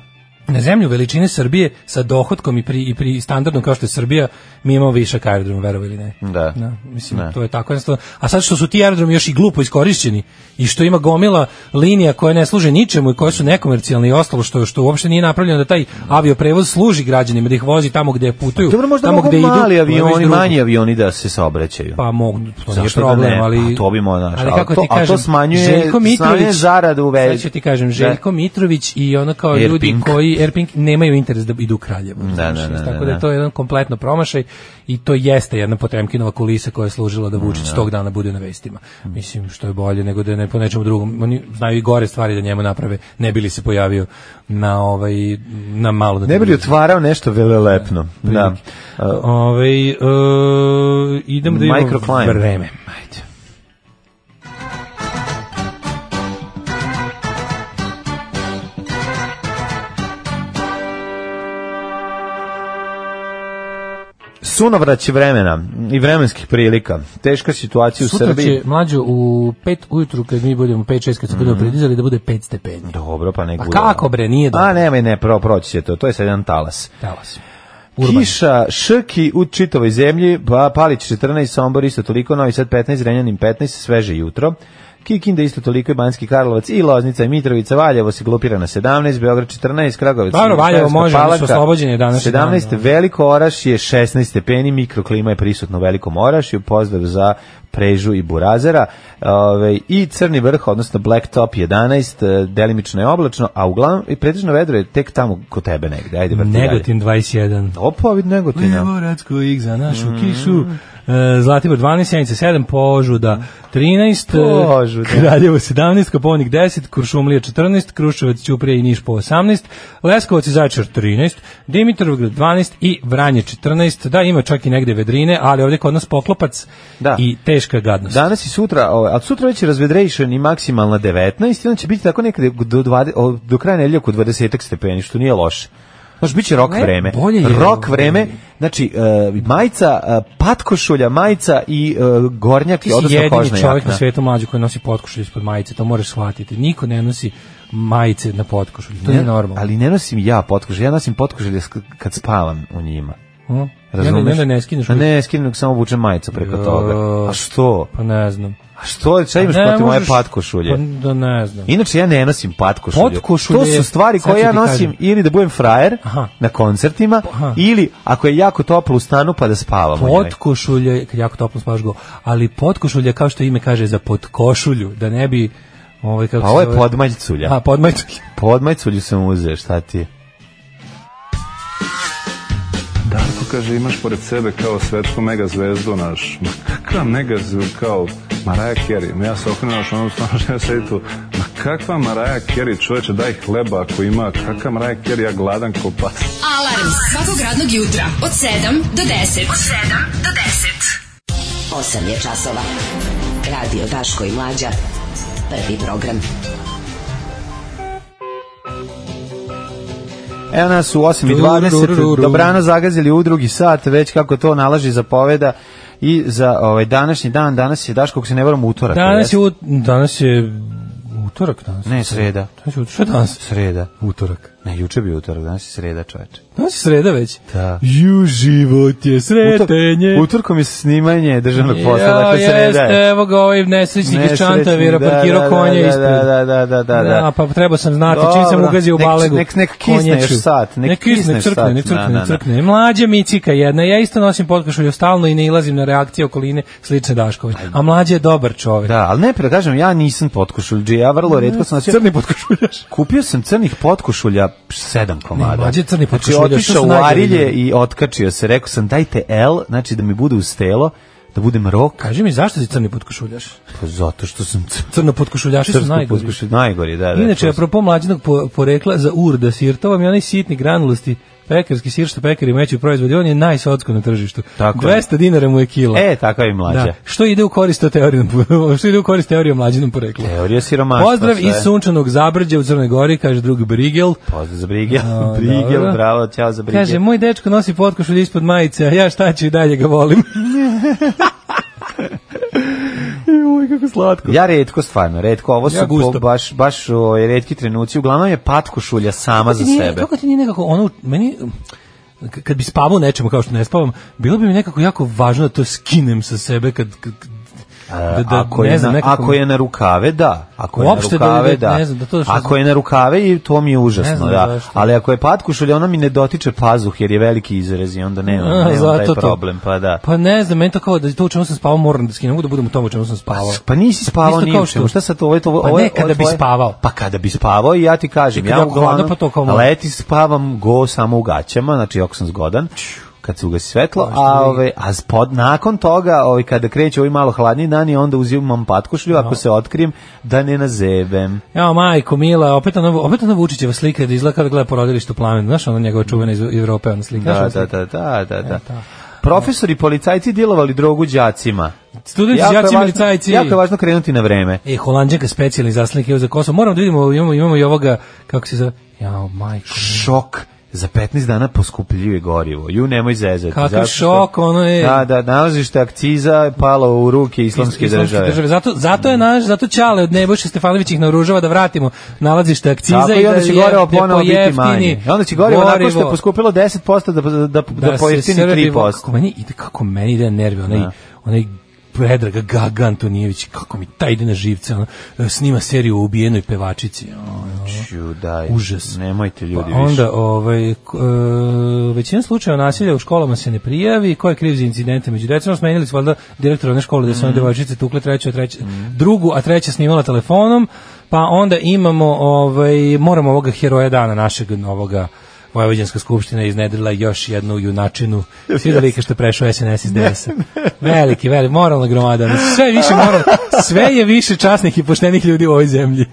Speaker 6: Na zemlju veličine Srbije sa dohotkom i pri, i pri standardnom kao što je Srbija, mi imamo višak aerodroma, verovali ili ne.
Speaker 5: Da.
Speaker 6: mislim,
Speaker 5: Da.
Speaker 6: to je tako jednostavno. A sad što su ti aerodromi još i glupo iskorišćeni i što ima gomila linija koje ne služe ničemu i koje su nekomercijalne i ostalo što što uopšte nije napravljeno da taj avioprevoz služi građanima da ih vozi tamo gdje putuju,
Speaker 5: Pa Dobro, možda
Speaker 6: tamo
Speaker 5: mogu
Speaker 6: gde idu. to
Speaker 5: mali
Speaker 6: je već
Speaker 5: avioni,
Speaker 6: drugo.
Speaker 5: manji avioni da se saobraćaju.
Speaker 6: Pa mogu, to nije
Speaker 5: Zašto da
Speaker 6: problem,
Speaker 5: ne?
Speaker 6: ali...
Speaker 5: Pa to bi mo- znaš,
Speaker 6: ali
Speaker 5: ali
Speaker 6: kako
Speaker 5: to-
Speaker 6: ti
Speaker 5: a to
Speaker 6: kažem,
Speaker 5: smanjuje-
Speaker 6: Željko Mitrović,
Speaker 5: smanjuje zaradu u vezi.
Speaker 6: Sad ću ti kažem, Željko Mitrović i ono kao
Speaker 5: Airpink.
Speaker 6: ljudi koji, Erping, nemaju interes da idu u Kraljevo. znaš,
Speaker 5: da, da,
Speaker 6: tako
Speaker 5: da,
Speaker 6: da je
Speaker 5: da.
Speaker 6: to jedan kompletno promašaj i to jeste jedna Potemkinova kulisa koja je služila da Vučić tog dana bude na vestima. Mislim, što je bolje nego da je ne po nečemu drugom. Oni znaju i gore stvari da njemu naprave, ne bi li se pojavio na ovaj, na malo da
Speaker 5: Ne bi li otvarao nešto velelepno.
Speaker 6: Pa
Speaker 5: Da. Uh,
Speaker 6: Ovaj, e, idemo da imamo
Speaker 5: Microclimate.
Speaker 6: vreme. Ajde.
Speaker 5: Sunovrać vremena i vremenskih prilika. Teška situacija u
Speaker 6: Sutra
Speaker 5: Srbiji.
Speaker 6: će mlađo u 5 ujutru kad mi budemo 5-6 kad se budemo predizali da bude 5 stepeni.
Speaker 5: Dobro, pa nek
Speaker 6: Pa
Speaker 5: Mhm. bude.
Speaker 6: kako bre, nije dobro.
Speaker 5: A nemoj, ne, pro, proći će to. To je sad jedan talas.
Speaker 6: Talas. Urban.
Speaker 5: Kiša, šrki u čitavoj zemlji, pa Palić 14, Sombor isto toliko, Novi Sad 15, Renjanin 15, sveže jutro. Kikinda isto toliko i Banjski Karlovac i Loznica i Mitrovica, Valjevo se glupira na 17, Beograd 14, Kragovic.
Speaker 6: Dobro, Valjevo
Speaker 5: Sremska
Speaker 6: može, oni su
Speaker 5: Palanka
Speaker 6: oslobođeni danas i
Speaker 5: 17,
Speaker 6: dan, da.
Speaker 5: Veliko Oraš je 16 stepeni, mikroklima je prisutno u Velikom Orašju, pozdrav za Prežu i Burazera. Ove, I Crni vrh, odnosno Blacktop 11, e, delimično je oblačno, a uglavnom i pretežno vedro je tek tamo kod tebe negde. Ajde, vrti dalje.
Speaker 6: Negotin 21.
Speaker 5: Opa, vidi Negotina.
Speaker 6: Levoradsko ig za našu
Speaker 5: Mhm.
Speaker 6: kišu. E, Zlatibor 12, Sjenica 7, Požuda 13, e,
Speaker 5: Požuda.
Speaker 6: Kraljevo 17, Koponik 10, Kuršumlija 14, Kruševac, Ćuprije i Niš po 18, Leskovac i Zaječar 13, Dimitrovgrad 12 i Vranje 14. Da, ima čak i negde vedrine, ali ovdje kod nas poklopac
Speaker 5: Da.
Speaker 6: i teška gadnost.
Speaker 5: Danas i sutra, ovaj, a sutra već je razvedrejšen i maksimalna 19, i onda će biti tako nekada do, 20, o, do kraja nedelje oko 20 stepeni, što nije loše. Znaš, bit će rok
Speaker 6: Ne,
Speaker 5: vreme.
Speaker 6: bolje je
Speaker 5: rok
Speaker 6: ovaj-
Speaker 5: vreme, znači, e, majica, e, patkošulja, majica i e, gornjak,
Speaker 6: Ti si
Speaker 5: odnosno
Speaker 6: jedini
Speaker 5: kožna
Speaker 6: čovjek
Speaker 5: jakna.
Speaker 6: na svetu mlađu koji nosi potkošulj ispod majice, to moraš shvatiti. Niko ne nosi majice na potkošulju, to nije
Speaker 5: Ne,
Speaker 6: normalno.
Speaker 5: Ali ne nosim ja potkošulje, ja nosim potkošulje sk- kad spavam u njima.
Speaker 6: Mm. I onda- i
Speaker 5: Razumeš?
Speaker 6: onda ne skineš
Speaker 5: A
Speaker 6: uvijek.
Speaker 5: Ne, skinem, nego samo obučem majicu preko
Speaker 6: Jo.
Speaker 5: toga. A što?
Speaker 6: Pa ne znam.
Speaker 5: A što? Šta imaš
Speaker 6: Ne
Speaker 5: protiv moje
Speaker 6: možeš-
Speaker 5: patkošulje?
Speaker 6: Pa da ne znam.
Speaker 5: Inače ja ne nosim patkošulje.
Speaker 6: Potkošulje
Speaker 5: To
Speaker 6: je-
Speaker 5: su stvari
Speaker 6: sad
Speaker 5: koje
Speaker 6: ću
Speaker 5: ja
Speaker 6: ti
Speaker 5: nosim
Speaker 6: kažem.
Speaker 5: ili da budem frajer
Speaker 6: Aha.
Speaker 5: na koncertima
Speaker 6: Aha.
Speaker 5: ili ako je jako toplo u stanu pa da spavam. u njoj.
Speaker 6: Potkošulje, kad jako toplo spaš go, ali potkošulje kao što ime kaže za potkošulju, da ne bi ovaj kako
Speaker 5: Pa
Speaker 6: se
Speaker 5: ovo je
Speaker 6: zove-
Speaker 5: podmaljculja.
Speaker 6: A podmaljculje.
Speaker 5: Podmaljculju sam uzeo, šta ti je?
Speaker 7: Darko Pa kaže imaš pored sebe kao svetsku megazvezdu naš. Ma kakva megazvezdu kao Maraja Kerry. Ma ja se okrenuo naš onom stvarno što ja sedi tu. Ma kakva Maraja Kerry čoveče daj hleba ako ima. Kakva Maraja Kerry ja gladan ko pas.
Speaker 4: Alarm svakog radnog jutra od 7 do 10. Od 7 do
Speaker 8: 10. 8 je časova. Radio Daško i Mlađa. Prvi program.
Speaker 5: Evo nas u 8.20,
Speaker 6: Tururururu.
Speaker 5: dobrano zagazili u drugi sat, već kako to nalaži zapoveda i za ovaj današnji dan, danas je, daš, kako se ne varam, utorak.
Speaker 6: Danas
Speaker 5: jeste?
Speaker 6: je ut- danas je utorak danas.
Speaker 5: Ne, sreda.
Speaker 6: Danas je utorak. Šta je danas?
Speaker 5: Sreda.
Speaker 6: Utorak.
Speaker 5: Ne, juče bi utorak, danas je sreda, čoveče.
Speaker 6: Danas je sreda već.
Speaker 5: Da.
Speaker 6: Ju, život je sretenje.
Speaker 5: Utor- Utorkom je snimanje državnog posla,
Speaker 6: Ja,
Speaker 5: dakle sreda je.
Speaker 6: jeste, evo ga ovaj nesrećnik iz Čantavira,
Speaker 5: Nesrećni, da,
Speaker 6: parkirao
Speaker 5: da,
Speaker 6: konje
Speaker 5: da,
Speaker 6: ispred.
Speaker 5: Da, da, da, da, da.
Speaker 6: pa trebao sam znati, čim sam
Speaker 5: Dobro,
Speaker 6: ugazio u
Speaker 5: nek-
Speaker 6: balegu.
Speaker 5: nek- nek kisne
Speaker 6: konjeću.
Speaker 5: još sat, nek kisne još
Speaker 6: crkne,
Speaker 5: sat,
Speaker 6: nek
Speaker 5: da,
Speaker 6: crkne,
Speaker 5: da,
Speaker 6: nek
Speaker 5: da.
Speaker 6: crkne. Mlađa micika jedna, ja isto nosim potkošulju stalno i ne ilazim na reakcije okoline slične Dašković. A mlađa je dobar čovjek.
Speaker 5: Da, ali ne, da kažem, ja nisam potkošuljđija, ja vrlo redko sam nosio.
Speaker 6: Crni potkošuljaš.
Speaker 5: Kupio sam crnih potkošulja sedam komada.
Speaker 6: mlađe crni
Speaker 5: Znači,
Speaker 6: potkošulja, što
Speaker 5: otišao
Speaker 6: su
Speaker 5: u
Speaker 6: najgori
Speaker 5: Arilje
Speaker 6: ljudi?
Speaker 5: i otkačio se, rekao sam, dajte L, znači da mi bude uz telo, da budem rok.
Speaker 6: Kaži mi, zašto si crni potkošuljaš?
Speaker 5: Pa zato što sam cr-
Speaker 6: Crno potkošuljaši su
Speaker 5: crsko
Speaker 6: najgori.
Speaker 5: potkošulj- najgori, da, da.
Speaker 6: Inače,
Speaker 5: to sam-
Speaker 6: apropo mlađenog po- porekla za urda sirtova, mi onaj sitni granulosti pekarski sir što pekari meću proizvodi, on je najsocko na tržištu.
Speaker 5: Tako je.
Speaker 6: 200 dinara mu je kila.
Speaker 5: E, takav je mlađa.
Speaker 6: Da. Što ide u korist o teorijom, (laughs) što ide u korist teorije o mlađinom poreklu.
Speaker 5: Teorija siromaštva.
Speaker 6: Pozdrav
Speaker 5: E, sve.
Speaker 6: iz sunčanog Zabrđa u Crnoj Gori, kaže drug Brigel.
Speaker 5: Pozdrav za Brigel.
Speaker 6: A,
Speaker 5: (laughs) Brigel,
Speaker 6: dobro.
Speaker 5: bravo, ćao za Brigel.
Speaker 6: Kaže, moj dečko nosi potkošulj ispod majice, a ja šta ću i dalje ga volim. Uj, kako slatko.
Speaker 5: Ja redko stvarno, redko, ovo su
Speaker 6: Ja gusto.
Speaker 5: po- baš, baš ovaj, redki trenuci, uglavnom je patkošulja sama za
Speaker 6: Ti nije-
Speaker 5: sebe.
Speaker 6: Kako ti nije nekako ono, meni, k- kad bi spavao u nečemu kao što ne spavam, bilo bi mi nekako jako važno da to skinem sa sebe kad, kad da, da,
Speaker 5: ako,
Speaker 6: ne
Speaker 5: je
Speaker 6: znam,
Speaker 5: na,
Speaker 6: nekako
Speaker 5: ako
Speaker 6: mi-
Speaker 5: je na rukave, da. Ako je
Speaker 6: Uopšte
Speaker 5: na
Speaker 6: da-
Speaker 5: rukave,
Speaker 6: da-
Speaker 5: da.
Speaker 6: ne znam, da to što-
Speaker 5: ako je na rukave, i to mi je užasno,
Speaker 6: Ne znam
Speaker 5: da.
Speaker 6: zašto.
Speaker 5: Ali ako je patkušulja, ona mi ne dotiče pazuh, jer je veliki izrez i onda nema,
Speaker 6: A,
Speaker 5: nema taj
Speaker 6: zato to.
Speaker 5: problem, pa da.
Speaker 6: Pa ne znam, meni to kao da to u čemu sam spavao moram da skinem, mogu da budem u tom u čemu sam spavao.
Speaker 5: Pa nisi spavao
Speaker 6: Isto
Speaker 5: ni
Speaker 6: kao
Speaker 5: u čemu.
Speaker 6: što-
Speaker 5: Šta sad ovo je to?
Speaker 6: Pa
Speaker 5: ovo je-
Speaker 6: ne, kada
Speaker 5: ovo je
Speaker 6: bi
Speaker 5: tvoje-
Speaker 6: spavao.
Speaker 5: Pa kada bi spavao i ja ti kažem,
Speaker 6: I kad
Speaker 5: ja
Speaker 6: ako
Speaker 5: uglavnom
Speaker 6: hladno, pa to kao moram.
Speaker 5: leti spavam go samo u gaćama, znači ako sam zgodan kad se ugasi svetlo, a ove, a spod, nakon toga, ove, kada kreće ovi malo hladniji dani, onda uzimam patkošlju ako se otkrijem da ne nazebem.
Speaker 6: Ja, majko, mila, opet ona, opet ona Vučićeva slika da izgleda kao da gleda porodilište u plamenu. Znaš, ona njegova čuvena iz Evrope, ona slika. Znaš ono E,
Speaker 5: Da,
Speaker 6: ona
Speaker 5: da,
Speaker 6: slika?
Speaker 5: da, da, da, da. Profesori i policajci djelovali drogu đacima.
Speaker 6: Studenti,
Speaker 5: Jako je
Speaker 6: đaci,
Speaker 5: važno-
Speaker 6: milicajci.
Speaker 5: Jako je važno krenuti na vreme.
Speaker 6: E, Holandjanka specijalni zaslanik je za Kosovo. Moramo da vidimo, imamo, imamo i ovoga, kako se zove, ja, majko. mila.
Speaker 5: šok za 15 dana poskupljuje gorivo. Ju nemoj zezati.
Speaker 6: Kakav
Speaker 5: zato što-
Speaker 6: šok, ono je-
Speaker 5: Da, da, nalazište akciza je palo u ruke islamske, države.
Speaker 6: Zato, zato je naš, zato Čale od Nebojša Stefanović ih naoružava da vratimo nalazište akciza
Speaker 5: Tako
Speaker 6: i
Speaker 5: i
Speaker 6: da
Speaker 5: onda će
Speaker 6: je-
Speaker 5: gorivo
Speaker 6: da
Speaker 5: ponovo biti
Speaker 6: pojeftini
Speaker 5: manje. Onda će gorivo nakon što je
Speaker 6: gorivo.
Speaker 5: poskupilo 10% da, da, da,
Speaker 6: se
Speaker 5: da pojeftini
Speaker 6: Srbi-
Speaker 5: 3%.
Speaker 6: Kako meni ide, kako meni ide nervi, onaj,
Speaker 5: Da.
Speaker 6: onaj Predrag Gaga Antonijević, kako mi taj ide na živce, ono, snima seriju o ubijenoj pevačici. ono.
Speaker 5: Ću, daj,
Speaker 6: Užas.
Speaker 5: Nemojte ljudi
Speaker 6: pa
Speaker 5: više.
Speaker 6: onda, ovaj, k- e, većina slučajeva nasilja u školama se ne prijavi, ko je kriv za incidente među decom, smenili su valjda direktora one škole da
Speaker 5: Mm.
Speaker 6: su one devojčice tukle treću, a treća, drugu, a treća snimala telefonom, pa onda imamo, ovaj, moramo ovoga heroja dana našeg novoga Vojvođanska skupština je iznedrila još jednu junačinu. Svi da like što je prešao SNS iz DS-a. Veliki, veliki, moralna gromada. Ono, Sve je više
Speaker 5: (laughs)
Speaker 6: moral, sve je više časnih i poštenih ljudi u ovoj zemlji.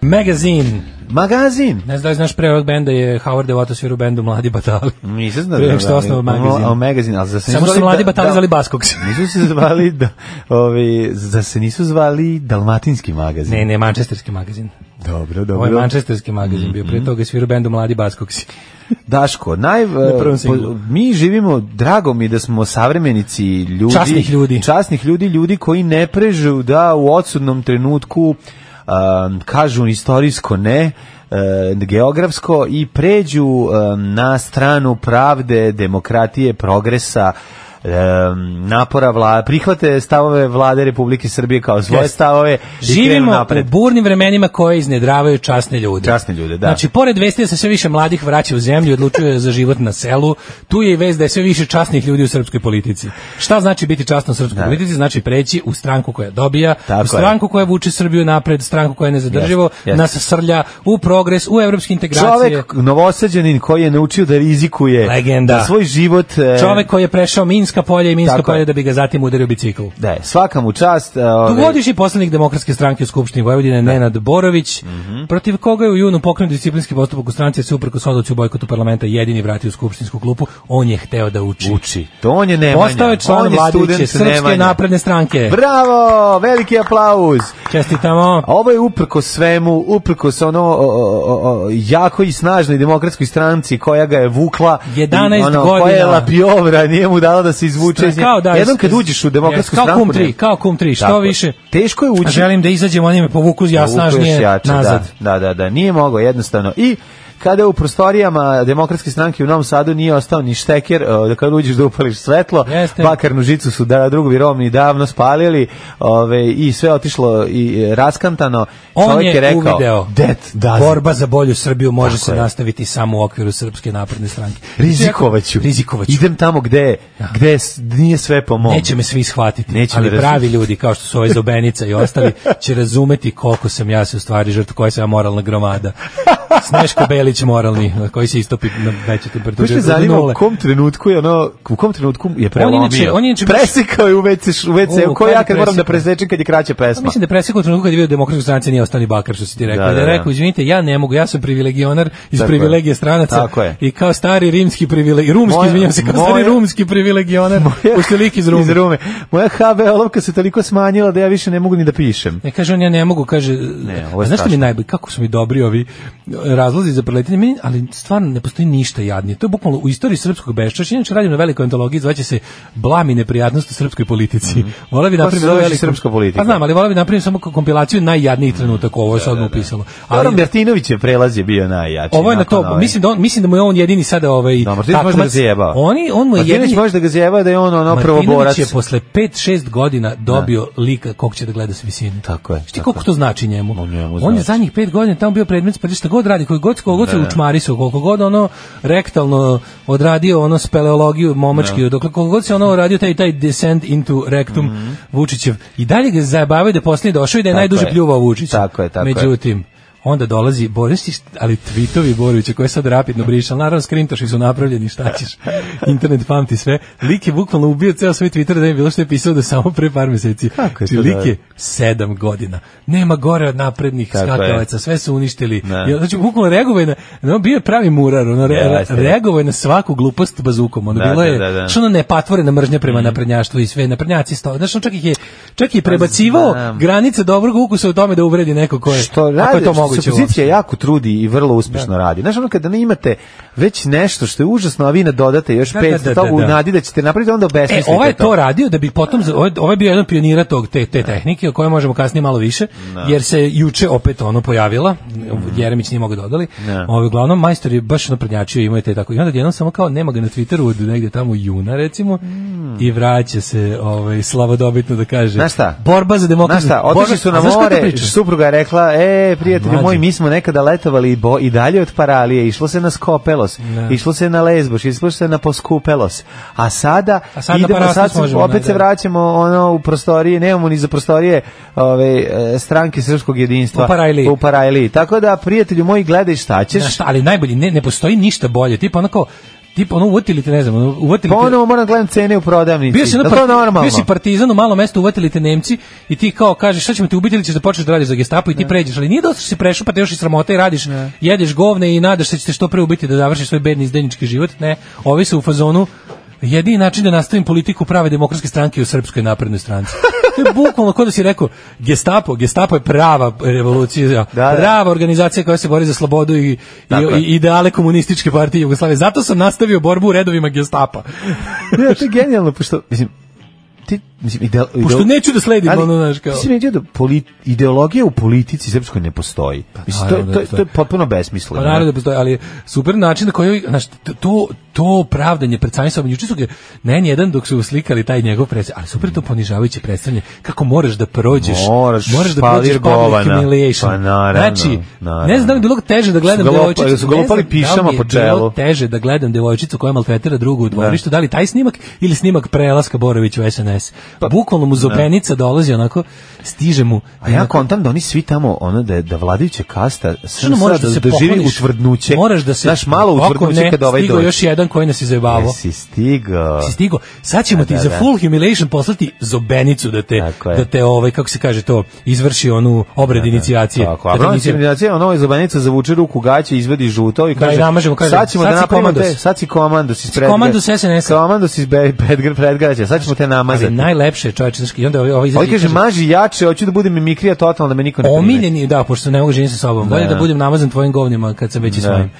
Speaker 6: Magazin.
Speaker 5: Magazin.
Speaker 6: Ne znam da li znaš pre ovog benda je Howard Devoto svira u bendu Mladi Batali.
Speaker 5: Nisam znao
Speaker 6: Pre
Speaker 5: da
Speaker 6: nego što osnovao magazin.
Speaker 5: O, magazin, ali zar se
Speaker 6: Samo
Speaker 5: nisu
Speaker 6: što
Speaker 5: zvali
Speaker 6: Mladi
Speaker 5: da-
Speaker 6: Batali
Speaker 5: da-
Speaker 6: zvali Baskoks.
Speaker 5: (laughs) Nisu se zvali, da, ovi, zar se nisu zvali dalmatinski magazin?
Speaker 6: Ne, ne, mančesterski magazin.
Speaker 5: Dobro, dobro. Mhm.
Speaker 6: Ovo je mančesterski magazin bio. Pre toga je svirao u bendu Mladi Baskoksi.
Speaker 5: Daško, naj, eh,
Speaker 6: prvom
Speaker 5: po-
Speaker 6: singlu.
Speaker 5: mi živimo, drago mi je da smo savremenici ljudi.
Speaker 6: Časnih ljudi.
Speaker 5: Časnih ljudi, ljudi koji ne prežu da u odsudnom trenutku um, kažu istorijsko ne, e, geografsko i pređu um, na stranu pravde, demokratije, progresa, um, napora vlade, prihvate stavove vlade Republike Srbije kao svoje
Speaker 6: Jeste.
Speaker 5: stavove i krenu
Speaker 6: Živimo
Speaker 5: napred.
Speaker 6: u burnim vremenima koje iznedravaju časne ljude.
Speaker 5: Časne ljude, da.
Speaker 6: Znači, pored vesti da se sve više mladih vraća u zemlju i odlučuje za život na selu, tu je i vez da je sve više časnih ljudi u srpskoj politici. Šta znači biti časno u srpskoj
Speaker 5: Da.
Speaker 6: politici? Znači preći u stranku koja dobija,
Speaker 5: Tako
Speaker 6: u
Speaker 5: je.
Speaker 6: stranku koja vuče Srbiju napred, stranku koja je nezadrživo,
Speaker 5: Jeste, jeste.
Speaker 6: nas srlja u progres, u evropske integracije.
Speaker 5: Čovek novosađanin koji je naučio da rizikuje
Speaker 6: Legenda.
Speaker 5: da svoj život e,
Speaker 6: Čovek koji je prešao Minska polja i Minska
Speaker 5: Tako
Speaker 6: polja
Speaker 5: je.
Speaker 6: da bi ga zatim udario bicikl.
Speaker 5: Da, je, svaka mu čast. e,
Speaker 6: Tu
Speaker 5: ovaj,
Speaker 6: vodiš i poslanik demokratske stranke u Skupštini Vojvodine, Nenad Borović,
Speaker 5: Mhm.
Speaker 6: protiv koga je u junu pokrenut disciplinski postupak u stranci, jer se uprkos odluci u bojkotu parlamenta jedini vratio u skupštinsku klupu, on je hteo da uči.
Speaker 5: uči. To on je Nemanja.
Speaker 6: Postao je član
Speaker 5: on je
Speaker 6: vladajuće
Speaker 5: student
Speaker 6: Srpske
Speaker 5: Nemanja.
Speaker 6: napredne stranke.
Speaker 5: Bravo, veliki aplauz.
Speaker 6: Čestitamo.
Speaker 5: A Ovo je uprko svemu, uprko s ono o, o, o, o, jako i snažnoj demokratskoj stranci koja ga je vukla. i
Speaker 6: 11
Speaker 5: ono, Koja je
Speaker 6: godina.
Speaker 5: lapiovra, nije mu dala da se izvuče. iz nje.
Speaker 6: Kao da,
Speaker 5: Jednom kad uđeš u demokratsku
Speaker 6: kao
Speaker 5: stranku...
Speaker 6: Kum tri,
Speaker 5: ne-
Speaker 6: kao kum tri, što
Speaker 5: Tako je.
Speaker 6: više.
Speaker 5: Teško je ući.
Speaker 6: Želim da izađem, oni me povuku ja
Speaker 5: Vuku još
Speaker 6: snažnije
Speaker 5: jače,
Speaker 6: nazad.
Speaker 5: Da, da, da, da, nije mogao jednostavno. I kada u prostorijama demokratske stranke u Novom Sadu nije ostao ni šteker, e, da kad uđeš da upališ svetlo,
Speaker 6: Jeste.
Speaker 5: bakarnu žicu su da drugovi Romni davno spalili ove, i sve otišlo i e, raskantano.
Speaker 6: On
Speaker 5: Čovjek
Speaker 6: je,
Speaker 5: rekao,
Speaker 6: uvideo
Speaker 5: "That doesn't (laughs)
Speaker 6: borba za bolju Srbiju može
Speaker 5: Tako
Speaker 6: se
Speaker 5: je.
Speaker 6: nastaviti samo u okviru Srpske napredne stranke. Znači,
Speaker 5: Rizikovaću.
Speaker 6: (laughs) Rizikovaću.
Speaker 5: Idem tamo gde, gde s- nije sve po mom.
Speaker 6: Neće me svi shvatiti,
Speaker 5: Neće
Speaker 6: ali
Speaker 5: me razumeti.
Speaker 6: pravi ljudi kao što su ovaj Zobenica i
Speaker 5: (laughs)
Speaker 6: ostali će razumeti koliko sam ja se u stvari žrtva, koja sam ja moralna gromada. Sneško Belić moralni, koji se istopi na većoj temperaturi.
Speaker 5: Baš me
Speaker 6: do
Speaker 5: zanima u
Speaker 6: nule.
Speaker 5: kom trenutku je ono, u kom trenutku je prelomio.
Speaker 6: inače- on inače-
Speaker 5: presekao je u WC, u WC,
Speaker 6: U,
Speaker 5: ko
Speaker 6: kad
Speaker 5: ja
Speaker 6: je
Speaker 5: kad moram
Speaker 6: presekao?
Speaker 5: da presečem kad je kraća
Speaker 6: Pa
Speaker 5: pesma.
Speaker 6: Mislim da je presekao u trenutku kad je vidio demokratsku stranicu nije ostani bakar što si ti rekao. Da,
Speaker 5: Da, da, da.
Speaker 6: je rekao, izvinite, ja ne mogu, ja sam privilegionar iz
Speaker 5: Tako je.
Speaker 6: privilegije stranaca.
Speaker 5: Tako je.
Speaker 6: I kao stari rimski privilegionar, rumski,
Speaker 5: Moja-
Speaker 6: izvinjam se, kao stari
Speaker 5: moja-
Speaker 6: rumski privilegionar, pošto je lik iz Rume.
Speaker 5: Iz Rume. Moja HB olovka se toliko smanjila da ja više ne mogu ni da pišem.
Speaker 6: Ne kaže on ja ne mogu, kaže
Speaker 5: Ne, ovo
Speaker 6: a znaš
Speaker 5: je
Speaker 6: što mi
Speaker 5: strašno.
Speaker 6: najbolje kako su mi dobri ovi e, razlozi za preletanje meni, ali stvarno ne postoji ništa jadnije. To je bukvalno u istoriji srpskog beščašća. Inače radim na velikoj antologiji, zvaće se Blami neprijatnost u srpskoj politici. Mm -hmm. Vola bi
Speaker 5: Mhm. Pa se
Speaker 6: napraviti
Speaker 5: zove
Speaker 6: veliku-
Speaker 5: srpska politika.
Speaker 6: Pa znam, ali vola bi napraviti samo kompilaciju najjadnijih trenutaka, ovo je sad mu upisalo.
Speaker 5: Goran
Speaker 6: Ali
Speaker 5: Bertinović je prelazio bio najjači.
Speaker 6: ovo je na
Speaker 5: nakon ovaj.
Speaker 6: to,
Speaker 5: ove.
Speaker 6: mislim da on mislim da mu je on jedini sada ovaj
Speaker 5: Da, Martinović može da ga
Speaker 6: takmac.
Speaker 5: zajebava.
Speaker 6: Oni on mu je
Speaker 5: Martinović
Speaker 6: jedini
Speaker 5: može da ga zjebava da je on ono prvo borac.
Speaker 6: Martinović je posle 5-6 godina dobio lika kog će da gleda s visine.
Speaker 5: Tako je,
Speaker 6: Znaš ti
Speaker 5: tako
Speaker 6: koliko to znači njemu?
Speaker 5: On njemu
Speaker 6: On je
Speaker 5: znači.
Speaker 6: zadnjih 5 godina tamo bio predmet spredi šta god radi, koji god, koliko god se učmari su, koliko god ono rektalno odradio ono speleologiju momački, dokle koliko god se ono radio taj taj descent into rectum Vučićev. I dalje ga zajebavaju da je posljednji došao i da je
Speaker 5: Mhm. Tako
Speaker 6: najduže
Speaker 5: je.
Speaker 6: pljuvao Vučića.
Speaker 5: Tako je, tako je.
Speaker 6: Međutim, onda dolazi Boris, i št- ali tvitovi Borovića koje sad rapidno brišem, naravno skrintoši su napravljeni, šta
Speaker 5: (laughs)
Speaker 6: ćeš, internet pamti sve. Lik je bukvalno ubio ceo svoj Twitter da je bilo što je pisao da samo pre par meseci.
Speaker 5: Kako je
Speaker 6: Znači,
Speaker 5: to
Speaker 6: lik
Speaker 5: dobro?
Speaker 6: je sedam godina. Nema gore od naprednih
Speaker 5: Tako je.
Speaker 6: skakavaca, sve su uništili.
Speaker 5: Da.
Speaker 6: Ja, znači, bukvalno reagovao je na, no, bio je pravi murar, ono, re,
Speaker 5: Jeste, jeste.
Speaker 6: reagovao je na svaku glupost bazukom. Ono,
Speaker 5: Da,
Speaker 6: bilo
Speaker 5: da,
Speaker 6: je,
Speaker 5: da, Mhm. da.
Speaker 6: što ono nepatvorena mržnja prema naprednjaštvu i sve, naprednjaci sto. Znači, on čak ih je, čak i prebacivao
Speaker 5: Pa znam.
Speaker 6: granice dobrog ukusa u tome da uvredi neko ko je
Speaker 5: što
Speaker 6: ako
Speaker 5: radi,
Speaker 6: je to
Speaker 5: što
Speaker 6: moguće
Speaker 5: opozicija
Speaker 6: uopšte.
Speaker 5: jako trudi i vrlo uspešno radi. Znaš, ono kada ne imate već nešto što je užasno, a vi nadodate još
Speaker 6: Da,
Speaker 5: pet
Speaker 6: da, da,
Speaker 5: to u
Speaker 6: da.
Speaker 5: nadi da ćete napraviti, onda
Speaker 6: E,
Speaker 5: obesmislite
Speaker 6: ovaj je to radio da bi potom, za- ovaj, ovaj je bio jedan od pionira tog, te, te tehnike, o kojoj možemo kasnije malo više, jer se juče opet ono pojavila, Jeremić nije mogao dodali,
Speaker 5: Ne.
Speaker 6: ovaj, uglavnom majstor je baš ono prednjačio, imao je te tako, i onda jednom samo kao, nema ga na Twitteru od negde tamo juna recimo, i vraća se ovaj, slavodobitno da kaže,
Speaker 5: Hmm. Znaš šta?
Speaker 6: borba za
Speaker 5: Znaš
Speaker 6: demokratiju.
Speaker 5: šta, otišli su na more, supruga je rekla, e, prijatelji
Speaker 6: Mlađe.
Speaker 5: moji, mi smo nekada letovali i, bo, i dalje od paralije, išlo se na Skopelos,
Speaker 6: Da.
Speaker 5: išlo se na Lesbos, išlo se na Poskupelos, a sada,
Speaker 6: A sad na
Speaker 5: idemo,
Speaker 6: Parastos
Speaker 5: sad se-
Speaker 6: možemo,
Speaker 5: opet
Speaker 6: ne,
Speaker 5: se
Speaker 6: da.
Speaker 5: vraćamo ono, u prostorije, nemamo ni za prostorije ove, e, stranke srpskog jedinstva.
Speaker 6: U Parajliji.
Speaker 5: U Parajliji. Tako da, prijatelju moji, gledaj šta ćeš,
Speaker 6: Znaš šta, ali najbolji, ne, ne postoji ništa bolje, tipa onako, tipa ono uvotili te, ne znam, ono, uvotili te,
Speaker 5: ponovo moram gledam cene u prodavnici.
Speaker 6: Bio si,
Speaker 5: Jel
Speaker 6: na
Speaker 5: to
Speaker 6: part-
Speaker 5: normalno?
Speaker 6: bio si pa- partizan u malo mesto, uvatili te Nemci i ti kao kažeš šta ćemo te ubiti ili ćeš da počneš da radiš za gestapo i ti pređeš, ali nije dosta što si prešao pa te još i sramota i radiš, jedeš govne i nadaš se da ćete što pre ubiti da završiš svoj bedni izdenički život, ne, ovi su u fazonu jedini način da nastavim politiku prave demokratske stranke u srpskoj naprednoj stranci. (laughs) To je bukvalno kao da si rekao gestapo, gestapo je prava revolucija,
Speaker 5: Da, da.
Speaker 6: prava organizacija koja se bori za slobodu i, i,
Speaker 5: Tako je.
Speaker 6: i ideale komunističke partije Jugoslavije. Zato sam nastavio borbu u redovima gestapa.
Speaker 5: (laughs) Ne, to je genijalno, pošto, mislim, ti, mislim, ideal,
Speaker 6: Pošto
Speaker 5: ideal-
Speaker 6: neću da sledim,
Speaker 5: Ali,
Speaker 6: ono, znaš, kao...
Speaker 5: mislim, vidio da poli- ideologija u politici srpskoj ne postoji. mislim,
Speaker 6: Pa
Speaker 5: to, je-
Speaker 6: naravno da
Speaker 5: to, je- to je
Speaker 6: postoji.
Speaker 5: potpuno besmisleno.
Speaker 6: Pa naravno da postoji, ali super način na koji, znaš, t- to, to pravdanje pred samim sobom, juče su ga, ne jedan dok su slikali taj njegov predstav, ali super to ponižavajuće predstavljanje, kako moraš da prođeš,
Speaker 5: Moraš,
Speaker 6: da
Speaker 5: špalir
Speaker 6: prođeš
Speaker 5: govana.
Speaker 6: public humiliation.
Speaker 5: Pa naravno,
Speaker 6: znači, ne
Speaker 5: naravno.
Speaker 6: znam da mi je bilo teže da gledam
Speaker 5: Su ga lopali-
Speaker 6: devojčicu,
Speaker 5: su ga lopali
Speaker 6: ne znam da mi je
Speaker 5: pišama
Speaker 6: bilo
Speaker 5: po čelu.
Speaker 6: teže da gledam devojčicu koja maltretira drugu u dvorištu, da. li taj snimak ili snimak prelaska Borović u SNS.
Speaker 5: Pa-
Speaker 6: Bukvalno mu zobenica dolazi onako, stiže mu.
Speaker 5: A ja kontam da oni svi tamo, ono, da, da vladajuća kasta,
Speaker 6: Što
Speaker 5: sve
Speaker 6: Ono
Speaker 5: ono
Speaker 6: moraš da, se
Speaker 5: da živi
Speaker 6: pokloniš?
Speaker 5: utvrdnuće.
Speaker 6: Moraš da se
Speaker 5: Znaš, malo
Speaker 6: Ako
Speaker 5: utvrdnuće
Speaker 6: ne,
Speaker 5: kada ovaj
Speaker 6: stigao
Speaker 5: dođe.
Speaker 6: još jedan koji nas je zajebavao.
Speaker 5: Jesi stigao.
Speaker 6: Si stigo. Sad ćemo ti
Speaker 5: da,
Speaker 6: za
Speaker 5: da.
Speaker 6: full humiliation poslati zobenicu da te
Speaker 5: Tako je.
Speaker 6: da te ovaj kako se kaže to izvrši onu obred inicijacije.
Speaker 5: Tako, a
Speaker 6: Da te
Speaker 5: Bronić
Speaker 6: inicijira.
Speaker 5: Ignacij, ono je zobanica zavuče ruku gaće, izvedi žuto i
Speaker 6: Da,
Speaker 5: kaže,
Speaker 6: i namažemo, kaže,
Speaker 5: sad ćemo
Speaker 6: sad
Speaker 5: da
Speaker 6: si Znači,
Speaker 5: napravimo te,
Speaker 6: komandos.
Speaker 5: sad si komandos iz predgrađa.
Speaker 6: komandos SNS-a.
Speaker 5: Komandos iz be- predgra- predgrađa, sad ćemo te
Speaker 6: Ali
Speaker 5: namazati.
Speaker 6: najlepše je čoveče, znaš, i onda ovaj, ovaj izađe
Speaker 5: Ovo
Speaker 6: i
Speaker 5: kaže, maži jače, hoću da budem mimikrija totalno, da me niko ne primeti.
Speaker 6: Omiljeni, da, pošto ne mogu živjeti sa sobom. Bolje da budem namazan tvojim govnima kad sam već i svojim.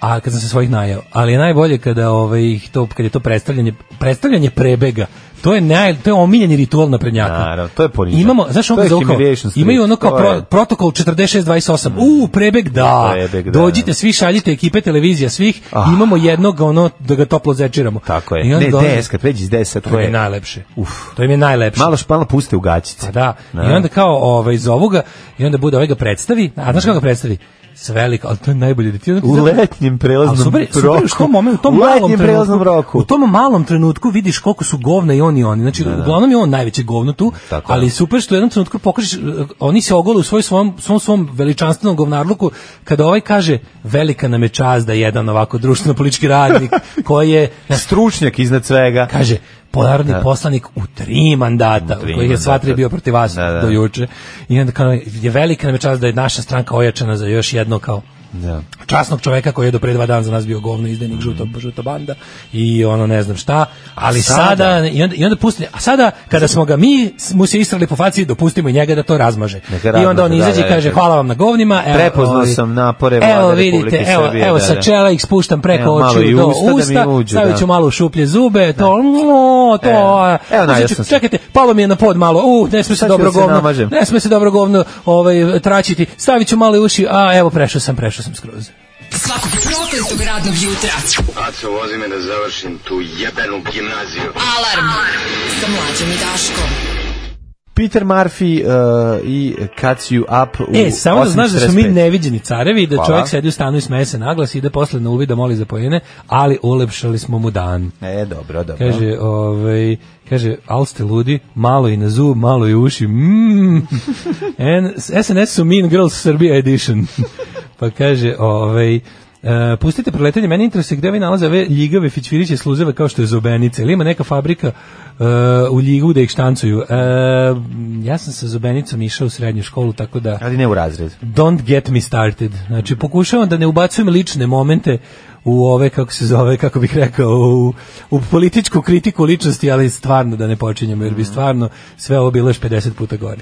Speaker 6: A kad sam se svojih najao. Ali je najbolje kada ovaj ih to kad je to predstavljanje predstavljanje prebega. To je naj to je omiljeni ritual na prednjaku.
Speaker 5: Naravno, to je ponižavanje.
Speaker 6: Imamo, znaš, on
Speaker 5: To je
Speaker 6: kao,
Speaker 5: humiliation street,
Speaker 6: imaju ono kao
Speaker 5: to
Speaker 6: pro-
Speaker 5: je. Mm.
Speaker 6: protokol 4628. U, prebeg da.
Speaker 5: Prebeg, da,
Speaker 6: Dođite
Speaker 5: da.
Speaker 6: svi, šaljite ekipe televizija svih. Imamo jednog ono da ga toplo zečiramo.
Speaker 5: Tako je.
Speaker 6: I onda
Speaker 5: Ne,
Speaker 6: dolazi-
Speaker 5: DS, kad pređi iz DS, to
Speaker 6: To
Speaker 5: je
Speaker 6: je najlepše. Uf, to im je najlepše.
Speaker 5: malo špalno puste u gaćice.
Speaker 6: Pa da. I onda kao ovaj iz ovoga i onda bude ovaj ga predstavi. A znaš kako ga predstavi? S veliko, ali to je najbolje da ti onako-
Speaker 5: U letnjem
Speaker 6: Ali
Speaker 5: prelaznom
Speaker 6: super, super,
Speaker 5: roku.
Speaker 6: u tom momentu, u tom
Speaker 5: U
Speaker 6: malom
Speaker 5: letnjem prelaznom
Speaker 6: trenutku,
Speaker 5: roku.
Speaker 6: u tom malom trenutku vidiš koliko su govna i oni i oni. Znači, uglavnom je on najveće govno tu,
Speaker 5: Tako je.
Speaker 6: ali super što u jednom trenutku pokažeš, eh, oni se ogole u svoj svom, svom, svom veličanstvenom govnarluku, kada ovaj kaže, velika nam je čast da jedan ovako društveno-politički
Speaker 5: (laughs)
Speaker 6: radnik, koji je na
Speaker 5: Stručnjak iznad svega.
Speaker 6: kaže polarni poslanik u tri mandata,
Speaker 5: U
Speaker 6: u
Speaker 5: tri
Speaker 6: kojih je sva tri
Speaker 5: mandata.
Speaker 6: bio protiv vas
Speaker 5: Da, da.
Speaker 6: do juče. I onda kao, je velika nam je čast da je naša stranka ojačana za još jedno kao
Speaker 5: Da.
Speaker 6: časnog čoveka koji je do pre dva dana za nas bio govno
Speaker 5: Mhm.
Speaker 6: izdenik žuto, žuto banda i ono ne znam šta, ali
Speaker 5: sada?
Speaker 6: sada, i, onda, i onda pustili, a sada kada smo ga mi s- mu se istrali po faciji, dopustimo i njega da to razmaže.
Speaker 5: Neka
Speaker 6: I onda on
Speaker 5: razmaže, da,
Speaker 6: izađe
Speaker 5: da,
Speaker 6: i
Speaker 5: da,
Speaker 6: kaže
Speaker 5: da.
Speaker 6: hvala vam na govnima. Evo,
Speaker 5: Prepoznao
Speaker 6: ovaj,
Speaker 5: sam napore
Speaker 6: Evo
Speaker 5: Vlade
Speaker 6: vidite,
Speaker 5: Republike
Speaker 6: evo,
Speaker 5: Srbije,
Speaker 6: evo
Speaker 5: da,
Speaker 6: sa
Speaker 5: da.
Speaker 6: čela ih spuštam preko
Speaker 5: Evo, malo i
Speaker 6: očiju do
Speaker 5: usta da mi
Speaker 6: usta,
Speaker 5: uđu,
Speaker 6: stavit ću
Speaker 5: da.
Speaker 6: malo u šuplje zube, to o, to.
Speaker 5: Evo,
Speaker 6: a,
Speaker 5: evo, najasno
Speaker 6: uzet ću-
Speaker 5: sam.
Speaker 6: Čekajte, palo mi je na pod malo. U, ne sme se
Speaker 5: Sad ću
Speaker 6: dobro
Speaker 5: da se
Speaker 6: govno.
Speaker 5: namažem.
Speaker 6: Ne sme se dobro govno, ovaj tračiti. Stavit ću male uši. A evo prešao sam, prešao sam skroz.
Speaker 4: Svakog prokletog radnog jutra.
Speaker 1: Aco, vozi me da završim tu jebenu gimnaziju.
Speaker 4: Alarm. Sa mlađom i Daškom.
Speaker 5: Peter Murphy uh, i Cuts You Up u
Speaker 6: E, samo da znaš da smo mi
Speaker 5: 8.45.
Speaker 6: neviđeni carevi, da
Speaker 5: Hvala.
Speaker 6: čovjek sedi u stanu i smeje se naglas, ide posle na uvid da moli za pojene, ali ulepšali smo mu dan.
Speaker 5: E, dobro, dobro.
Speaker 6: Kaže, ovaj, kaže, al ste ludi, malo i na zub, malo i u uši, mm. En- SNS su Mean Girls Serbia Edition. (laughs) pa kaže, ovaj, e, pustite preletanje, mene interesuje gde vi nalaze ove ljigave fićviriće sluzeve kao što je Zobenice. Ili ima neka fabrika e, u ljigu da ih štancuju? E, ja sam sa Zobenicom išao u srednju školu, tako da...
Speaker 5: Ali ne u razred.
Speaker 6: Don't get me started. Znači, pokušavam da ne ubacujem lične momente u ove, kako se zove, kako bih rekao, u, u političku kritiku ličnosti, ali stvarno da ne počinjemo, jer bi stvarno sve ovo bilo još 50 puta gore.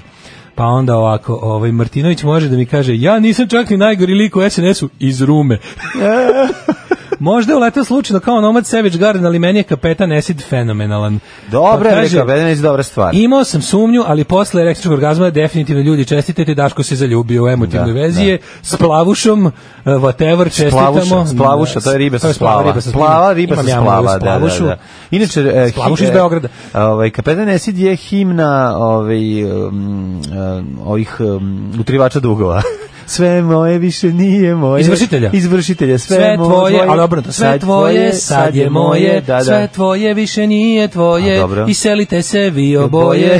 Speaker 6: Pa onda ovako, ovaj Martinović može da mi kaže, ja nisam čak ni najgori lik u SNS-u iz Rume. Možda je uletao slučajno kao nomad Savage Garden, ali meni je kapetan Esid fenomenalan.
Speaker 5: Dobro,
Speaker 6: Pa
Speaker 5: je
Speaker 6: kaže,
Speaker 5: rekao, Bedene je dobra stvar.
Speaker 6: Imao sam sumnju, ali posle električnog orgazma definitivno ljudi čestitete, Daško se zaljubio u emotivnoj
Speaker 5: Da,
Speaker 6: vezi je s plavušom, e, whatever, čestitamo.
Speaker 5: Splavuša, splavuša, to je riba sa splava.
Speaker 6: riba sa
Speaker 5: Plava riba sa
Speaker 6: Imam ja
Speaker 5: splava,
Speaker 6: moju
Speaker 5: da, da,
Speaker 6: splavušu.
Speaker 5: da. Inače, e, hi-
Speaker 6: Splavuš iz
Speaker 5: e,
Speaker 6: Beograda.
Speaker 5: Ovaj, Kapetan Esid je himna ovaj, um, um, ovih um, utrivača dugova. (laughs) Sve moje više nije moje.
Speaker 6: Izvršitelja.
Speaker 5: Izvršitelja. Sve,
Speaker 6: Sve
Speaker 5: mo-
Speaker 6: tvoje, ali obrnuto, sve
Speaker 5: sad
Speaker 6: tvoje, sad je moje,
Speaker 5: Da, da.
Speaker 6: sve tvoje više nije
Speaker 5: A,
Speaker 6: tvoje,
Speaker 5: dobro.
Speaker 6: i selite se vi
Speaker 5: Oboje.
Speaker 6: oboje,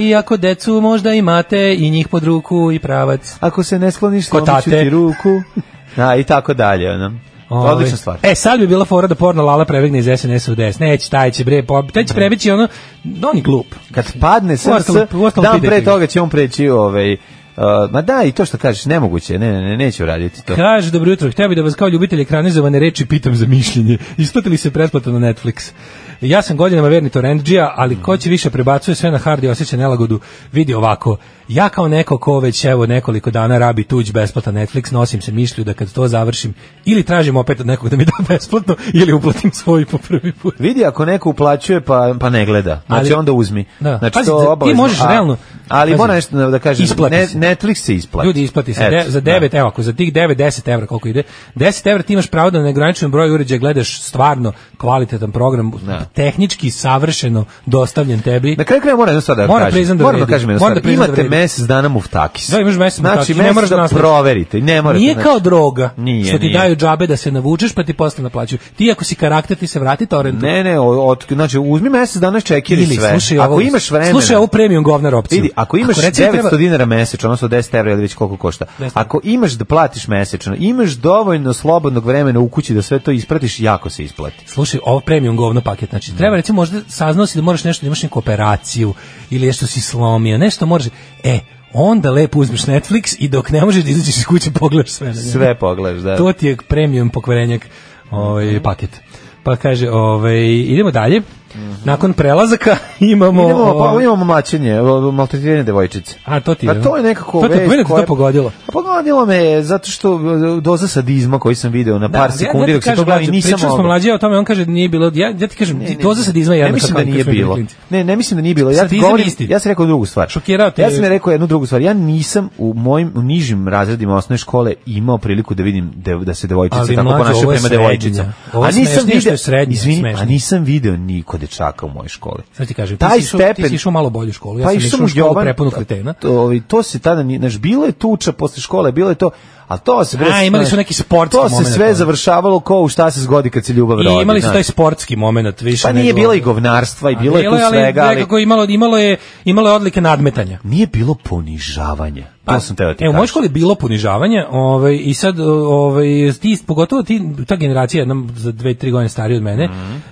Speaker 6: i ako decu možda imate, i njih pod ruku i pravac.
Speaker 5: Ako se ne skloniš, slomit ću
Speaker 6: Kotate.
Speaker 5: ti
Speaker 6: (laughs)
Speaker 5: ruku. A, I tako dalje. Ono.
Speaker 6: Ovaj.
Speaker 5: Odlična stvar.
Speaker 6: E, sad bi bila fora da porno Lala prebegne iz SNS-a u DS. Neće, taj će, bre, po- taj će prebeći ono, on je glup.
Speaker 5: kad padne SNS,
Speaker 6: Uostalom- uostalom
Speaker 5: dan
Speaker 6: pitajte
Speaker 5: pre
Speaker 6: ga.
Speaker 5: toga će on preći ovaj, uh, ma da, i to što kažeš, nemoguće, ne, ne, ne, neću raditi to.
Speaker 6: Kaže, dobro jutro, htio bi da vas kao ljubitelj ekranizovane reči pitam za mišljenje. Isplati li se pretplata na Netflix? Ja sam godinama verni torrentđija, ali
Speaker 5: Mm.
Speaker 6: ko će više prebacuje sve na hard i osjeća nelagodu, vidi ovako. Ja kao neko ko već evo nekoliko dana rabi tuđ besplatan Netflix, nosim se mišlju da kad to završim ili tražim opet od nekog da (laughs) mi da besplatno ili uplatim svoj po prvi put.
Speaker 5: Vidi ako neko uplaćuje pa pa ne gleda. Znači
Speaker 6: Ali-
Speaker 5: onda uzmi.
Speaker 6: Da.
Speaker 5: Znači
Speaker 6: Pazi,
Speaker 5: to
Speaker 6: da- ti
Speaker 5: obavezno.
Speaker 6: možeš
Speaker 5: A-
Speaker 6: realno-
Speaker 5: Ali
Speaker 6: Pazi.
Speaker 5: mora nešto da kažem.
Speaker 6: Isplati
Speaker 5: Ne,
Speaker 6: se.
Speaker 5: Netflix se isplati.
Speaker 6: Ljudi isplati se
Speaker 5: Eto,
Speaker 6: De- za 9 evo ako za tih 9 10 evra koliko ide 10 evra ti imaš pravo da na neograničen broj uređaja gledaš stvarno kvalitetan program
Speaker 5: Da.
Speaker 6: tehnički savršeno dostavljen tebi
Speaker 5: Na kraju kraja moram jednu stvar da
Speaker 6: Moram
Speaker 5: kažem.
Speaker 6: priznam da
Speaker 5: moram da
Speaker 6: vredi.
Speaker 5: kažem jednu
Speaker 6: Moram
Speaker 5: stvar.
Speaker 6: da priznam da
Speaker 5: Imate
Speaker 6: vredi.
Speaker 5: mesec dana muftakis.
Speaker 6: Da, imaš mesec
Speaker 5: znači,
Speaker 6: muftakis, ne
Speaker 5: mesec
Speaker 6: moraš da
Speaker 5: da
Speaker 6: nastaviš.
Speaker 5: proverite. i Ne morate.
Speaker 6: Nije
Speaker 5: znači-
Speaker 6: kao droga
Speaker 5: Nije,
Speaker 6: što ti
Speaker 5: nije.
Speaker 6: daju džabe da se navučeš pa ti posle naplaćuju. Ti ako si karakter ti se vrati torrentu.
Speaker 5: Ne, ne, o- od, znači uzmi mesec dana čekiri
Speaker 6: Ili,
Speaker 5: sve.
Speaker 6: slušaj
Speaker 5: ako
Speaker 6: ovo-
Speaker 5: imaš vremena.
Speaker 6: slušaj ovu premium govnar opciju.
Speaker 5: Vidi, ako imaš
Speaker 6: Ako recimo
Speaker 5: 900
Speaker 6: treba-
Speaker 5: dinara mesečno, odnosno 10 evra ili već koliko košta.
Speaker 6: 10
Speaker 5: Ako imaš da platiš mesečno, imaš dovoljno slobodnog vremena u kući da sve to ispratiš, jako se isplati.
Speaker 6: Slušaj, ovo premium govno paket, znači treba recimo možda saznao si da moraš nešto, da imaš neku operaciju ili nešto si slomio, nešto moraš, e, onda lepo uzmeš Netflix i dok ne možeš da izađeš iz kuće pogledaš sve na njemu.
Speaker 5: Sve pogledaš, da.
Speaker 6: To ti je premium pokvarenjak ovaj,
Speaker 5: Mhm.
Speaker 6: paket. Pa kaže, ovaj, idemo dalje. Nakon prelazaka (laughs) imamo...
Speaker 5: Idemo, pa
Speaker 6: ovaj,
Speaker 5: imamo mlačenje, maltretiranje devojčice.
Speaker 6: A, to ti je,
Speaker 5: A to je
Speaker 6: da?
Speaker 5: nekako
Speaker 6: To te-
Speaker 5: vest
Speaker 6: mene te to
Speaker 5: koja-
Speaker 6: pogodilo.
Speaker 5: A pogodilo me je zato što e, doza sadizma koju sam video na par
Speaker 6: ali ja-
Speaker 5: sekundi
Speaker 6: ja ti
Speaker 5: dok se to
Speaker 6: kažem,
Speaker 5: gleda i
Speaker 6: mlađe,
Speaker 5: nisam
Speaker 6: Pričali smo
Speaker 5: mogao.
Speaker 6: mlađe o tome, on kaže nije bilo, ja, ja ti kažem, znači,
Speaker 5: Ne, ne,
Speaker 6: doza sadizma je
Speaker 5: ne
Speaker 6: jednako
Speaker 5: mislim da
Speaker 6: kao
Speaker 5: nije
Speaker 6: kad smo bili
Speaker 5: bilo.
Speaker 6: klinci.
Speaker 5: Ne, ne mislim da nije bilo. Ja ti
Speaker 6: Sadizam je
Speaker 5: govorim,
Speaker 6: isti.
Speaker 5: ja sam rekao drugu stvar.
Speaker 6: Šokirao te
Speaker 5: Ja
Speaker 6: je.
Speaker 5: sam rekao jednu drugu stvar. Ja nisam u mojim u nižim razredima osnovne škole imao priliku da vidim da, da se devojčice
Speaker 6: Ali,
Speaker 5: tako
Speaker 6: mlađe,
Speaker 5: ponašaju
Speaker 6: ovo je
Speaker 5: prema
Speaker 6: srednje.
Speaker 5: devojčicama.
Speaker 6: Ovo je smešnije što je srednje,
Speaker 5: izvini, a
Speaker 6: smešnije.
Speaker 5: nisam video ni kod dečaka u mojoj školi.
Speaker 6: Sad ti kažem, ti
Speaker 5: Taj
Speaker 6: si išao- ti
Speaker 5: stepen
Speaker 6: si išao u malo bolju školu, ja
Speaker 5: pa
Speaker 6: sam
Speaker 5: išao
Speaker 6: išao u
Speaker 5: sam u
Speaker 6: školu
Speaker 5: Jovan-
Speaker 6: prepunu kretena.
Speaker 5: To, ovaj, to se tada, ni- znaš, bilo je tuča posle škole, bilo je to, a to se... bre,
Speaker 6: A, imali su
Speaker 5: znaš,
Speaker 6: neki sportski
Speaker 5: To se
Speaker 6: moment,
Speaker 5: sve
Speaker 6: ono.
Speaker 5: završavalo ko u šta se zgodi kad se ljubav rodi.
Speaker 6: I imali su
Speaker 5: znaš.
Speaker 6: taj sportski moment više.
Speaker 5: Pa nije
Speaker 6: nego-
Speaker 5: bilo i govnarstva i bilo je tu svega, ali...
Speaker 6: nekako imalo, imalo, je, imalo je odlike nadmetanja.
Speaker 5: Nije bilo ponižavanja. To sam teo ti
Speaker 6: E, u mojoj
Speaker 5: kažem.
Speaker 6: školi je bilo ponižavanje, ovaj, i sad, ovaj, ti, pogotovo ti, ta generacija jedna za dve, tri godine starija od mene,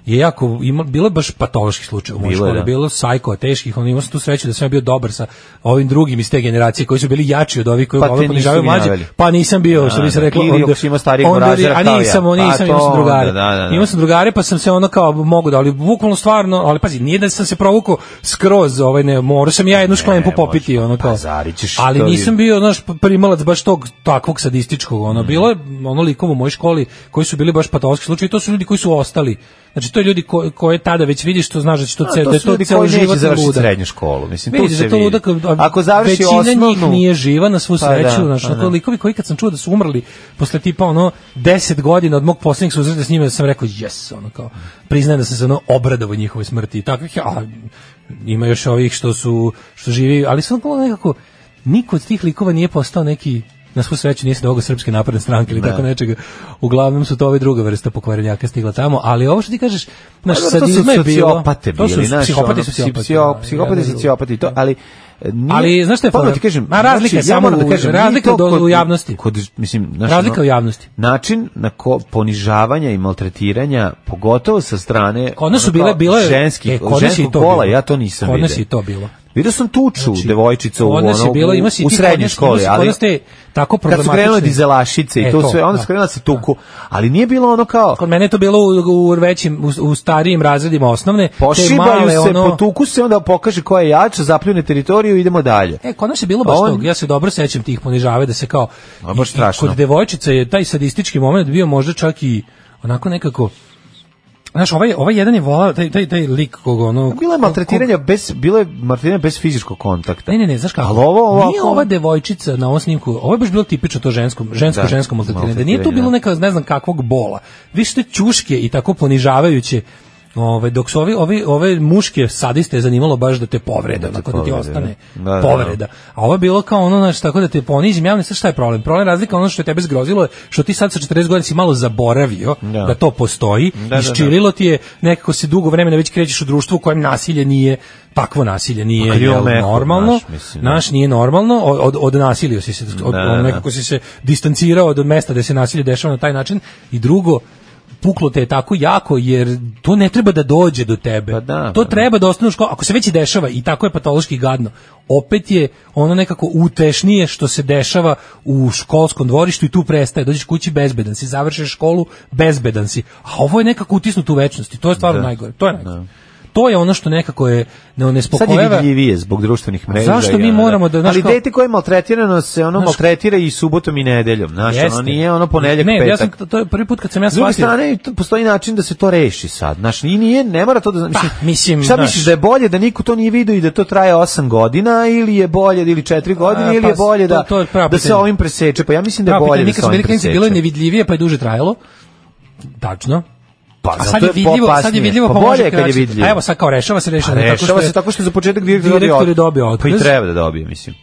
Speaker 6: je jako, ima, bilo je baš patološki slučaj u mojoj
Speaker 5: Mhm. Bilo je,
Speaker 6: školi,
Speaker 5: da.
Speaker 6: bilo sajko, teških, ono, imao sam tu sreću da sam ja bio dobar sa ovim drugim iz te generacije koji su bili jači od ovih koji
Speaker 5: Pa te
Speaker 6: ovaj
Speaker 5: nisu
Speaker 6: ponižavaju mlađe,
Speaker 5: vinjavali.
Speaker 6: pa nisam bio, što
Speaker 5: Da,
Speaker 6: bi se
Speaker 5: da.
Speaker 6: reklo,
Speaker 5: Ili ako si imao starijeg mrazera
Speaker 6: a
Speaker 5: kao ja.
Speaker 6: nisam,
Speaker 5: Pa
Speaker 6: nisam, imao sam
Speaker 5: to
Speaker 6: drugare.
Speaker 5: onda, da, da, da.
Speaker 6: Imao sam drugare pa sam se ono kao mogu da ali bukvalno stvarno ali pazi nije da sam se provukao skroz ovaj ne morao sam ja jednu šklempu
Speaker 5: ne,
Speaker 6: popiti
Speaker 5: možeš,
Speaker 6: ono
Speaker 5: pa
Speaker 6: kao
Speaker 5: pazarit ćeš, to
Speaker 6: ali
Speaker 5: je- Mm.
Speaker 6: nisam bio znaš primalac baš tog takvog sadističkog ono bilo je ono likova u mojoj školi koji su bili baš patološki slučajevi to su ljudi koji su ostali znači to je ljudi ko, koje tada već vidiš to znaš da će to,
Speaker 5: A,
Speaker 6: ce, da
Speaker 5: to
Speaker 6: je
Speaker 5: su ljudi
Speaker 6: to ceo
Speaker 5: koji neće
Speaker 6: život
Speaker 5: završiti
Speaker 6: luda.
Speaker 5: srednju školu. Mislim, tu
Speaker 6: Vidiš
Speaker 5: se
Speaker 6: da to
Speaker 5: vidi.
Speaker 6: luda, kao- a
Speaker 5: Ako završi
Speaker 6: većina njih
Speaker 5: osnovnu-
Speaker 6: nije živa na svu
Speaker 5: Pa
Speaker 6: sreću,
Speaker 5: da,
Speaker 6: znaš,
Speaker 5: pa
Speaker 6: ono,
Speaker 5: da.
Speaker 6: likovi koji kad sam čuo da su umrli posle tipa ono 10 godina od mog poslednjeg susreta s njima, da sam rekao yes, ono kao priznajem da sam se ono obradovao njihovoj smrti i takvih, a ima još ovih što su, što živi, ali sam ono nekako, niko od tih likova nije postao neki na svu sreću nije se dogao srpske napredne stranke ili tako nečega. Uglavnom su to ove druga vrsta pokvarenjaka stigla tamo, ali ovo što ti kažeš, znaš,
Speaker 5: Pa dobro,
Speaker 6: sad
Speaker 5: to su
Speaker 6: je bilo...
Speaker 5: sociopate
Speaker 6: to su
Speaker 5: bili, znaš,
Speaker 6: psihopati
Speaker 5: ono,
Speaker 6: su
Speaker 5: psi-
Speaker 6: psihopati.
Speaker 5: psio-
Speaker 6: da,
Speaker 5: psihopati
Speaker 6: jedan i
Speaker 5: su
Speaker 6: drugi.
Speaker 5: psihopati i to, ali e, nije,
Speaker 6: Ali, znaš šta je
Speaker 5: Odmah
Speaker 6: fora?
Speaker 5: ti kažem, znači,
Speaker 6: Ma, razlika je samo
Speaker 5: moram
Speaker 6: u-
Speaker 5: nije
Speaker 6: razlika
Speaker 5: to
Speaker 6: do-
Speaker 5: kod-
Speaker 6: u javnosti.
Speaker 5: Kod, mislim, znaš,
Speaker 6: Razlika
Speaker 5: ono,
Speaker 6: u javnosti.
Speaker 5: Način na ko ponižavanja i maltretiranja, pogotovo sa strane
Speaker 6: Kod nas su
Speaker 5: ono, kao
Speaker 6: bile bile
Speaker 5: ženskih,
Speaker 6: e, kod nas je i
Speaker 5: ženskog
Speaker 6: to
Speaker 5: pola,
Speaker 6: bilo.
Speaker 5: ja to nisam
Speaker 6: Kod nas
Speaker 5: vidio.
Speaker 6: je i to bilo. Znači,
Speaker 5: Vidio sam tuču devojčicu u,
Speaker 6: Kod nas je
Speaker 5: ono,
Speaker 6: bila-
Speaker 5: u-
Speaker 6: ima si
Speaker 5: u
Speaker 6: ti kod
Speaker 5: srednjoj
Speaker 6: nas-
Speaker 5: školi,
Speaker 6: ima si kod
Speaker 5: ali
Speaker 6: nas te tako
Speaker 5: kad su krenule
Speaker 6: problematične-
Speaker 5: dizelašice i
Speaker 6: E,
Speaker 5: to,
Speaker 6: to,
Speaker 5: sve, onda
Speaker 6: da.
Speaker 5: su krenula se tuku, ali nije bilo ono kao,
Speaker 6: Kod mene je to bilo u, u većim, u, u starijim razredima osnovne. te
Speaker 5: pošibaju
Speaker 6: male,
Speaker 5: se,
Speaker 6: ono-
Speaker 5: potuku se, onda pokaže ko je jača, zapljune teritoriju i idemo dalje.
Speaker 6: E, kod nas je bilo baš
Speaker 5: On-
Speaker 6: tog, ja se dobro sećam tih ponižave da se kao...
Speaker 5: A, baš
Speaker 6: i- i
Speaker 5: strašno.
Speaker 6: Kod devojčica je taj sadistički moment bio možda čak i onako nekako... Znaš, ovaj, ovaj jedan je volao, taj, taj, taj lik kog ono...
Speaker 5: Bilo je
Speaker 6: kog-
Speaker 5: maltretiranje bez, bilo je maltretiranje bez fizičkog kontakta.
Speaker 6: Ne, ne, ne, znaš kako?
Speaker 5: Ali ovo ovako-
Speaker 6: Nije ova devojčica na ovom snimku, ovo je baš bilo tipično to žensko, žensko,
Speaker 5: Da,
Speaker 6: žensko maltretiranje. Da nije tu
Speaker 5: maltretiranje,
Speaker 6: bilo
Speaker 5: da.
Speaker 6: neka, ne znam kakvog bola. Više te ćuške i tako ponižavajuće Ove, dok su ovi, ovi, ove muške sadiste je zanimalo baš da te povrede,
Speaker 5: Da te
Speaker 6: onako da ti
Speaker 5: povrede,
Speaker 6: ostane
Speaker 5: da. Da, da,
Speaker 6: povreda. A ovo je bilo kao ono, znaš, tako da te ponizim, ja ne znam šta je problem. Problem je razlika ono što je tebe zgrozilo, je što ti sad sa 40 godina si malo zaboravio
Speaker 5: Da.
Speaker 6: da, to postoji,
Speaker 5: da, da.
Speaker 6: isčirilo ti je, nekako se dugo vremena već krećeš u društvu u kojem nasilje nije, takvo nasilje nije
Speaker 5: Pa kad je
Speaker 6: jel,
Speaker 5: ovo mehko,
Speaker 6: normalno,
Speaker 5: znaš,
Speaker 6: naš,
Speaker 5: mislim, da.
Speaker 6: nije normalno, od, od, nasilja si se, od,
Speaker 5: Da, da, da.
Speaker 6: od nekako si se distancirao od mesta gde se nasilje dešava na taj način i drugo, puklo te je tako jako jer to ne treba da dođe do tebe.
Speaker 5: Pa da,
Speaker 6: to
Speaker 5: pa da.
Speaker 6: treba da ostane u školi. Ako se već i dešava i tako je patološki gadno, opet je ono nekako utešnije što se dešava u školskom dvorištu i tu prestaje. Dođeš kući bezbedan si, završiš školu bezbedan si. A ovo je nekako utisnuto u večnosti. To je stvarno najgore. To je najgore. To je ono što nekako je ne,
Speaker 5: Sad je
Speaker 6: nespokojeva.
Speaker 5: vidljivije zbog društvenih mreža.
Speaker 6: Zašto
Speaker 5: i
Speaker 6: mi
Speaker 5: ono, da.
Speaker 6: moramo da, znaš,
Speaker 5: Ali
Speaker 6: kao-
Speaker 5: dete koje je maltretirano se ono
Speaker 6: Znaš-
Speaker 5: maltretira i subotom i nedeljom. Znaš, ono
Speaker 6: Jeste.
Speaker 5: nije ono ponedjeljak
Speaker 6: ne,
Speaker 5: petak.
Speaker 6: Ja sam, to- to je prvi put kad sam ja
Speaker 5: S druge
Speaker 6: shvatio.
Speaker 5: strane, Pa to- postoji način da se to reši sad. Znaš, i nije, ne mora to da... Mislim,
Speaker 6: Pa, mislim,
Speaker 5: šta
Speaker 6: znaš.
Speaker 5: misliš, da je bolje da niko to nije vidio i da to traje 8 godina ili je bolje ili 4 godine
Speaker 6: A,
Speaker 5: ili
Speaker 6: pa
Speaker 5: je bolje da,
Speaker 6: to- to je pravo
Speaker 5: da se
Speaker 6: pitanje.
Speaker 5: ovim preseče? Pa ja mislim da je
Speaker 6: Da,
Speaker 5: bolje da
Speaker 6: nikad
Speaker 5: se
Speaker 6: smo
Speaker 5: ovim
Speaker 6: bili klinici, bilo je
Speaker 5: preseče.
Speaker 6: nevidljivije, pa je duže trajalo. Tačno.
Speaker 5: Pa,
Speaker 6: A sad
Speaker 5: zato
Speaker 6: je vidljivo, sad je
Speaker 5: opasnije.
Speaker 6: vidljivo,
Speaker 5: pa,
Speaker 6: pa,
Speaker 5: bolje
Speaker 6: može
Speaker 5: je kad je
Speaker 6: kraće.
Speaker 5: vidljivo.
Speaker 6: A evo sad kao rešava se
Speaker 5: Pa
Speaker 6: rešava.
Speaker 5: rešava se tako što je za početak direktor,
Speaker 6: direktor je
Speaker 5: otkaz.
Speaker 6: dobio otkaz.
Speaker 5: Pa i treba da dobije, mislim.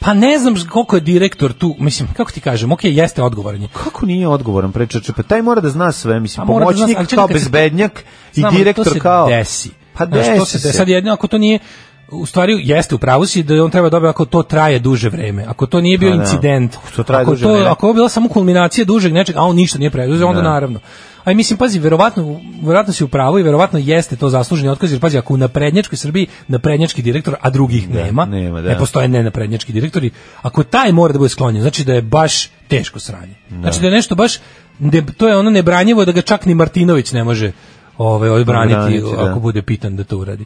Speaker 6: Pa ne znam koliko je direktor tu, mislim, kako ti kažem, ok, jeste odgovoran je.
Speaker 5: Kako nije odgovoran prečače? Pa taj mora da zna sve, mislim,
Speaker 6: A Pa mora da zna-
Speaker 5: pomoćnik
Speaker 6: ali čekaj,
Speaker 5: kao
Speaker 6: kad se-
Speaker 5: bezbednjak i
Speaker 6: Znam, ali to se
Speaker 5: direktor kao...
Speaker 6: desi.
Speaker 5: Pa
Speaker 6: Znaš, to
Speaker 5: desi se.
Speaker 6: Sad jedno, ako to nije, u stvari jeste u pravu si da on treba dobiti ako to traje duže vreme. Ako to nije bio
Speaker 5: Pa da.
Speaker 6: incident,
Speaker 5: Ako to traje
Speaker 6: ako,
Speaker 5: duže
Speaker 6: to,
Speaker 5: vreme.
Speaker 6: ako je ovo bila samo kulminacija dužeg nečega, a on ništa nije preduzeo, onda naravno. A i mislim, pazi, verovatno, verovatno si u pravu i verovatno jeste to zasluženi otkaz, jer pazi, ako u naprednjačkoj Srbiji naprednjački direktor, a drugih nema,
Speaker 5: nema, da.
Speaker 6: ne postoje nenaprednjački direktori, ako taj mora da bude sklonjen, znači da je baš teško sranje. Znači da je nešto baš, ne- to je ono nebranjivo da ga čak ni Martinović ne može ovaj, odbraniti
Speaker 5: Odbraniti, da.
Speaker 6: ako bude pitan da to uradi.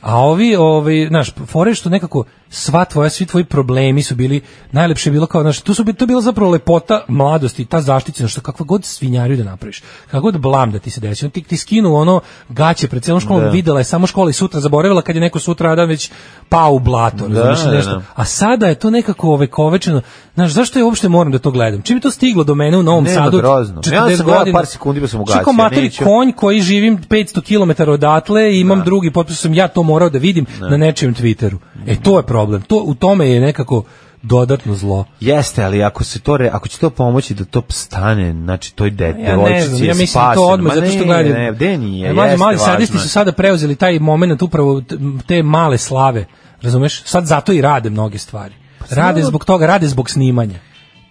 Speaker 6: A ovi, ovi, znaš, fore što nekako sva tvoja, svi tvoji problemi su bili, najlepše je bilo kao, znaš, tu su, bi- to je bila zapravo lepota mladosti, ta zaštićenost, što kakva god svinjariju da napraviš, kakva god blam da ti se desi, on ti, ti skinu ono gaće pred celom školom,
Speaker 5: Da.
Speaker 6: videla je samo škola i sutra zaboravila kad je neko sutra dan već pao u blato, razumeš,
Speaker 5: da,
Speaker 6: nešto.
Speaker 5: da.
Speaker 6: A sada je to nekako ovekovečeno, znaš, zašto ja uopšte moram da to gledam? Čim je to stiglo do mene u Novom
Speaker 5: Nema,
Speaker 6: Sadu?
Speaker 5: grozno. Ja
Speaker 6: 40
Speaker 5: sam gledao
Speaker 6: godina.
Speaker 5: par sekundi pa sam ugasio,
Speaker 6: Što kao materi
Speaker 5: neću.
Speaker 6: konj koji živim 500 km odatle i imam drugi potpis, sam ja to morao da vidim na nečijem Twitteru. E to je problem. To u tome je nekako dodatno zlo.
Speaker 5: Jeste, ali ako se to re, ako će to pomoći da to stane, znači toj dete,
Speaker 6: Ja ne znam, ja mislim da to odmah, zato što gledam.
Speaker 5: Ne, gde nije,
Speaker 6: E, mlađi-
Speaker 5: jeste,
Speaker 6: mali
Speaker 5: važno
Speaker 6: sadisti
Speaker 5: je.
Speaker 6: su sada preuzeli taj moment upravo t- te male slave. Razumeš? Sad zato i rade mnoge stvari. Rade
Speaker 5: znam.
Speaker 6: zbog toga, rade zbog snimanja.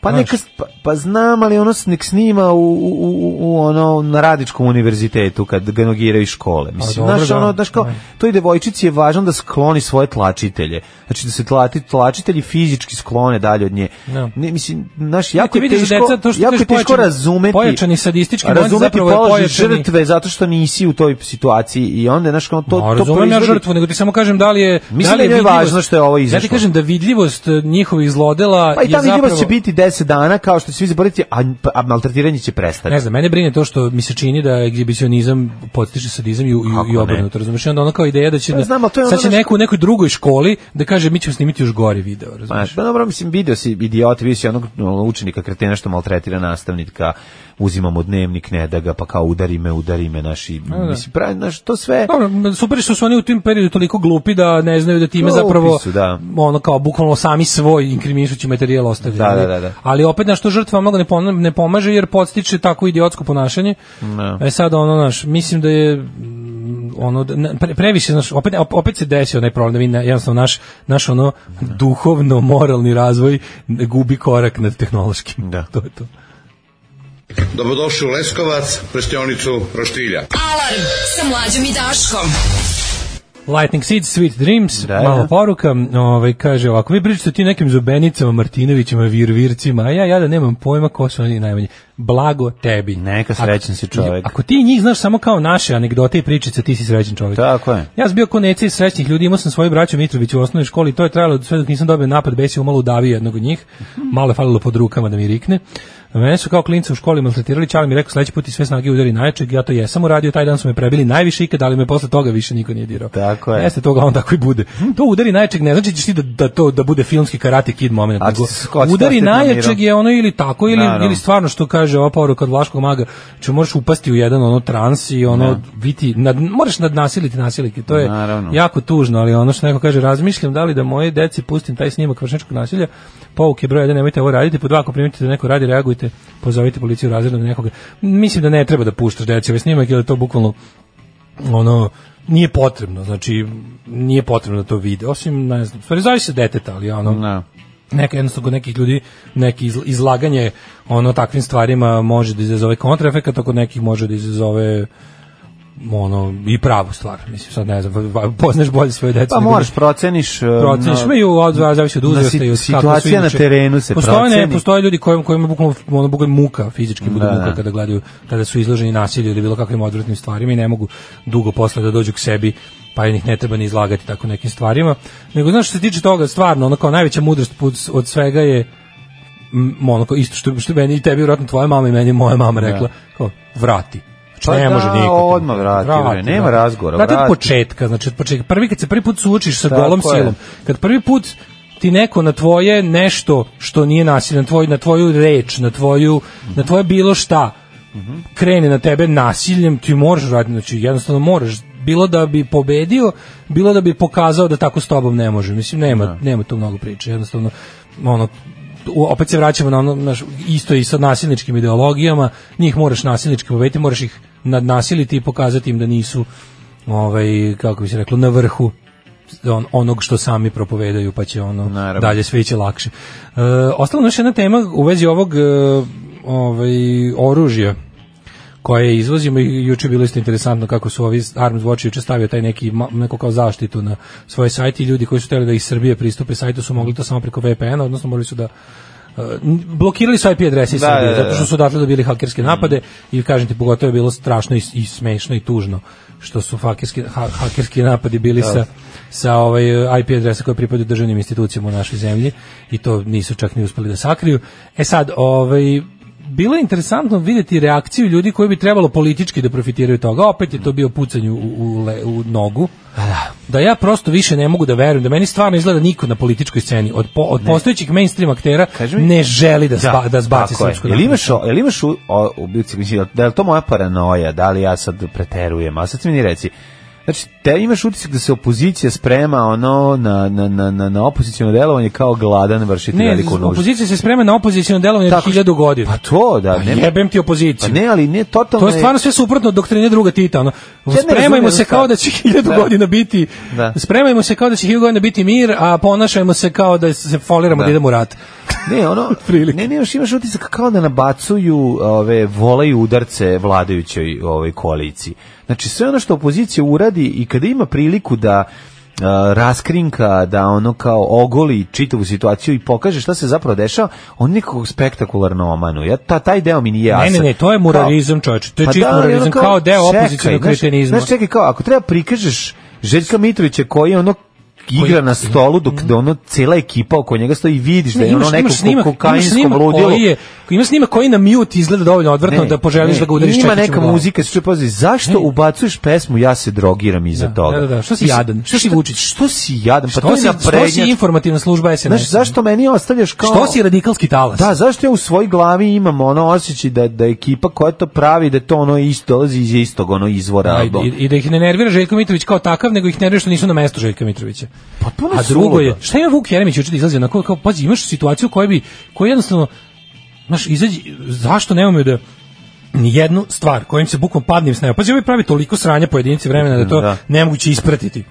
Speaker 5: Pa
Speaker 6: znaš.
Speaker 5: neka, s- pa, pa znam, ali ono s- nek snima u, u, u, u ono, na Radičkom univerzitetu kad ga nogiraju iz škole. Mislim,
Speaker 6: dobro,
Speaker 5: znaš,
Speaker 6: da.
Speaker 5: ono, znaš kao,
Speaker 6: Da.
Speaker 5: toj devojčici je važno da skloni svoje tlačitelje. Znači da se tlati, tlačitelji fizički sklone dalje od nje.
Speaker 6: Da.
Speaker 5: Ne, mislim, znaš,
Speaker 6: Ja,
Speaker 5: jako
Speaker 6: ti
Speaker 5: je
Speaker 6: vidiš
Speaker 5: teško,
Speaker 6: da deca, to što
Speaker 5: jako je
Speaker 6: kažeš,
Speaker 5: teško
Speaker 6: pojačani-
Speaker 5: razumeti,
Speaker 6: pojačani sadistički moment
Speaker 5: razumeti
Speaker 6: zapravo je
Speaker 5: položaj
Speaker 6: pojačani-
Speaker 5: žrtve zato što nisi u toj situaciji i onda, znaš, kao, to,
Speaker 6: Ma,
Speaker 5: to
Speaker 6: razumem ja
Speaker 5: proizvodi-
Speaker 6: žrtvu, nego ti samo kažem da li je
Speaker 5: Mislim
Speaker 6: da li
Speaker 5: da njoj je
Speaker 6: vidljivost-
Speaker 5: važno što je ovo
Speaker 6: Ja
Speaker 5: izašlo.
Speaker 6: ti kažem da vidljivost e, njihovih zlodela
Speaker 5: Pa i
Speaker 6: je
Speaker 5: ta vidljivost
Speaker 6: zapravo-
Speaker 5: će biti 10 dana kao što će svi zaboraviti, a, a maltretiranje će prestati.
Speaker 6: Ne znam, mene brine to što mi se čini da egzibicionizam potiče sadizam i, i,
Speaker 5: Kako
Speaker 6: i
Speaker 5: ne?
Speaker 6: obrnuto, razumiješ? I onda ono kao ideja da će,
Speaker 5: Pa
Speaker 6: na-
Speaker 5: znam, ali to je ono
Speaker 6: sad će
Speaker 5: znaš-
Speaker 6: neko u nekoj drugoj školi da kaže mi ćemo snimiti još gori video,
Speaker 5: Pa,
Speaker 6: razumiješ?
Speaker 5: pa dobro, mislim, video si idiot, vidio si onog no, učenika kretena što maltretira nastavnika, uzimamo dnevnik, ne da ga, pa kao udari me, udari me, naši, mislim, pravi, znaš, to sve...
Speaker 6: Dobro, super što su oni u tim periodu toliko glupi da ne znaju da time
Speaker 5: Glupi
Speaker 6: zapravo
Speaker 5: su, da.
Speaker 6: ono kao bukvalno sami svoj inkriminišući materijal ostavljaju.
Speaker 5: Da, da, da, da.
Speaker 6: Ali opet na što žrtva mnogo ne, pon- ne pomaže jer podstiče tako idiotsko ponašanje.
Speaker 5: Da.
Speaker 6: E sad ono naš, mislim da je mm, ono da- ne, pre- previše znaš, opet op- opet se desio onaj problem da vi na- jednostavno naš naš ono duhovno moralni razvoj gubi korak nad tehnološkim.
Speaker 5: Da.
Speaker 6: To je to.
Speaker 9: Dobrodošli u Leskovac, prštionicu Roštilja.
Speaker 4: Alarm sa mlađom i Daškom.
Speaker 6: Lightning Seeds, Sweet Dreams,
Speaker 5: Da,
Speaker 6: malo
Speaker 5: da.
Speaker 6: poruka, ovaj, kaže ovako, vi pričate o ti nekim zubenicama, Martinovićima, Virvircima, a ja, ja da nemam pojma ko su oni najmanje. Blago tebi.
Speaker 5: Neka
Speaker 6: Ako-
Speaker 5: srećan si čovek.
Speaker 6: Ako ti njih znaš samo kao naše anegdote i pričice, ti si srećan čovjek.
Speaker 5: Tako je.
Speaker 6: Ja sam bio konec iz srećnih ljudi, imao sam svoju braću Mitrović u osnovnoj školi i to je trajalo sve dok nisam dobio napad besa umalo udavio jednog od njih. Malo je falilo pod rukama da mi rikne. Mene su kao klinca u školi maltretirali, Čale mi je rekao sledeći put i sve snage udari najjačeg, ja to jesam uradio, taj dan su me prebili najviše ikad, ali me posle toga više niko nije dirao.
Speaker 5: Tako je.
Speaker 6: Jeste to uglavnom tako i bude. To udari najjačeg ne znači da ćeš ti da, da to da bude filmski karate kid moment.
Speaker 5: A
Speaker 6: nego
Speaker 5: skoči da
Speaker 6: udari
Speaker 5: se planira.
Speaker 6: najjačeg je ono ili tako ili,
Speaker 5: Naravno.
Speaker 6: ili stvarno što kaže ova poruka od Vlaškog maga, ću moraš upasti u jedan ono trans i ono biti, nad, moraš nadnasiliti nasilike, to je
Speaker 5: Naravno.
Speaker 6: jako tužno, ali ono što neko kaže, razmišljam da li da moje deci pustim taj snimak vršničkog nasilja, pouke broj 1, nemojte ovo raditi, po dva, ako primetite da neko radi, reagujte, pozovite policiju razredno na nekoga. Mislim da ne treba da puštaš deci ovaj snimak, jer je to bukvalno ono nije potrebno, znači nije potrebno da to vide, osim, ne znam, u stvari zavisi od deteta, ali ono,
Speaker 5: Da.
Speaker 6: neka jednostavno kod nekih ljudi neki iz- izlaganje ono takvim stvarima može da izazove kontraefekat, a kod nekih može da izazove ono i pravu stvar. Mislim sad ne znam, va- poznaš bolje svoje decu.
Speaker 5: Pa moraš, proceniš... e,
Speaker 6: proceniš
Speaker 5: na-
Speaker 6: me i u od zavisi od
Speaker 5: na
Speaker 6: uzrasta
Speaker 5: si-
Speaker 6: i od kako su
Speaker 5: situacija na
Speaker 6: inače.
Speaker 5: terenu se
Speaker 6: postoje, ne,
Speaker 5: proceni.
Speaker 6: postoje ljudi kojim kojima bukvalno ono bukvalno muka fizički bude
Speaker 5: Da, da.
Speaker 6: muka kada gledaju kada su izloženi nasilju ili bilo kakvim odvratnim stvarima i ne mogu dugo posle da dođu k sebi pa ih ne treba ni izlagati tako nekim stvarima. Nego znaš što se tiče toga stvarno ono kao najveća mudrost put- od svega je m, ono kao isto što, što meni i tebi vjerojatno tvoja mama i meni je moja mama rekla kao vrati. Znači,
Speaker 5: Pa
Speaker 6: ne
Speaker 5: da,
Speaker 6: može nikako.
Speaker 5: odmah vrati, bre, nema razgovora,
Speaker 6: Vrati od
Speaker 5: vrati.
Speaker 6: početka, znači od početka. Prvi kad se prvi put suočiš sa
Speaker 5: Tako
Speaker 6: golom
Speaker 5: je.
Speaker 6: silom, kad prvi put ti neko na tvoje nešto što nije nasilje, na tvoju, na tvoju reč, na, tvoju, na tvoje bilo šta, krene na tebe nasiljem, ti moraš raditi, znači jednostavno moraš bilo da bi pobedio, bilo da bi pokazao da tako s tobom ne može. Mislim nema nema tu mnogo priče, jednostavno ono u- opet se vraćamo na ono naš, isto i sa nasilničkim ideologijama, njih moraš nasilnički pobediti, moraš ih nadnasiliti i pokazati im da nisu ovaj kako bi se reklo na vrhu on, onog što sami propovedaju pa će ono
Speaker 5: Naravno.
Speaker 6: dalje sve iće lakše. E, ostala još jedna tema u vezi ovog e, ovaj, oružja koje izvozimo i juče je bilo isto interesantno kako su ovi Arms Watch juče stavio taj neki ma- neko kao zaštitu na svoje sajte i ljudi koji su hteli da iz Srbije pristupe sajtu su mogli to samo preko VPN-a, odnosno morali su da e, n- blokirali su IP adrese iz
Speaker 5: Da,
Speaker 6: Srbije,
Speaker 5: da, da,
Speaker 6: zato što su odatle dobili hakerske napade i kažem ti pogotovo je bilo strašno i, s- i smešno i tužno što su hakerski, ha- hakerski napadi bili sa sa ovaj IP adresa koje pripadaju državnim institucijama u našoj zemlji i to nisu čak ni uspeli da sakriju. E sad, ovaj bilo je interesantno vidjeti reakciju ljudi koji bi trebalo politički da profitiraju od toga. Opet je to bio pucanj u, u, le- u nogu. Da ja prosto više ne mogu da verujem, da meni stvarno izgleda niko na političkoj sceni od, po- od postojećih mainstream aktera
Speaker 5: Kaži mi-
Speaker 6: ne želi da, sba, da zbaci
Speaker 5: tako je.
Speaker 6: srpsku
Speaker 5: Jel
Speaker 6: naprednu
Speaker 5: imaš, o- jel imaš u, o, u bici- mislim, da je to moja paranoja, da li ja sad preterujem, a sad ti mi reci, Znači, te imaš utisak da se opozicija sprema ono na, na, na, na, na opozicijno delovanje kao gladan vršiti veliku
Speaker 6: Ne,
Speaker 5: nuždu.
Speaker 6: opozicija se sprema na opozicijalno delovanje od
Speaker 5: Tako što-
Speaker 6: hiljadu godina.
Speaker 5: Pa to, da.
Speaker 6: Pa
Speaker 5: ne-
Speaker 6: jebem ti
Speaker 5: Pa
Speaker 6: opoziciju.
Speaker 5: ne, ali ne, totalno
Speaker 6: To je stvarno sve suprotno od doktrine druga Tita. Ono.
Speaker 5: ne
Speaker 6: Spremajmo
Speaker 5: razumem
Speaker 6: se kao da će hiljadu
Speaker 5: Da.
Speaker 6: godina biti
Speaker 5: Da.
Speaker 6: spremajmo se kao da će hiljadu godina biti mir, a ponašajmo se kao da se foliramo da,
Speaker 5: Da.
Speaker 6: idemo u rat.
Speaker 5: Ne, ono,
Speaker 6: (laughs) Otprilike.
Speaker 5: ne, ne, još imaš utisak kao da nabacuju ove, vole i udarce vladajućoj ovoj koaliciji. Znači, sve ono što opozicija uradi i kada ima priliku da a, raskrinka, da ono kao ogoli čitavu situaciju i pokaže šta se zapravo dešava, on nikakog spektakularno omanu. Ja, ta, taj deo mi nije
Speaker 6: Ne,
Speaker 5: jasan.
Speaker 6: ne, ne, to je muralizam,
Speaker 5: Kao-
Speaker 6: čoveče, to je čist
Speaker 5: ali ono
Speaker 6: muralizam, kao deo
Speaker 5: čekaj,
Speaker 6: opozicionog
Speaker 5: znaš-
Speaker 6: kretenizma.
Speaker 5: Znaš, čekaj, kao, ako treba prikažeš Željka Mitrovića koji je ono igra na stolu dok
Speaker 6: Mm.
Speaker 5: da ono cela ekipa oko njega stoji i vidiš da je ono neko ko- kokainsko ludilo.
Speaker 6: koji je, ima snimak koji na mute izgleda dovoljno odvrtno
Speaker 5: Ne,
Speaker 6: da poželiš
Speaker 5: ne,
Speaker 6: da ga udariš
Speaker 5: Ima
Speaker 6: čekićem u
Speaker 5: neka
Speaker 6: glavu.
Speaker 5: muzika, se čuje pazi, zašto ubacuješ pesmu Ja se drogiram iza
Speaker 6: Da,
Speaker 5: toga?
Speaker 6: da, da, što si
Speaker 5: Mislim,
Speaker 6: jadan? Što si Vučić?
Speaker 5: Što si jadan? Pa
Speaker 6: Što
Speaker 5: to
Speaker 6: si,
Speaker 5: je
Speaker 6: što si
Speaker 5: naprednjak.
Speaker 6: informativna služba SNS?
Speaker 5: Znaš, zašto meni ostavljaš kao...
Speaker 6: Što si radikalski talas?
Speaker 5: Da, zašto ja u svojoj glavi imam ono osjećaj da, da ekipa koja to pravi, da to ono isto, dolazi iz istog ono izvora.
Speaker 6: Da,
Speaker 5: album.
Speaker 6: i, i da ih ne nervira Željko Mitrović kao takav, nego ih nervira što nisu na mestu Željka Mitrovića.
Speaker 5: Potpuno
Speaker 6: A
Speaker 5: suludo.
Speaker 6: drugo je, šta ima Vuk Jeremić juče da izlazi onako, kao, pazi, imaš situaciju koja bi, koja jednostavno, znaš, izađi, zašto nemamo da ni jednu stvar kojim se bukom padnim snajom. Pazi, ovaj pravi toliko sranja po jedinici vremena da je to
Speaker 5: Da.
Speaker 6: nemoguće ispratiti.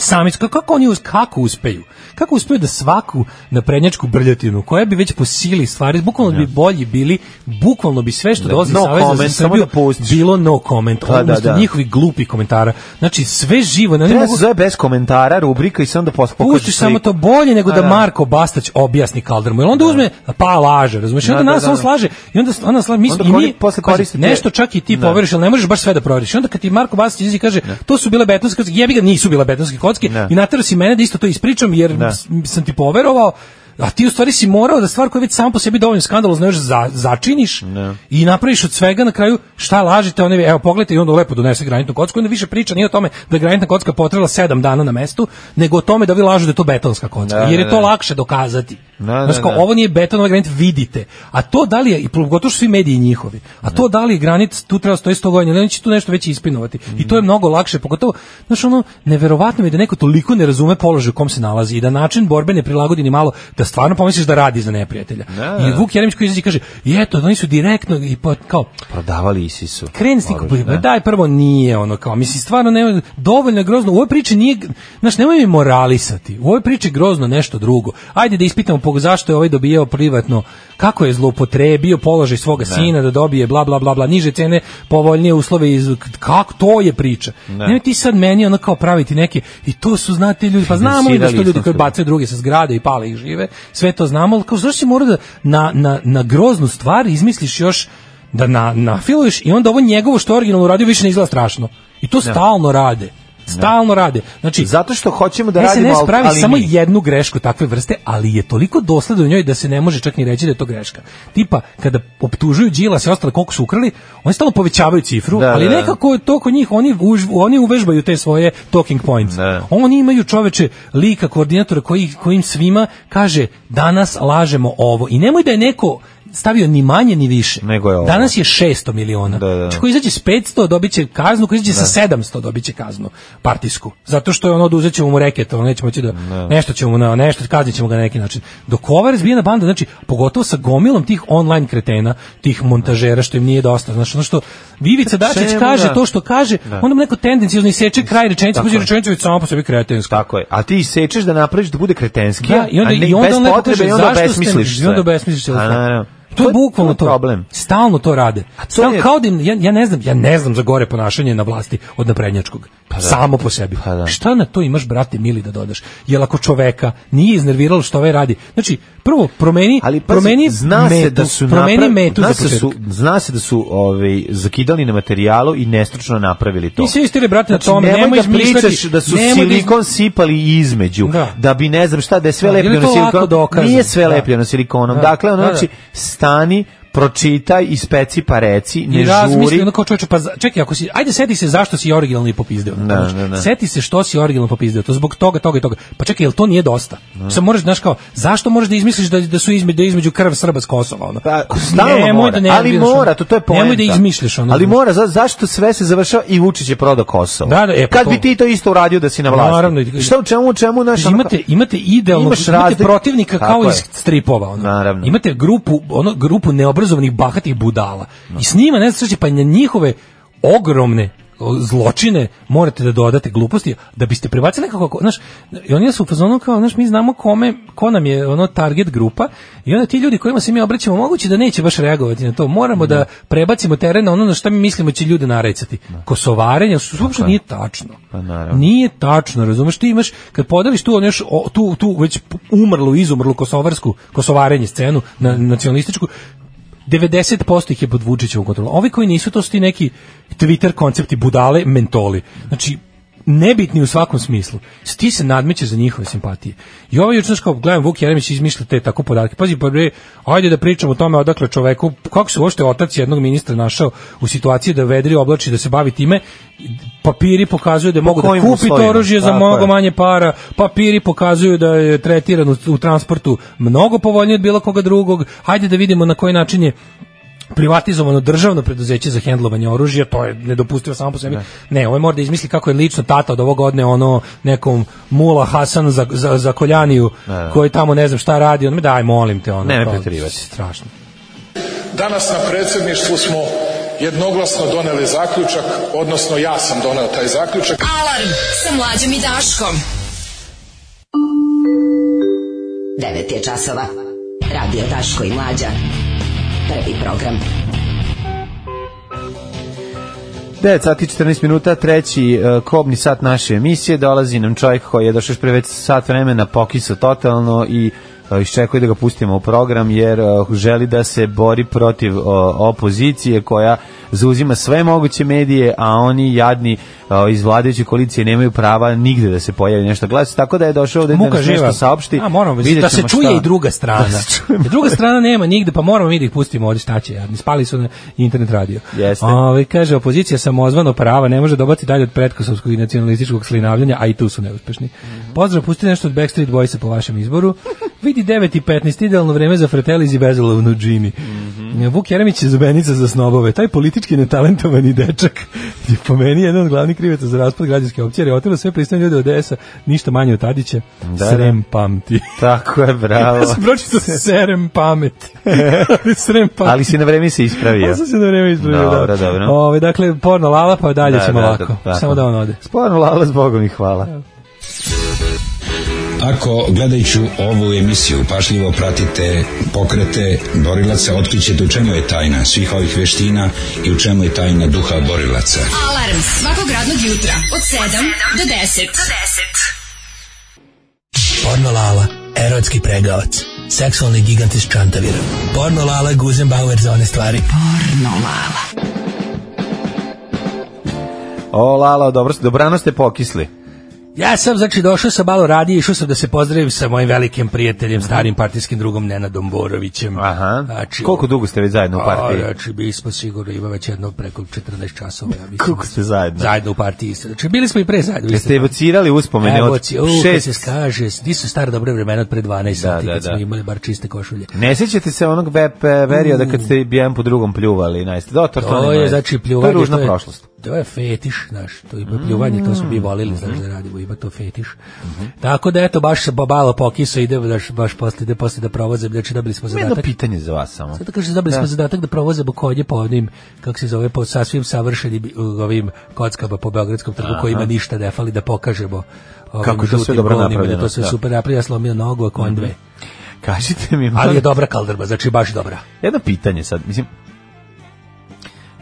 Speaker 6: sami kako, kako oni us- kako uspeju kako uspeju da svaku naprednjačku brljotinu koja bi već po sili stvari bukvalno bi bolji bili bukvalno bi sve što
Speaker 5: Da,
Speaker 6: dolazi
Speaker 5: no
Speaker 6: iz Saveza za
Speaker 5: comment, samo
Speaker 6: Srbiju
Speaker 5: da pustiš.
Speaker 6: bilo no comment
Speaker 5: da,
Speaker 6: umesto
Speaker 5: da.
Speaker 6: njihovih glupih komentara znači sve živo oni
Speaker 5: Treba
Speaker 6: mogu
Speaker 5: se zove bez komentara rubrika i sam da pos- pokažu
Speaker 6: Pustiš samo
Speaker 5: sliku.
Speaker 6: to bolje nego
Speaker 5: A,
Speaker 6: da
Speaker 5: da.
Speaker 6: Marko Bastać objasni Kaldermu. Jer onda uzme pa laže, razumiješ? I
Speaker 5: Da,
Speaker 6: onda
Speaker 5: da,
Speaker 6: nas
Speaker 5: da,
Speaker 6: on
Speaker 5: da.
Speaker 6: slaže i onda ona slaže mi
Speaker 5: Onda
Speaker 6: i
Speaker 5: kori-
Speaker 6: mi
Speaker 5: posle
Speaker 6: pazi,
Speaker 5: koristite-
Speaker 6: nešto čak i ti
Speaker 5: Da.
Speaker 6: poveriš, ali ne možeš baš sve da proveriš. I onda kad ti Marko Bastać izađe i kaže to su bile betonske kocke, jebi ga nisu bile betonske kocke
Speaker 5: Da.
Speaker 6: i natero si mene da isto to ispričam jer
Speaker 5: Da.
Speaker 6: s- sam ti poverovao A ti u stvari si morao da stvar koja je već sama po sebi dovoljno skandalozna još za, začiniš i napraviš od svega na kraju šta lažete, one, evo pogledajte i onda lepo donese granitnu kocku, onda više priča nije o tome da je granitna kocka potrebala 7 dana na mestu, nego o tome da vi lažu da je to betonska kocka,
Speaker 5: Da,
Speaker 6: jer je
Speaker 5: da,
Speaker 6: to
Speaker 5: da.
Speaker 6: lakše dokazati.
Speaker 5: Da,
Speaker 6: Znaš,
Speaker 5: da,
Speaker 6: kao,
Speaker 5: da.
Speaker 6: ovo nije beton, ovo je granit, vidite. A to da li je, i pogotovo što svi mediji njihovi, a to da li je granit, tu treba stoji 100 godina, ili oni će tu nešto već ispinovati. I to
Speaker 5: Mhm.
Speaker 6: je mnogo lakše, pogotovo, znaš, ono, neverovatno mi je da neko toliko ne razume položaj u kom se nalazi i da način borbe ne prilagodi ni malo, da stvarno pomisliš da radi za neprijatelja.
Speaker 5: Da, da.
Speaker 6: I Vuk Jeremić koji izađe i kaže, i eto, oni su direktno, i pa, kao,
Speaker 5: Prodavali Isisu.
Speaker 6: kreni s pa- tim
Speaker 5: Oružje,
Speaker 6: kupovima.
Speaker 5: da.
Speaker 6: Daj prvo nije ono kao, mislim stvarno ne dovoljno je grozno. U ovoj priči nije, znaš, nemoj mi moralisati. U ovoj priči je grozno nešto drugo. Ajde da ispitamo pog zašto je ovaj dobijao privatno, kako je zloupotrebio položaj svoga sina da dobije bla bla bla bla niže cene, povoljnije uslove iz kako to je priča. Ne. Nemoj ti sad meni ono kao praviti neke i to su znate ljudi, pa znamo i da su to
Speaker 5: Finansirali
Speaker 6: ljudi
Speaker 5: smo
Speaker 6: koji
Speaker 5: se.
Speaker 6: bacaju druge sa zgrade i pale ih žive. Sve to znamo, ali kao zašto si mora da na, na, na groznu stvar izmisliš još da na, nafiluješ i onda ovo njegovo što je originalno uradio više ne izgleda strašno. I to stalno rade. Stalno rade. Znači,
Speaker 5: Zato što hoćemo da
Speaker 6: SNS
Speaker 5: radimo, al-
Speaker 6: pravi
Speaker 5: ali
Speaker 6: samo
Speaker 5: mi.
Speaker 6: jednu grešku takve vrste, ali je toliko dosledan u njoj da se ne može čak ni reći da je to greška. Tipa, kada optužuju Đilas i ostale koliko su ukrali, oni stalno povećavaju cifru,
Speaker 5: Da,
Speaker 6: ali
Speaker 5: da, da.
Speaker 6: nekako je to kod njih, oni, už, oni uvežbaju te svoje talking points.
Speaker 5: Da.
Speaker 6: Oni imaju čoveče lika koordinatora koji, kojim svima kaže danas lažemo ovo. I nemoj da je neko stavio ni manje ni više.
Speaker 5: Nego je ovo.
Speaker 6: Danas je 600 miliona.
Speaker 5: Da, da, da.
Speaker 6: Znači, ko izađe s 500 dobit će kaznu, ko izađe sa 700 dobit će kaznu partijsku. Zato što je ono oduzet ćemo mu reket, ono nećemo moći da nešto ćemo mu na nešto kaznit ćemo ga na neki način. Dok ova razbijena banda, znači pogotovo sa gomilom tih online kretena, tih montažera što im nije dosta, znači ono što Vivica Dačić
Speaker 5: čemu
Speaker 6: kaže
Speaker 5: da?
Speaker 6: to što kaže, onda mu neko tendencijozno iseče kraj rečenice, buđe rečenica već sama po sebi kretenska.
Speaker 5: Tako je. A ti sečeš da napraviš da bude kretenski,
Speaker 6: Da, i onda,
Speaker 5: a ne
Speaker 6: i onda
Speaker 5: bez
Speaker 6: on lepo
Speaker 5: potrebe
Speaker 6: kaže,
Speaker 5: i onda
Speaker 6: zašto ste-
Speaker 5: besmisliš
Speaker 6: I onda
Speaker 5: sve.
Speaker 6: besmisliš sve.
Speaker 5: A, naravno.
Speaker 6: To je bukvalno to.
Speaker 5: problem.
Speaker 6: Stalno to rade. Stalno
Speaker 5: je-
Speaker 6: kao da im, ja, ja ne znam, ja ne znam za gore ponašanje na vlasti od naprednjačkog. Samo po sebi.
Speaker 5: Pa da.
Speaker 6: Šta na to imaš, brate, mili da dodaš? Jel ako čoveka nije iznerviralo što ovaj radi? Znači, prvo, promeni,
Speaker 5: Ali pazi,
Speaker 6: promeni
Speaker 5: zna
Speaker 6: metu,
Speaker 5: se da su
Speaker 6: promeni
Speaker 5: napravi-
Speaker 6: metu
Speaker 5: zna
Speaker 6: za
Speaker 5: se, su,
Speaker 6: početak.
Speaker 5: zna se da su ovaj zakidali na materijalu i nestručno napravili to.
Speaker 6: Ti se istire, brate, na tome,
Speaker 5: Znači, nemoj
Speaker 6: nemoj
Speaker 5: da pričaš
Speaker 6: izmišljati,
Speaker 5: da su
Speaker 6: nemoj da iz-
Speaker 5: silikon sipali između,
Speaker 6: Da.
Speaker 5: da. bi ne znam šta, da je sve
Speaker 6: Da, ili
Speaker 5: lepljeno
Speaker 6: to lako
Speaker 5: silikonom.
Speaker 6: dokazano.
Speaker 5: Nije sve
Speaker 6: Da.
Speaker 5: lepljeno silikonom.
Speaker 6: Da.
Speaker 5: Dakle, ono,
Speaker 6: Da, da.
Speaker 5: znači, stani, pročitaj, ispeci pa reci, ne
Speaker 6: I razmisli,
Speaker 5: žuri.
Speaker 6: ono kao čovječe, pa za- čekaj, ako si, ajde seti se zašto si originalni popizdeo. znaš.
Speaker 5: da, da.
Speaker 6: Seti se što si originalno popizdeo, to zbog toga, toga i toga. Pa čekaj, jel to nije dosta? Sad moraš, znaš kao, zašto moraš da izmisliš da, da su između, da je između krv Srba s Kosova? Ono?
Speaker 5: Pa, stalno
Speaker 6: Nemoj
Speaker 5: mora,
Speaker 6: da ne
Speaker 5: ali
Speaker 6: nerviraš,
Speaker 5: mora,
Speaker 6: ono.
Speaker 5: to, to je poenta.
Speaker 6: Nemoj da izmišljaš. Ono,
Speaker 5: Ali
Speaker 6: znaš.
Speaker 5: mora, za, zašto sve se završava i Vučić je prodao Kosovo?
Speaker 6: Da, da, e, pa
Speaker 5: Kad
Speaker 6: to.
Speaker 5: bi ti to isto uradio da si na vlasti?
Speaker 6: Naravno, i-
Speaker 5: Šta u čemu, u čemu, naš...
Speaker 6: Znači, imate imate idealno
Speaker 5: ono Imaš
Speaker 6: imate
Speaker 5: razlik-
Speaker 6: protivnika kao
Speaker 5: Tako
Speaker 6: iz
Speaker 5: je.
Speaker 6: stripova ono.
Speaker 5: Naravno.
Speaker 6: Imate grupu ono grupu neobrazovanih bahatih budala. I s njima ne znači pa na njihove ogromne o, zločine morate da dodate gluposti da biste prebacili nekako znaš i oni su u fazonu kao znaš mi znamo kome ko nam je ono target grupa i onda ti ljudi kojima se mi obraćamo moguće da neće baš reagovati na to moramo da prebacimo teren na ono na šta mi mislimo će ljude narecati kosovarenje su uopšte nije tačno
Speaker 5: Pa naravno.
Speaker 6: nije tačno, razumeš, ti imaš kad podeliš tu ono još o, tu tu već umrlu, izumrlu kosovarsku, kosovarenje scenu na nacionalističku 90% ih je pod Vučićevom kontrolom. Ovi koji nisu, to su ti neki Twitter koncepti budale, mentoli. Znači, nebitni u svakom smislu. Ti se nadmeće za njihove simpatije. I ovo je znaš, kao, gledam, Vuk Jeremić izmišlja te tako podatke. Pazi, pa bre, ajde da pričamo o tome odakle čoveku, kako se uopšte otac jednog ministra našao u situaciji da vedri oblači, da se bavi time. Papiri pokazuju da je mogu da
Speaker 5: kojim
Speaker 6: kupi to
Speaker 5: uslovima?
Speaker 6: oružje za
Speaker 5: Tako
Speaker 6: mnogo
Speaker 5: je.
Speaker 6: manje para, papiri pokazuju da je tretiran u, u transportu mnogo povoljnije od bilo koga drugog. Hajde da vidimo na koji način je privatizovano državno preduzeće za hendlovanje oružja, to je nedopustivo samo po sebi. Ne, ovaj mora da izmisli kako je lično tata od ovog odne ono nekom Mula Hasan za, za, za koljaniju koji tamo ne znam šta radi, on me daj molim te ono.
Speaker 5: Ne, ne
Speaker 6: kao,
Speaker 5: preterivati.
Speaker 6: Strašno.
Speaker 10: Danas na predsjedništvu smo jednoglasno doneli zaključak, odnosno ja sam doneo taj zaključak.
Speaker 4: Alarm sa mlađom i Daškom.
Speaker 8: 9 je časova. Radio Daško i Mlađa. Prvi program.
Speaker 5: 9 sati i 14 minuta, treći e, kobni sat naše emisije, dolazi nam čovjek koji je došao još pre već sat vremena, pokisao totalno i e, iščekuje da ga pustimo u program jer e, želi da se bori protiv e, opozicije koja zauzima sve moguće medije, a oni jadni e, iz vladajuće koalicije nemaju prava nigde da se pojavi nešto glasi, tako da je došao ovde da
Speaker 6: Muka
Speaker 5: nas
Speaker 6: živa.
Speaker 5: nešto saopšti.
Speaker 6: A, moramo,
Speaker 5: Vidjet
Speaker 6: da se
Speaker 5: ćemo
Speaker 6: čuje
Speaker 5: šta.
Speaker 6: i druga strana.
Speaker 5: (laughs) Da se čuje.
Speaker 6: druga strana nema nigde, pa moramo mi da ih pustimo ovde šta će. jadni, Spali su na internet radio.
Speaker 5: Jeste.
Speaker 6: Ovaj, kaže, opozicija samozvano prava ne može dobati dalje od pretkosovskog i nacionalističkog slinavljanja, a i tu su neuspešni.
Speaker 5: Mhm.
Speaker 6: Pozdrav, pusti nešto od Backstreet Boysa po vašem
Speaker 5: (laughs)
Speaker 6: izboru. Vidi 9 i 15, idealno vreme za Fratellis i bezolovnu Džini.
Speaker 5: Mhm.
Speaker 6: Vuk Jeremić je zubenica za snobove. Taj politički netalentovani dečak je po meni jedan od glavnih krivaca za raspad građanske opcije, jer je otelo sve pristane ljude od DS-a, ništa manje od Tadića.
Speaker 5: Da,
Speaker 6: Srem pamti.
Speaker 5: Tako je, bravo.
Speaker 6: (laughs) Ja sam pročito serem
Speaker 5: (laughs)
Speaker 6: pamet. Ali srem pamet.
Speaker 5: Ali si na vreme se ispravio.
Speaker 6: Ja sam se na vreme ispravio.
Speaker 5: Dobro,
Speaker 6: da.
Speaker 5: dobro.
Speaker 6: Ove, dakle, porno lala, pa dalje
Speaker 5: Da,
Speaker 6: ćemo
Speaker 5: da,
Speaker 6: lako.
Speaker 5: da, tako.
Speaker 6: Samo da on ode.
Speaker 5: Stvarno, Lala, zbogom i hvala.
Speaker 11: Ako gledajući ovu emisiju pašljivo pratite pokrete borilaca, otkrićete u čemu je tajna svih ovih veština i u čemu je tajna duha borilaca.
Speaker 4: Alarm svakog radnog jutra od 7 do 10.
Speaker 12: Porno Lala, erotski pregavac, seksualni gigant iz Čantavira. Porno Lala, Guzenbauer za one stvari.
Speaker 5: O, Lala, dobro, ste- dobrano ste pokisli.
Speaker 6: Ja sam, znači, došao sam malo radije, išao sam da se pozdravim sa mojim velikim prijateljem, starim partijskim drugom Nenadom Borovićem.
Speaker 5: Aha.
Speaker 6: Znači,
Speaker 5: Koliko dugo ste već zajedno u partiji?
Speaker 6: A, znači, bili smo sigurno, ima već jedno preko 14 časova. Ja mislim.
Speaker 5: Koliko ste zajedno?
Speaker 6: Zajedno u partiji. isto. Znači, bili smo i pre zajedno.
Speaker 5: Jeste
Speaker 6: isto.
Speaker 5: evocirali uspomene
Speaker 6: Evo
Speaker 5: od
Speaker 6: ti, u, kad se
Speaker 5: šest...
Speaker 6: skaže, di su stara dobre vremena od pre 12 sati,
Speaker 5: da,
Speaker 6: kad
Speaker 5: da.
Speaker 6: smo imali bar čiste košulje.
Speaker 5: Ne sjećate se onog vep perioda kad ste jedan po drugom pljuvali, najste. Da, to, to,
Speaker 6: Mm. To
Speaker 5: nema
Speaker 6: je
Speaker 5: veze.
Speaker 6: znači
Speaker 5: To
Speaker 6: pljuvanje.
Speaker 5: je ružna prošlost. Mm. Mhm.
Speaker 6: To je fetiš, znaš, to je pljuvanje, to smo mi volili, znaš, da radimo, ima to fetiš. Tako da, eto, baš se babalo pokiso, ide, znaš, baš posle, ide posle da provozem, znači dobili smo
Speaker 5: Ima jedno
Speaker 6: zadatak.
Speaker 5: pitanje za vas samo.
Speaker 6: Zato kaže, dobili smo zadatak da provozemo konje po onim, kako se zove, po sasvim savršenim uh, ovim kockama po Beogradskom trgu, koji ima ništa ne fali, da pokažemo ovim
Speaker 5: Kako je to sve
Speaker 6: žutim
Speaker 5: dobro
Speaker 6: konjima, Da
Speaker 5: napravljeno,
Speaker 6: to sve
Speaker 5: da. Mhm.
Speaker 6: super napravljeno, ja slomio nogu, a konj dve.
Speaker 5: Kažite mi,
Speaker 6: Ali
Speaker 5: molim-
Speaker 6: je dobra kaldrba, znači baš dobra.
Speaker 5: jedno pitanje sad, mislim...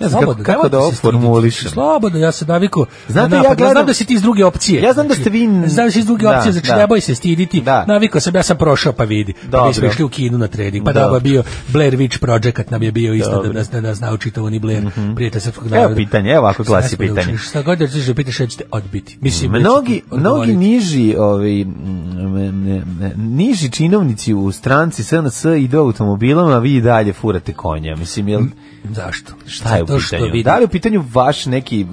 Speaker 5: Ne znam kako,
Speaker 6: Slobodno,
Speaker 5: kako
Speaker 6: nemojte
Speaker 5: da ovo
Speaker 6: se stiditi.
Speaker 5: formulišem.
Speaker 6: Slobodno, ja se naviku.
Speaker 5: Znate,
Speaker 6: na
Speaker 5: ja
Speaker 6: napad.
Speaker 5: gledam-
Speaker 6: znam da si ti iz druge opcije.
Speaker 5: Ja znam da ste vi-
Speaker 6: Znači, Znam da si iz druge
Speaker 5: Da,
Speaker 6: opcije, znači
Speaker 5: da.
Speaker 6: ne boj se stiditi.
Speaker 5: Da.
Speaker 6: Navikao sam, ja sam prošao pa vidi. Pa
Speaker 5: Dobro.
Speaker 6: mi smo išli u kinu na trening. Pa
Speaker 5: Dobro.
Speaker 6: nama bio Blair Witch Project nam je bio isto da
Speaker 5: Dobro. Mhm.
Speaker 6: nas, da nas nauči to oni Blair, prijatelj srpskog
Speaker 5: Evo
Speaker 6: naroda.
Speaker 5: pitanje, evo ovako
Speaker 6: Šta
Speaker 5: glasi
Speaker 6: smo da
Speaker 5: pitanje.
Speaker 6: učili? Šta god da ćeš da pitaš, ja ću te odbiti. Mislim, da ću ti
Speaker 5: Mnogi, mnogi
Speaker 6: odgovoriti.
Speaker 5: niži, ovi, m, m, m, niži činovnici u stranci SNS idu automobilom, a vi i dalje furate konja. Mislim, jel,
Speaker 6: Zašto?
Speaker 5: šta je u
Speaker 6: Zato što
Speaker 5: pitanju?
Speaker 6: vidi-
Speaker 5: Da li je u pitanju vaš neki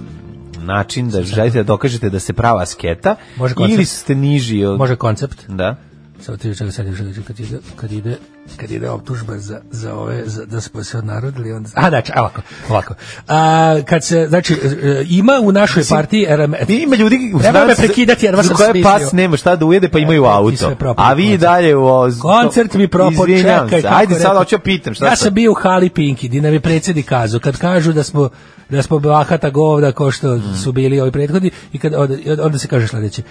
Speaker 5: način da želite da dokažete da se prava sketa
Speaker 6: Može koncept.
Speaker 5: ili ste niži od...
Speaker 6: Može koncept?
Speaker 5: Da.
Speaker 6: Samo ti čega sad još da kažem, kad ide, kad ide, kad ide optužba za, za ove, za, da smo se odnarodili, onda... A, znači, a, ovako, ovako. A, kad se, znači, e, ima u našoj partiji... RM,
Speaker 5: Ima ljudi u
Speaker 6: Nemoj me
Speaker 5: stranci
Speaker 6: prekidati, jer vas
Speaker 5: za
Speaker 6: sam
Speaker 5: koje
Speaker 6: smislio.
Speaker 5: pas nema šta da ujede pa imaju
Speaker 6: Evo, ti
Speaker 5: auto.
Speaker 6: sve propao
Speaker 5: A vi i
Speaker 6: koncert.
Speaker 5: dalje u... o-
Speaker 6: Koncert mi propao,
Speaker 5: Izvinjavam
Speaker 6: čekaj.
Speaker 5: se.
Speaker 6: kako
Speaker 5: Ajde sad
Speaker 6: rekao.
Speaker 5: hoću ja pitam. Šta
Speaker 6: Ja
Speaker 5: sad?
Speaker 6: sam bio u Hali Pinki, di nam je predsjednik kazao, kad kažu da smo da smo bahata govna kao što su bili ovi prethodni i kad onda, i onda se kaže sledeće.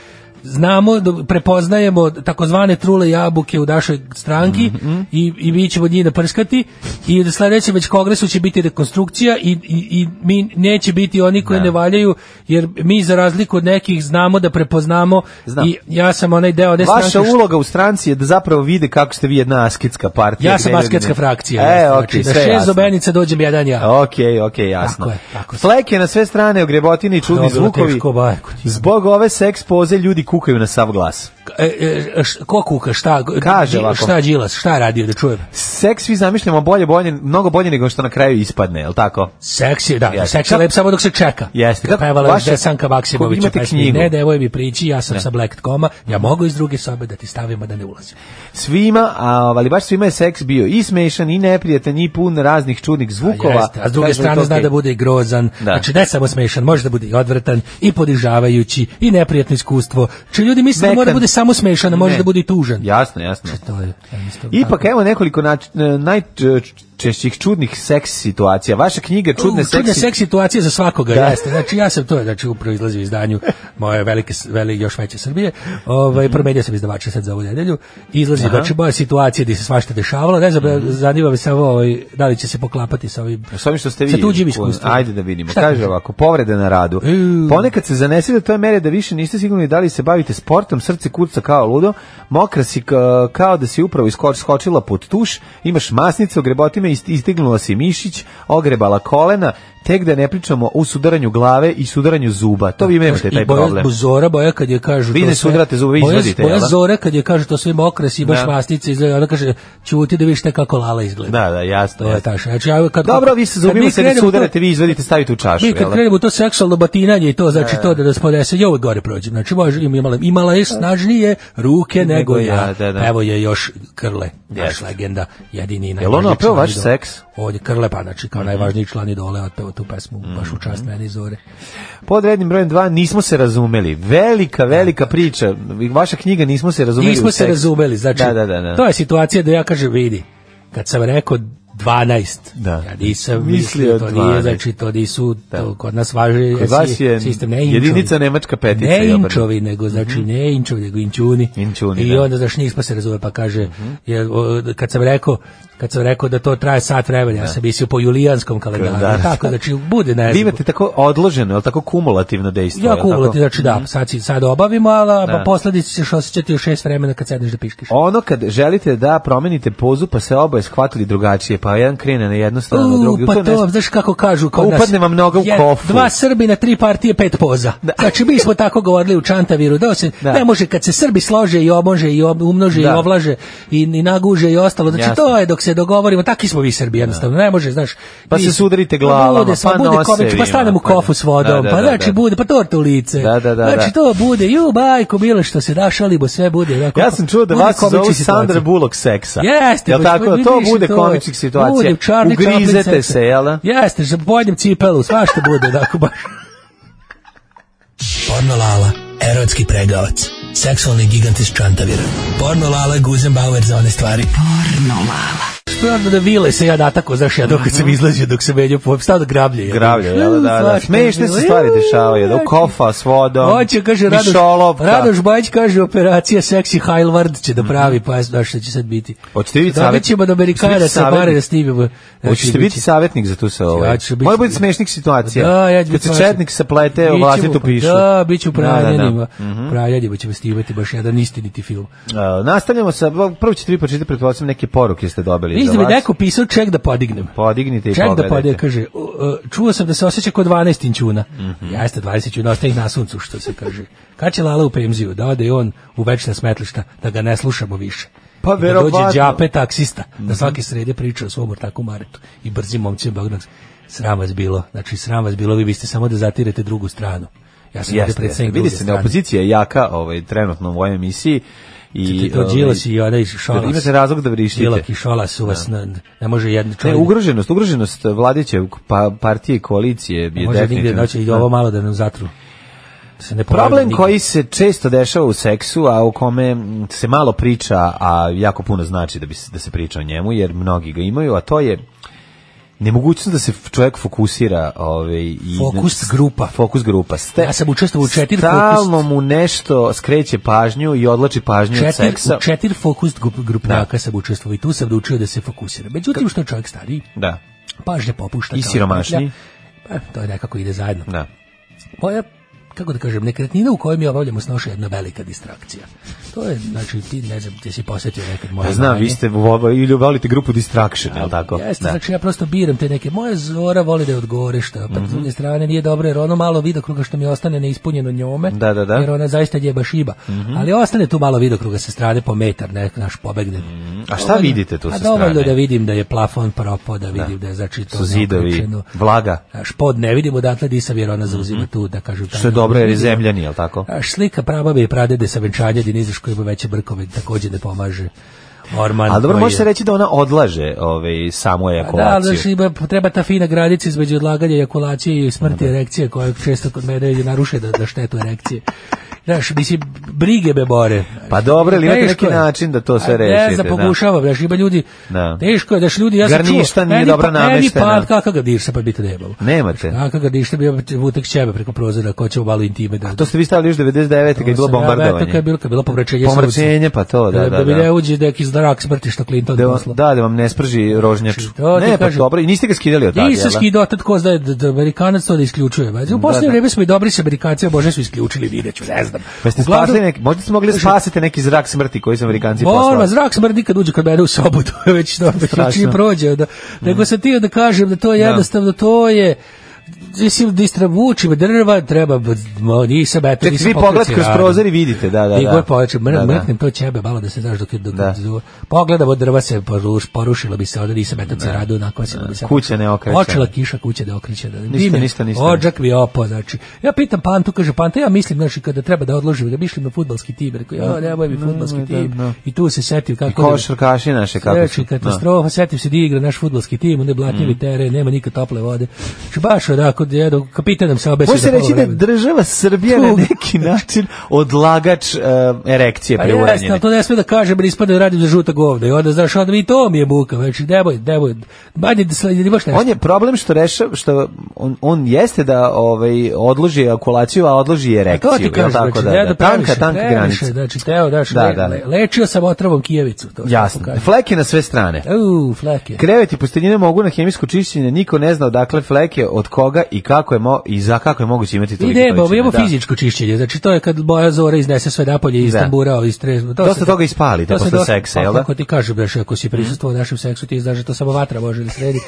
Speaker 6: Znamo, da prepoznajemo takozvane trule jabuke u našoj stranki i, i mi ćemo njih naprskati i na sledećem već kongresu će biti rekonstrukcija i, i, i mi neće biti oni koji ne valjaju jer mi za razliku od nekih znamo da prepoznamo
Speaker 5: Znam.
Speaker 6: i ja sam onaj deo one
Speaker 5: Vaša
Speaker 6: stranke što-
Speaker 5: uloga u stranci je da zapravo vide kako ste vi jedna asketska partija.
Speaker 6: ja sam
Speaker 5: gde ljudi
Speaker 6: asketska
Speaker 5: ne-
Speaker 6: frakcija.
Speaker 5: E,
Speaker 6: jeste,
Speaker 5: okej,
Speaker 6: znači,
Speaker 5: sve
Speaker 6: na šest
Speaker 5: jasno.
Speaker 6: zobenica dođem jedan ja.
Speaker 5: Okej, okej, jasno.
Speaker 6: Tako je, tako je.
Speaker 5: Fleke na sve strane, ogrebotine i čudni
Speaker 6: Dobro,
Speaker 5: zvukovi.
Speaker 6: teško, bajko ti.
Speaker 5: Zbog ove seks poze ljudi kukaju na sav glas.
Speaker 6: E, e, š- ko kuka, šta, g-
Speaker 5: Kaže
Speaker 6: Đi-
Speaker 5: ovako.
Speaker 6: šta Đilas, šta je radio da čujem?
Speaker 5: Seks vi zamišljamo bolje, bolje, mnogo bolje nego što na kraju ispadne, je li tako?
Speaker 6: Seks je, da,
Speaker 5: Jeste.
Speaker 6: seks je
Speaker 5: Kako-
Speaker 6: lep samo dok se čeka.
Speaker 5: Jeste.
Speaker 6: Kako
Speaker 5: Kako-
Speaker 6: pevala još
Speaker 5: vaše-
Speaker 6: Desanka Maksimović
Speaker 5: imate knjigu?
Speaker 6: Ne, devoj mi priči, ja sam sa Black Koma, ja mogu iz druge sobe da ti stavimo da ne ulazim.
Speaker 5: Svima, a, ali baš svima je seks bio i smešan, i neprijatan, i pun raznih čudnih zvukova.
Speaker 6: Jeste, a s druge
Speaker 5: Kažu,
Speaker 6: strane
Speaker 5: to je
Speaker 6: zna
Speaker 5: okej.
Speaker 6: da bude i grozan,
Speaker 5: Da.
Speaker 6: znači ne samo smešan, može da bude i odvratan, i podižavajući, i neprijatno iskustvo. Či ljudi misle da mora da
Speaker 5: Mekan.
Speaker 6: bude samo smešana, može
Speaker 5: Ne.
Speaker 6: da bude i tužan.
Speaker 5: Jasno, jasno.
Speaker 6: To je, jednostavno
Speaker 5: Ipak
Speaker 6: tako.
Speaker 5: evo nekoliko nač- e, najčešćih čudnih seks situacija. Vaša knjiga Čudne
Speaker 6: U, čudne
Speaker 5: seksi...
Speaker 6: seks situacije za svakoga,
Speaker 5: Da.
Speaker 6: jeste. Znači, ja sam to, znači, upravo izlazi u izdanju moje velike, veli, još veće Srbije. Ovaj, promenio sam izdavača sad za ovu nedelju. Izlazi,
Speaker 5: Mhm. Aha.
Speaker 6: znači, moje situacije gdje se svašta dešavalo. Ne znam, zanima me samo ovaj, da li će se poklapati sa ovim...
Speaker 5: Pa S ovim što ste vi.
Speaker 6: Sa tuđim iskustvom.
Speaker 5: Ajde da vidimo.
Speaker 6: Šta
Speaker 5: Kaže
Speaker 6: kaže?
Speaker 5: ovako, povrede na radu.
Speaker 6: Uu.
Speaker 5: Ponekad se zanese do toj mere da više niste sigurni da li se bavite sportom, srce kurca kao ludo, mokra si ka- kao da si upravo iskoč, skočila pod tuš, imaš masnice, ogrebotime, ist- istignula si mišić, ogrebala kolena, tek da ne pričamo o sudaranju glave i sudaranju zuba. To vi nemate taj
Speaker 6: I boja,
Speaker 5: problem.
Speaker 6: Zora boja kad je kažu...
Speaker 5: Vi
Speaker 6: to
Speaker 5: ne
Speaker 6: sve-
Speaker 5: sudarate zube, vi
Speaker 6: boja-
Speaker 5: izvadite,
Speaker 6: Boja
Speaker 5: jel da?
Speaker 6: Zora kad je kažu to sve mokres i baš
Speaker 5: Da.
Speaker 6: masnice, izgleda, ona kaže, čuti da vidiš te kako Lala izgleda.
Speaker 5: Da, da, jasno.
Speaker 6: To je
Speaker 5: jasno.
Speaker 6: taš. Znači, ja kad,
Speaker 5: Dobro, vi se
Speaker 6: kad mi
Speaker 5: zubima se ne
Speaker 6: krenemo to-
Speaker 5: sudarate, vi izvadite, stavite u čašu.
Speaker 6: Mi
Speaker 5: jel
Speaker 6: kad
Speaker 5: da?
Speaker 6: krenemo u to seksualno batinanje i to znači to da nas podese, ja uvek gore prođem. Znači može im imala imala je snažnije ruke nego ja.
Speaker 5: da, da.
Speaker 6: Evo je još Krle, naš
Speaker 5: Jeste.
Speaker 6: legenda, jedini i
Speaker 5: Jel
Speaker 6: najvažniji
Speaker 5: ono opeo
Speaker 6: član
Speaker 5: vaš
Speaker 6: idol.
Speaker 5: seks? Mhm.
Speaker 6: On je Krle pa znači kao najvažniji član idole otpeva tu pesmu baš u čast meni zore.
Speaker 5: Pod rednim brojem 2 nismo se razumeli. Velika, velika priča. Vaša knjiga nismo se razumeli. u
Speaker 6: Nismo se
Speaker 5: seksu.
Speaker 6: razumeli, znači
Speaker 5: Da, da, da, da.
Speaker 6: to je situacija da ja kažem vidi, kad sam rekao 12.
Speaker 5: Da.
Speaker 6: Ja nisam
Speaker 5: Mislio
Speaker 6: mislio, to nije,
Speaker 5: 12.
Speaker 6: znači to nisu,
Speaker 5: Da.
Speaker 6: to kod nas važi
Speaker 5: Kod vas
Speaker 6: si-
Speaker 5: je
Speaker 6: sistem, ne
Speaker 5: jedinica
Speaker 6: inčovi.
Speaker 5: nemačka petica.
Speaker 6: Ne
Speaker 5: jel da?
Speaker 6: inčovi, nego znači ne inčovi, nego inčuni.
Speaker 5: Inčuni,
Speaker 6: I
Speaker 5: da. Mhm.
Speaker 6: onda znaš nismo se razume, pa kaže, jer, o, kad sam rekao, kad sam rekao da to traje sat vremena, ja sam mislio po julijanskom kalendaru,
Speaker 5: Da.
Speaker 6: tako, znači bude ne
Speaker 5: pa Vi
Speaker 6: znam.
Speaker 5: imate tako odloženo, ali tako kumulativno dejstvo.
Speaker 6: Ja
Speaker 5: jel tako? Mhm.
Speaker 6: kumulativ, znači da, sad, si- sad obavimo, ali
Speaker 5: Da.
Speaker 6: da. posledice ćeš osjećati u šest vremena kad sedneš da piškiš.
Speaker 5: Ono kad želite da promenite pozu, pa se oboje shvatili drugačije, pa jedan krene na jednu stranu,
Speaker 6: U,
Speaker 5: drugi. u
Speaker 6: pa
Speaker 5: ne-
Speaker 6: to, znaš kako kažu kod nas.
Speaker 5: Pa Upadne vam noga u
Speaker 6: je-
Speaker 5: kofu.
Speaker 6: Dva Srbi na tri partije, pet poza. Znači, mi smo tako govorili u Čantaviru. Da se,
Speaker 5: Da.
Speaker 6: Ne može, kad se Srbi slože i obože i ob- umnože
Speaker 5: Da.
Speaker 6: i ovlaže i, i naguže i ostalo. Znači,
Speaker 5: Jasno.
Speaker 6: to je dok se dogovorimo. Taki smo vi Srbi jednostavno. Ne može, znaš.
Speaker 5: Pa
Speaker 6: mi-
Speaker 5: se sudarite glavama,
Speaker 6: bude,
Speaker 5: pa
Speaker 6: bude
Speaker 5: nosevima,
Speaker 6: komič, pa stanem u
Speaker 5: pa da.
Speaker 6: kofu s vodom.
Speaker 5: Da, da,
Speaker 6: pa
Speaker 5: da,
Speaker 6: znači,
Speaker 5: da.
Speaker 6: bude, pa tortu u lice.
Speaker 5: Da, da, da,
Speaker 6: znači,
Speaker 5: da.
Speaker 6: to bude, ju, bajko, bilo što se da, šalimo, sve bude. onako,
Speaker 5: Ja sam čuo da
Speaker 6: bude
Speaker 5: vas
Speaker 6: komičnih
Speaker 5: zovu
Speaker 6: situacija.
Speaker 5: Sandra Bullock seksa.
Speaker 6: Jeste,
Speaker 5: Jel
Speaker 6: pa
Speaker 5: tako?
Speaker 6: vidiš
Speaker 5: To bude
Speaker 6: to.
Speaker 5: komičnih situacija.
Speaker 6: Bude Charlie Chaplin
Speaker 5: Ugrizete
Speaker 6: seksa.
Speaker 5: se, jel? da?
Speaker 6: Jeste, za pojedem cipelu, svašta bude, tako baš.
Speaker 12: Porno Lala, erotski pregavac, seksualni gigant iz Čantavira. Porno Lala je Guzenbauer za one stvari.
Speaker 6: Što je onda da vile se ja natako, znaš, ja dok sam izlazio, dok sam menio pop, stao da grablje. jel?
Speaker 5: Gravlje, jel da, da, da.
Speaker 6: Svašta
Speaker 5: Smešne
Speaker 6: je bilo.
Speaker 5: se stvari dešavaju, da, u kofa s vodom,
Speaker 6: Hoće, kaže Radoš,
Speaker 5: mišolovka.
Speaker 6: Radoš Bajić kaže operacija seksi Heilvard će da pravi, pa ja znaš šta će sad biti.
Speaker 5: Hoćete vi
Speaker 6: Dobit
Speaker 5: savjet-
Speaker 6: ćemo do
Speaker 5: hoćete
Speaker 6: Amerikana
Speaker 5: biti
Speaker 6: sa pare
Speaker 5: savjetnik?
Speaker 6: da snimimo.
Speaker 5: Hoćete
Speaker 6: Znači,
Speaker 5: biti savjetnik za tu se ovo.
Speaker 6: Ja ću biti-
Speaker 5: Može biti smešnih situacija.
Speaker 6: Da, ja ću
Speaker 5: Kad
Speaker 6: biti
Speaker 5: se
Speaker 6: svačan.
Speaker 5: četnik sa plete o
Speaker 6: Bićemo,
Speaker 5: vlastitu
Speaker 6: pa
Speaker 5: pišu.
Speaker 6: Da, bit ću u Pranjanima.
Speaker 5: Da, da, da. Mhm.
Speaker 6: Pranjanima ćemo snimati baš jedan istiniti film.
Speaker 5: E, nastavljamo sa, prvo ćete vi počitati, pretpostavljam, neke poruke ste dobili.
Speaker 6: Mislim
Speaker 5: za
Speaker 6: da mi
Speaker 5: vas.
Speaker 6: neko pisao ček da podignem.
Speaker 5: Podignite i
Speaker 6: Ček da
Speaker 5: pogledajte.
Speaker 6: podignem, kaže, u, e, čuo sam da se osjeća kod 12 inčuna.
Speaker 5: Mhm.
Speaker 6: Jeste 20 inčuna, ostaje ih na suncu, što se kaže. Kad će Lala u penziju, da ode i on u večna smetlišta, da ga ne slušamo više.
Speaker 5: Pa
Speaker 6: I da
Speaker 5: verovatno. Mhm.
Speaker 6: dođe đape taksista, da svake srede priča o svom ortaku Maretu i brzim momcima Bogdanovcu. Sram vas bilo, znači sram vas bilo, vi biste samo da zatirete drugu stranu. Ja sam ovdje
Speaker 5: Jeste, jeste.
Speaker 6: predsednik
Speaker 5: Vidi
Speaker 6: druge
Speaker 5: se, ne,
Speaker 6: strane.
Speaker 5: opozicija je jaka ovaj, trenutno u ovoj emisiji. I,
Speaker 6: I to
Speaker 5: ovaj,
Speaker 6: Đilas i onaj Šolas.
Speaker 5: da imate razlog da vrištite.
Speaker 6: Đilak i Šolas su vas, ne, ne može jedno
Speaker 5: Ne,
Speaker 6: čovjek.
Speaker 5: ugroženost, ugroženost vladeće pa, partije i koalicije je
Speaker 6: Može nigde
Speaker 5: definitivno.
Speaker 6: doći i ovo malo da nam zatru. Da se ne ponavlja
Speaker 5: Problem
Speaker 6: nigde.
Speaker 5: koji se često dešava u seksu, a o kome mm, se malo priča, a jako puno znači da, bi se, da se priča o njemu, jer mnogi ga imaju, a to je nemogućnost da se f- čovjek fokusira ovaj, i
Speaker 6: Fokus grupa.
Speaker 5: fokus grupa. Ste,
Speaker 6: Ja sam učestvovao u četiri
Speaker 5: Stalno
Speaker 6: fokus-
Speaker 5: mu nešto skreće pažnju i odlači pažnju od
Speaker 6: Četir,
Speaker 5: seksa.
Speaker 6: u četir fokus grup- grupnjaka sam učestvovao i tu sam naučio da se fokusira. Međutim, što je čovjek stariji,
Speaker 5: Da,
Speaker 6: pažnje popušta.
Speaker 5: I
Speaker 6: kao
Speaker 5: siromašniji.
Speaker 6: petlja. Pa, to je nekako ide zajedno.
Speaker 5: da.
Speaker 6: Moja, kako da kažem, nekretnina u kojoj mi obavljamo snoša je jedna velika distrakcija. To je, znači, ti ne znam, ti si posjetio nekad moje
Speaker 5: Pa znam,
Speaker 6: znanje.
Speaker 5: vi ste vo- ili volite grupu Distraction, je li tako?
Speaker 6: Jeste,
Speaker 5: Da.
Speaker 6: znači ja prosto biram te neke. Moja zora voli da je odgovorišta, pa
Speaker 5: Mhm.
Speaker 6: s druge strane nije dobro jer ono malo vidokruga što mi ostane neispunjeno njome,
Speaker 5: Da, da, Mhm. da.
Speaker 6: jer ona zaista je baš šiba. Ali ostane tu malo vidokruga sa strane po metar, ne, naš pobegne.
Speaker 5: A šta vidite Mhm. tu
Speaker 6: A
Speaker 5: sa
Speaker 6: dovoljno
Speaker 5: strane?
Speaker 6: da vidim da je plafon propao, da vidim da, je znači to
Speaker 5: Su zidovi,
Speaker 6: neokrečeno.
Speaker 5: vlaga,
Speaker 6: Naš pod ne vidimo odatle disam jer ona zauzima tu, da kažem.
Speaker 5: Mhm. što je
Speaker 6: tamo.
Speaker 5: dobro jer je zemljani, je li tako?
Speaker 6: Naš slika prababe i pradede sa venčanja Dinizaš koji ima veće brkove također ne pomaže. Orman
Speaker 5: Ali dobro,
Speaker 6: koji
Speaker 5: može se
Speaker 6: je- Pa
Speaker 5: reći da ona odlaže ovaj, samu
Speaker 6: da, ali znači,
Speaker 5: ejakulaciju.
Speaker 6: znaš, ima, treba ta fina granica između odlaganja ejakulacije i smrti erekcije koja često kod mene je naruše da, da štetu erekcije. Znaš, mislim, brige me bore.
Speaker 5: Pa dobro, ali imate
Speaker 6: Teško
Speaker 5: neki
Speaker 6: je.
Speaker 5: način da to sve
Speaker 6: A Ne
Speaker 5: rešite,
Speaker 6: znam,
Speaker 5: da.
Speaker 6: pokušavam, znaš, ima ljudi,
Speaker 5: Da.
Speaker 6: teško je, znaš, ljudi, ja sam čuo,
Speaker 5: Garništa nije
Speaker 6: meni
Speaker 5: dobro
Speaker 6: pa- meni
Speaker 5: nameštena.
Speaker 6: Pa, kakav ga dirsa, pa biti nebalo.
Speaker 5: Nemate.
Speaker 6: Kakav ga dirsa, bio bi vutek ćebe preko prozora, ko će u malu intime da...
Speaker 5: To ste vi stavili još 99. kad je bilo
Speaker 6: sam ja
Speaker 5: bombardovanje.
Speaker 6: metao kad je bilo- kad je bilo pomračenje
Speaker 5: Pomračenje,
Speaker 6: sunca.
Speaker 5: pa to, da, da, da.
Speaker 6: Da mi ne uđe neki zrak smrti što Clinton
Speaker 5: Da, vam-
Speaker 6: poslao.
Speaker 5: da, da vam ne sprži rožnjaču.
Speaker 6: Znači, to ti
Speaker 5: Ne, pa
Speaker 6: kažem.
Speaker 5: dobro, i niste ga skidali od tada,
Speaker 6: Nisam
Speaker 5: jel da?
Speaker 6: skidao tad ko zna da, da Amerikanac to da isključuje. Znači, u
Speaker 5: Da,
Speaker 6: posljednje
Speaker 5: da.
Speaker 6: vreme smo i dobri s Amerikancima, bože su isključili, vidjet ću, ne znam.
Speaker 5: Pa ste
Speaker 6: Uglavnom-
Speaker 5: spasili neki, možda ste mogli spasiti neki zrak smrti koji su Amerikanci
Speaker 6: Borba,
Speaker 5: poslali.
Speaker 6: zrak smrdi kad uđe kod mene u sobu, to je (laughs) već to, već
Speaker 5: Strašno.
Speaker 6: i prođe. Da, nego sam ti da kažem da to je
Speaker 5: Da.
Speaker 6: jednostavno, to je, mislim, distravuči me drva, treba, mo, nisam, eto,
Speaker 5: Ček,
Speaker 6: nisam
Speaker 5: vi pogled kroz prozor i vidite, da, da,
Speaker 6: da,
Speaker 5: da.
Speaker 6: da. poveče, mrk,
Speaker 5: Da, da.
Speaker 6: mrknem to ćebe, malo da se znaš dok je dok
Speaker 5: Da.
Speaker 6: da. Pogledam od drva se poruš, porušilo bi se, onda nisam eto ceradu, nakosilo bi se.
Speaker 5: Kuća ne okreće.
Speaker 6: Počela kiša, kuća ne okreće. Da, dim je,
Speaker 5: ništa, ništa.
Speaker 6: Odžak mi je opao, znači. Ja pitam Pantu, kaže Panta, ja mislim, znači, kada treba da odložim, da mislim na fudbalski tim, rekao, ja, nemoj mi fudbalski
Speaker 5: Nemoj, da,
Speaker 6: tim.
Speaker 5: da.
Speaker 6: I tu se setim kako... da-
Speaker 5: Košarkaši naše kako
Speaker 6: Znači,
Speaker 5: su. Mm.
Speaker 6: katastrofa, setim se da igra naš fudbalski tim, onda je blatnjivi teren, nema nikad tople vode. Znači, baš onako, jedno, kapitanom se
Speaker 5: Da.
Speaker 6: obesi
Speaker 5: Može se reći da je država Srbija na
Speaker 6: Tu.
Speaker 5: neki način odlagač eh, erekcije
Speaker 6: Pa jeste,
Speaker 5: preuranjene.
Speaker 6: ali to ne sme da kažem, jer ispada da radim za žuta govna. I onda, znaš, onda mi to mi je buka. Znači, nemoj, nemoj. Manje da sledi, imaš nešto.
Speaker 5: On je problem što rešava što on, on jeste da ovaj odloži ejakulaciju, a odloži erekciju.
Speaker 6: To ti
Speaker 5: jel
Speaker 6: kažeš,
Speaker 5: tako
Speaker 6: znači,
Speaker 5: da,
Speaker 6: ne
Speaker 5: da,
Speaker 6: da
Speaker 5: tanka,
Speaker 6: previše,
Speaker 5: tanka
Speaker 6: previše,
Speaker 5: granica.
Speaker 6: Znači, teo, znaš,
Speaker 5: Da,
Speaker 6: le-
Speaker 5: da.
Speaker 6: le- lečio sam otrovom kijevicu. To sam
Speaker 5: Jasno.
Speaker 6: pokazao.
Speaker 5: Fleke na sve strane.
Speaker 6: Au, flake.
Speaker 5: Kreveti posteljine mogu na hemijsko čišćenje, niko ne zna odakle fleke, od koga i kako je mo i za kako je moguće imati
Speaker 6: I
Speaker 5: toliko
Speaker 6: ne, bo, imamo fizičko čišćenje, znači to je kad boja zora iznese sve napolje iz
Speaker 5: Da.
Speaker 6: tambura, iz trez... To
Speaker 5: Dosta toga ispali,
Speaker 6: to
Speaker 5: tako
Speaker 6: se
Speaker 5: što
Speaker 6: dosta-
Speaker 5: seksa,
Speaker 6: pa,
Speaker 5: jel da? Mhm.
Speaker 6: Kako ti kažem, znaš, ako si prisustuo našem seksu, ti znaš da to samo vatra može da sredi.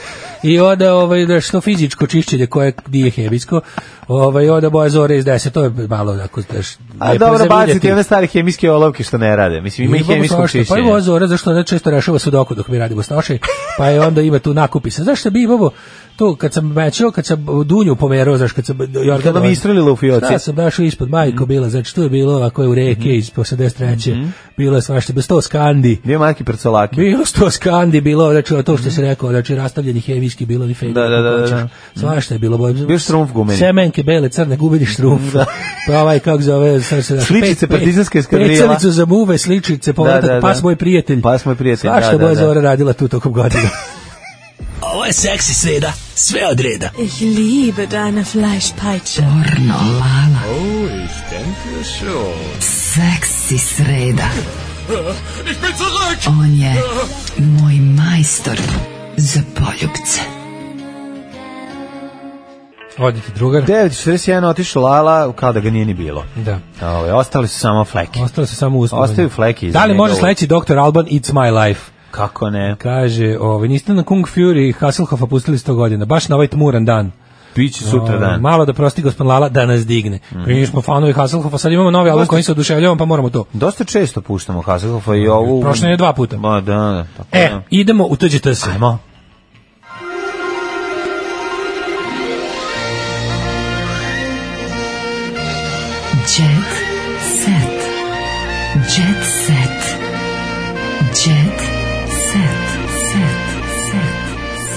Speaker 6: I onda, ovaj, znaš, to fizičko čišćenje koje nije hemijsko, ovaj, onda boja zora iznese, to je malo, onako, znaš,
Speaker 5: A
Speaker 6: lepo za
Speaker 5: dobro
Speaker 6: vidjeti.
Speaker 5: baciti one stare hemijske olovke što ne rade. Mislim ima i
Speaker 6: Imamo
Speaker 5: hemijsko
Speaker 6: svašta. Pa
Speaker 5: čišćenje.
Speaker 6: imamo zora, zašto ne često rešava sudoku dok mi radimo stoši, pa je onda ima tu nakupi se. Zašto bi imamo to kad sam mećao, kad sam dunju pomerao, znaš, kad sam jorgan...
Speaker 5: Kad vam istrelilo u fioci.
Speaker 6: Šta sam našao ispod
Speaker 5: Mhm.
Speaker 6: majko bila, znači tu je bilo ovako je u reke iz 83. Bilo je svašta, bilo sto skandi.
Speaker 5: Bio Marki Prcolaki.
Speaker 6: Bilo sto skandi, bilo, znači to što se rekao, znači rastavljeni hemijski, bilo ni fejni.
Speaker 5: Da, da, da, da, da.
Speaker 6: Svašta je bilo. bojim-
Speaker 5: Bio štrumf gumeni.
Speaker 6: Semenke, bele, crne, gumeni štrumf. Pa ovaj, kako zove, sad se
Speaker 5: Sličice partizanske eskadrila.
Speaker 6: Pecalicu za muve, sličice, povratak,
Speaker 5: Da, da, da.
Speaker 6: pas moj prijatelj.
Speaker 5: Pas moj prijatelj,
Speaker 6: Svašta
Speaker 5: da, da,
Speaker 6: boja
Speaker 5: da.
Speaker 6: Zora radila tu tokom godina.
Speaker 12: (laughs) Ovo je seksi sreda, sve od reda.
Speaker 13: Ich liebe deine Fleischpeitsche.
Speaker 9: Oh, ich denke schon.
Speaker 14: Seksi sreda.
Speaker 9: Ich bin zurück!
Speaker 14: On je moj majstor za poljubce.
Speaker 6: Odite drugar.
Speaker 5: 9.41 otišao Lala kao da ga nije ni bilo.
Speaker 6: Da.
Speaker 5: Ove, ostali su samo fleke.
Speaker 6: Ostalo se samo uslovno.
Speaker 5: Ostaju fleki iza
Speaker 6: Da li
Speaker 5: njega
Speaker 6: može
Speaker 5: u-
Speaker 6: sledeći Dr. Alban It's My Life?
Speaker 5: Kako ne?
Speaker 6: Kaže, ovaj, niste na Kung Fury i Hasselhoffa pustili 100 godina, baš na ovaj tmuran dan.
Speaker 5: Biće sutra
Speaker 6: O,
Speaker 5: dan.
Speaker 6: Ono,
Speaker 5: Mhm.
Speaker 6: Malo da prosti gospodin Lala da nas digne. Mi smo fanovi Hasselhoffa, sad imamo novi album
Speaker 5: Dosta-
Speaker 6: koji se oduševljavamo, pa moramo to.
Speaker 5: Dosta često puštamo Hasselhoffa i ovu...
Speaker 6: Prošlo je dva puta.
Speaker 5: Ma da, da. Tako
Speaker 6: E,
Speaker 5: da.
Speaker 6: idemo u tuđe tse.
Speaker 5: Ajmo.
Speaker 14: Jet set. Jet set. Jet set. Set. Set.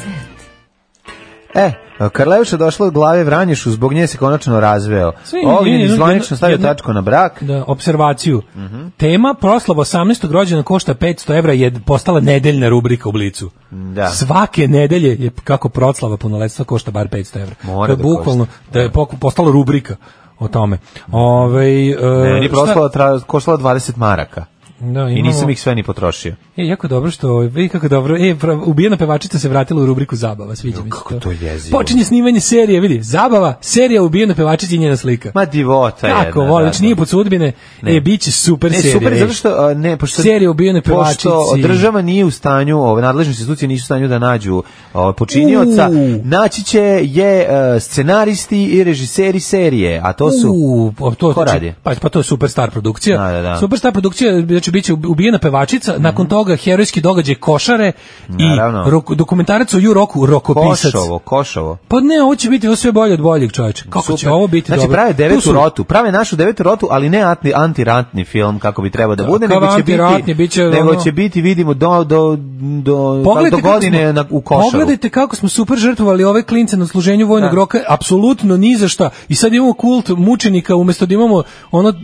Speaker 14: Set. Set.
Speaker 5: E, Karleuša došla od glave Vranješu, zbog nje se konačno razveo.
Speaker 6: Sve
Speaker 5: Ognjen
Speaker 6: jedno-
Speaker 5: je zvanično
Speaker 6: jedno-
Speaker 5: stavio
Speaker 6: jedno-
Speaker 5: tačku na brak.
Speaker 6: Da, observaciju.
Speaker 5: Mhm.
Speaker 6: Tema proslava 18. rođena košta 500 evra je postala nedeljna rubrika u Blicu.
Speaker 5: Da.
Speaker 6: Svake nedelje je kako proslava punoletstva košta bar 500 evra.
Speaker 5: Mora
Speaker 6: to je
Speaker 5: da
Speaker 6: bukvalno da je poku- postala rubrika o tome. Ovaj e,
Speaker 5: Meni je
Speaker 6: šta-
Speaker 5: proslava tra- koštala 20 maraka.
Speaker 6: Da,
Speaker 5: I
Speaker 6: imamo-
Speaker 5: nisam ih sve ni potrošio.
Speaker 6: E, jako dobro što, vidi kako dobro, e, pra- ubijena pevačica se vratila u rubriku zabava, sviđa mi se
Speaker 5: kako to jezivo.
Speaker 6: Počinje snimanje serije, vidi, zabava, serija ubijena pevačica i njena slika.
Speaker 5: Ma divota je.
Speaker 6: Kako, voli, znači nije pod sudbine,
Speaker 5: Ne.
Speaker 6: e, bit će super
Speaker 5: Ne,
Speaker 6: serija.
Speaker 5: super je
Speaker 6: ej.
Speaker 5: zato što a, ne pošto
Speaker 6: Serija ubijene
Speaker 5: Pošto
Speaker 6: pevačici.
Speaker 5: država nije u stanju, ove nadležne institucije nisu u stanju da nađu o, počinioca,
Speaker 6: Uuu.
Speaker 5: naći će je e, scenaristi i režiseri serije, a to su
Speaker 6: U, pa to
Speaker 5: Ko
Speaker 6: znači,
Speaker 5: radi?
Speaker 6: Pa, pa to je superstar produkcija.
Speaker 5: Da, da, da.
Speaker 6: Superstar produkcija, znači Vujoviću biće ubijena pevačica, nakon toga herojski događaj košare
Speaker 5: Naravno.
Speaker 6: i roku, dokumentarac o ju roku, rokopisac.
Speaker 5: Košovo, Košovo.
Speaker 6: Pa ne, ovo će biti ovo sve bolje od boljeg čovječe. Kako Pa će
Speaker 5: Super.
Speaker 6: ovo biti
Speaker 5: znači,
Speaker 6: dobro?
Speaker 5: prave devetu
Speaker 6: Tu su-
Speaker 5: rotu, prave našu devetu rotu, ali ne anti, antirantni film kako bi trebao da bude,
Speaker 6: Kao
Speaker 5: nego će
Speaker 6: antiratni,
Speaker 5: biti,
Speaker 6: bit će
Speaker 5: nego
Speaker 6: ono-
Speaker 5: će biti, vidimo, do, do, do, do
Speaker 6: kako
Speaker 5: godine
Speaker 6: smo-
Speaker 5: na, u košaru.
Speaker 6: Pogledajte kako smo super žrtvovali ove klince na služenju vojnog
Speaker 5: Da.
Speaker 6: roka, apsolutno ni za šta. I sad imamo kult mučenika, umjesto da imamo ono m,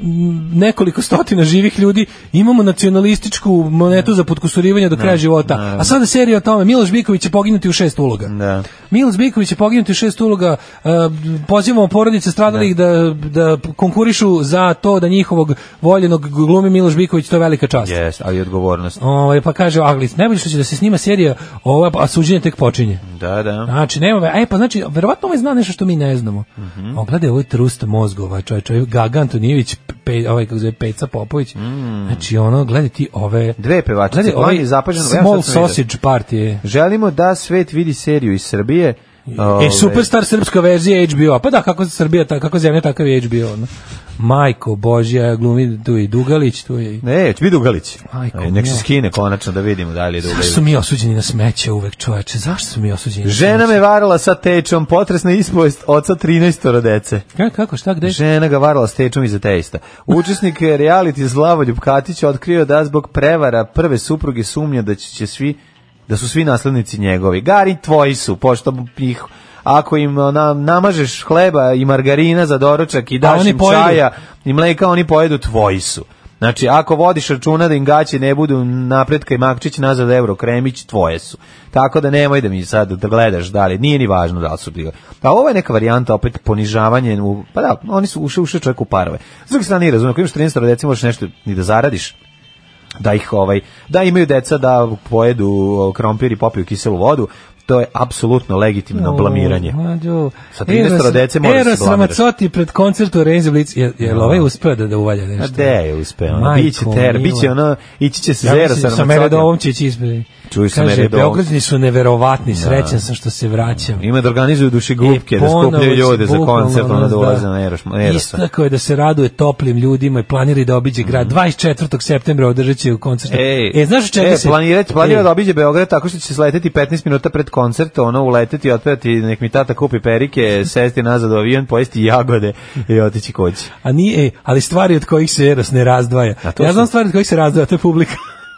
Speaker 6: nekoliko stotina živih ljudi, imamo nacionalističku monetu za podkusurivanje do kraja života. A sada serija o tome, Miloš Biković će poginuti u šest uloga.
Speaker 5: Da.
Speaker 6: Miloš Biković je poginuti u šest uloga. e, Pozivamo porodice stradalih da, da konkurišu za to da njihovog voljenog glumi Miloš Biković, to je velika čast.
Speaker 5: Jes, ali i odgovornost.
Speaker 6: Ovaj pa kaže Aglis, najbolje što će da se snima serija, ova a suđenje tek počinje.
Speaker 5: Da, da.
Speaker 6: Znači, nema, ve- e pa znači, verovatno ovaj zna nešto što mi ne znamo. Mm
Speaker 5: Mhm.
Speaker 6: -hmm. Ogledaj ovaj trust mozgova, ovaj čovjek, čovjek, Gaga Antonijević, pe, ovaj, kako se zove, Peca Popović, znači, ono, gledaj ti ove...
Speaker 5: Mhm. Dve pevačice,
Speaker 6: Gledaj, ovaj
Speaker 5: plan je zapaženo, evo
Speaker 6: Small
Speaker 5: sad sam vidio.
Speaker 6: Sausage Party,
Speaker 5: Želimo da svet vidi seriju iz Srbije.
Speaker 6: E, superstar srpska verzija HBO. Pa da, kako Srbija, ta, kako zemlja, takav je HBO. ono. Majko Božja, glumi tu je i Dugalić, tu je i...
Speaker 5: Ne, će biti Dugalić.
Speaker 6: Majko
Speaker 5: Aj, nek se
Speaker 6: moja.
Speaker 5: skine konačno da vidimo da li je
Speaker 6: Zašto su
Speaker 5: Dugalić.
Speaker 6: mi osuđeni na smeće uvek, čoveče? Zašto su mi osuđeni na
Speaker 5: Žena me varala sa tečom, potresna ispovest oca 13 dece.
Speaker 6: Ka- Kako, šta, gde?
Speaker 5: Žena ga varala s tečom iza teista. Učesnik reality Slavoljub Katić otkrio da zbog prevara prve supruge sumnja da će, će svi da su svi naslednici njegovi. Gari tvoji su, pošto ih ako im na, namažeš hleba i margarina za doručak i daš
Speaker 6: oni
Speaker 5: im
Speaker 6: pojedu.
Speaker 5: čaja i mleka, oni pojedu tvoji su. Znači, ako vodiš računa da im gaće ne budu napretka i makčić nazad euro kremić, tvoje su. Tako da nemoj da mi sad da gledaš dalje. Nije ni važno da li su bile. A ovo je neka varijanta, opet ponižavanje. u- Pa da, oni su ušli, ušli čovjek u parove. S druge strane, nije razumijem, ako imaš 13 recimo, možeš nešto ni da zaradiš da ih ovaj da imaju deca da pojedu ovaj, krompir i popiju kiselu vodu to je apsolutno legitimno blamiranje
Speaker 6: Mlađo,
Speaker 5: Sa 13
Speaker 6: Eros-
Speaker 5: dece može se
Speaker 6: Eros
Speaker 5: blamiraš.
Speaker 6: Ramazzotti pred koncertu Renzi Blitz, je, je li ovaj uspeo da, da uvalja
Speaker 5: A
Speaker 6: nešto?
Speaker 5: de je uspeo, ono,
Speaker 6: Majko
Speaker 5: biće ter,
Speaker 6: mila.
Speaker 5: biće ono, ići će se
Speaker 6: Ja
Speaker 5: zera
Speaker 6: mislim
Speaker 5: sa
Speaker 6: sa Meredovom će ići ispred.
Speaker 5: Čuješ sa
Speaker 6: Kaže,
Speaker 5: Meredovom.
Speaker 6: Beograđani su neverovatni, srećan sam što se vraćam.
Speaker 5: Ima da organizuju duši
Speaker 6: E,
Speaker 5: gubke, da
Speaker 6: ponovo će
Speaker 5: skupljaju ljude za
Speaker 6: bukvalno
Speaker 5: koncert,
Speaker 6: ono,
Speaker 5: ono da
Speaker 6: da.
Speaker 5: ulaze na Eroš- Erosa.
Speaker 6: Istakao je da se raduje toplim ljudima i planira i da obiđe grad. 24. septembra održat će koncert.
Speaker 5: Mhm. Ej,
Speaker 6: e, znaš od čega
Speaker 5: e,
Speaker 6: se...
Speaker 5: planira, planira
Speaker 6: Ej.
Speaker 5: da obiđe Beograd tako što će sleteti 15 minuta pred koncert, ono uleteti i otpevati, nek mi tata kupi
Speaker 6: (laughs)
Speaker 5: perike, sesti nazad u avion, pojesti jagode i otići kući.
Speaker 6: A nije, e, ali stvari od kojih se Eros ne razdvaja.
Speaker 5: to
Speaker 6: Ja
Speaker 5: su-
Speaker 6: znam stvari od kojih se razdvaja, to je
Speaker 5: (laughs)
Speaker 6: publika.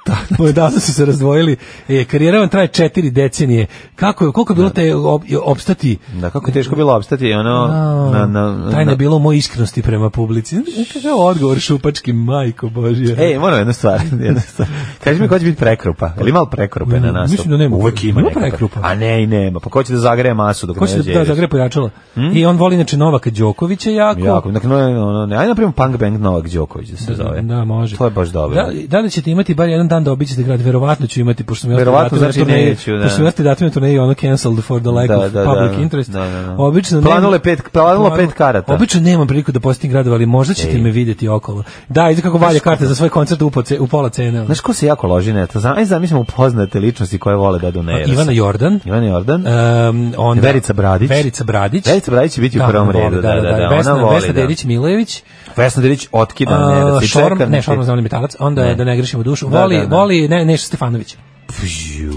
Speaker 6: (laughs) Moje davno su se razdvojili. E, karijera vam traje četiri decenije. Kako je, koliko je bilo te op- opstati?
Speaker 5: Da, kako je teško bilo opstati, ono, na, na,
Speaker 6: Tajna
Speaker 5: na-
Speaker 6: je bilo u mojoj iskrenosti prema publici. Znaš Kakav je odgovor šupački, majko Božija.
Speaker 5: Ej, E, moram jednu stvar, (laughs) jednu stvar. Kaži mi ko će biti prekrupa. Je li ima li prekrupe na nas?
Speaker 6: Mislim da nema.
Speaker 5: Uvek ima,
Speaker 6: Ima
Speaker 5: neka
Speaker 6: prekrupa.
Speaker 5: A ne, i nema. Pa ko će da zagreje masu dok
Speaker 6: Ko će
Speaker 5: ne
Speaker 6: da, da Zagreb pojačala?
Speaker 5: Hmm?
Speaker 6: I on voli inače Novaka Đokovića jako.
Speaker 5: Jako, dakle, no, no, no, ne. Ajde napravimo Punk Bang Novak Đoković da se zove.
Speaker 6: Da, može.
Speaker 5: To je baš dobro.
Speaker 6: Da, da li ćete imati bar jedan dan da obiđete grad? Verovatno ću imati, pošto sam ja
Speaker 5: Verovatno,
Speaker 6: ostali datum na
Speaker 5: znači
Speaker 6: turneji-
Speaker 5: neću, da.
Speaker 6: Pošto sam ja ostali datum na turneji, ono cancelled for the lack
Speaker 5: Da,
Speaker 6: of
Speaker 5: da,
Speaker 6: public
Speaker 5: da.
Speaker 6: interest.
Speaker 5: Da, da, da.
Speaker 6: Obično nemam-
Speaker 5: Planulo je pet- planulo
Speaker 6: Planulo-
Speaker 5: pet karata.
Speaker 6: Obično nemam priliku da postim gradova, ali možda ćete
Speaker 5: Ej.
Speaker 6: me vidjeti okolo. Da, ide kako valja karte za svoj koncert u, po ce- u pola cene. ono.
Speaker 5: Znaš ko se jako loži na to? Znam, ajde zamislimo poznate ličnosti koje vole da doneru.
Speaker 6: Pa, Ivana Jordan.
Speaker 5: Ivana Jordan.
Speaker 6: Um, onda,
Speaker 5: Verica Bradić.
Speaker 6: Verica Bradić.
Speaker 5: Verica Bradić će biti u
Speaker 6: Da,
Speaker 5: prvom
Speaker 6: ona voli,
Speaker 5: redu. Da, da, da. Ona
Speaker 6: Vesna,
Speaker 5: voli,
Speaker 6: Vesna
Speaker 5: da.
Speaker 6: Dedić Milejević.
Speaker 5: Vesna Delić otkida
Speaker 6: A,
Speaker 5: uh, ne,
Speaker 6: Šorm, ne, Šorm znam limitalac, onda
Speaker 5: Ne.
Speaker 6: da ne grešimo dušu.
Speaker 5: Da,
Speaker 6: voli,
Speaker 5: da, da.
Speaker 6: voli ne, Neša Stefanović.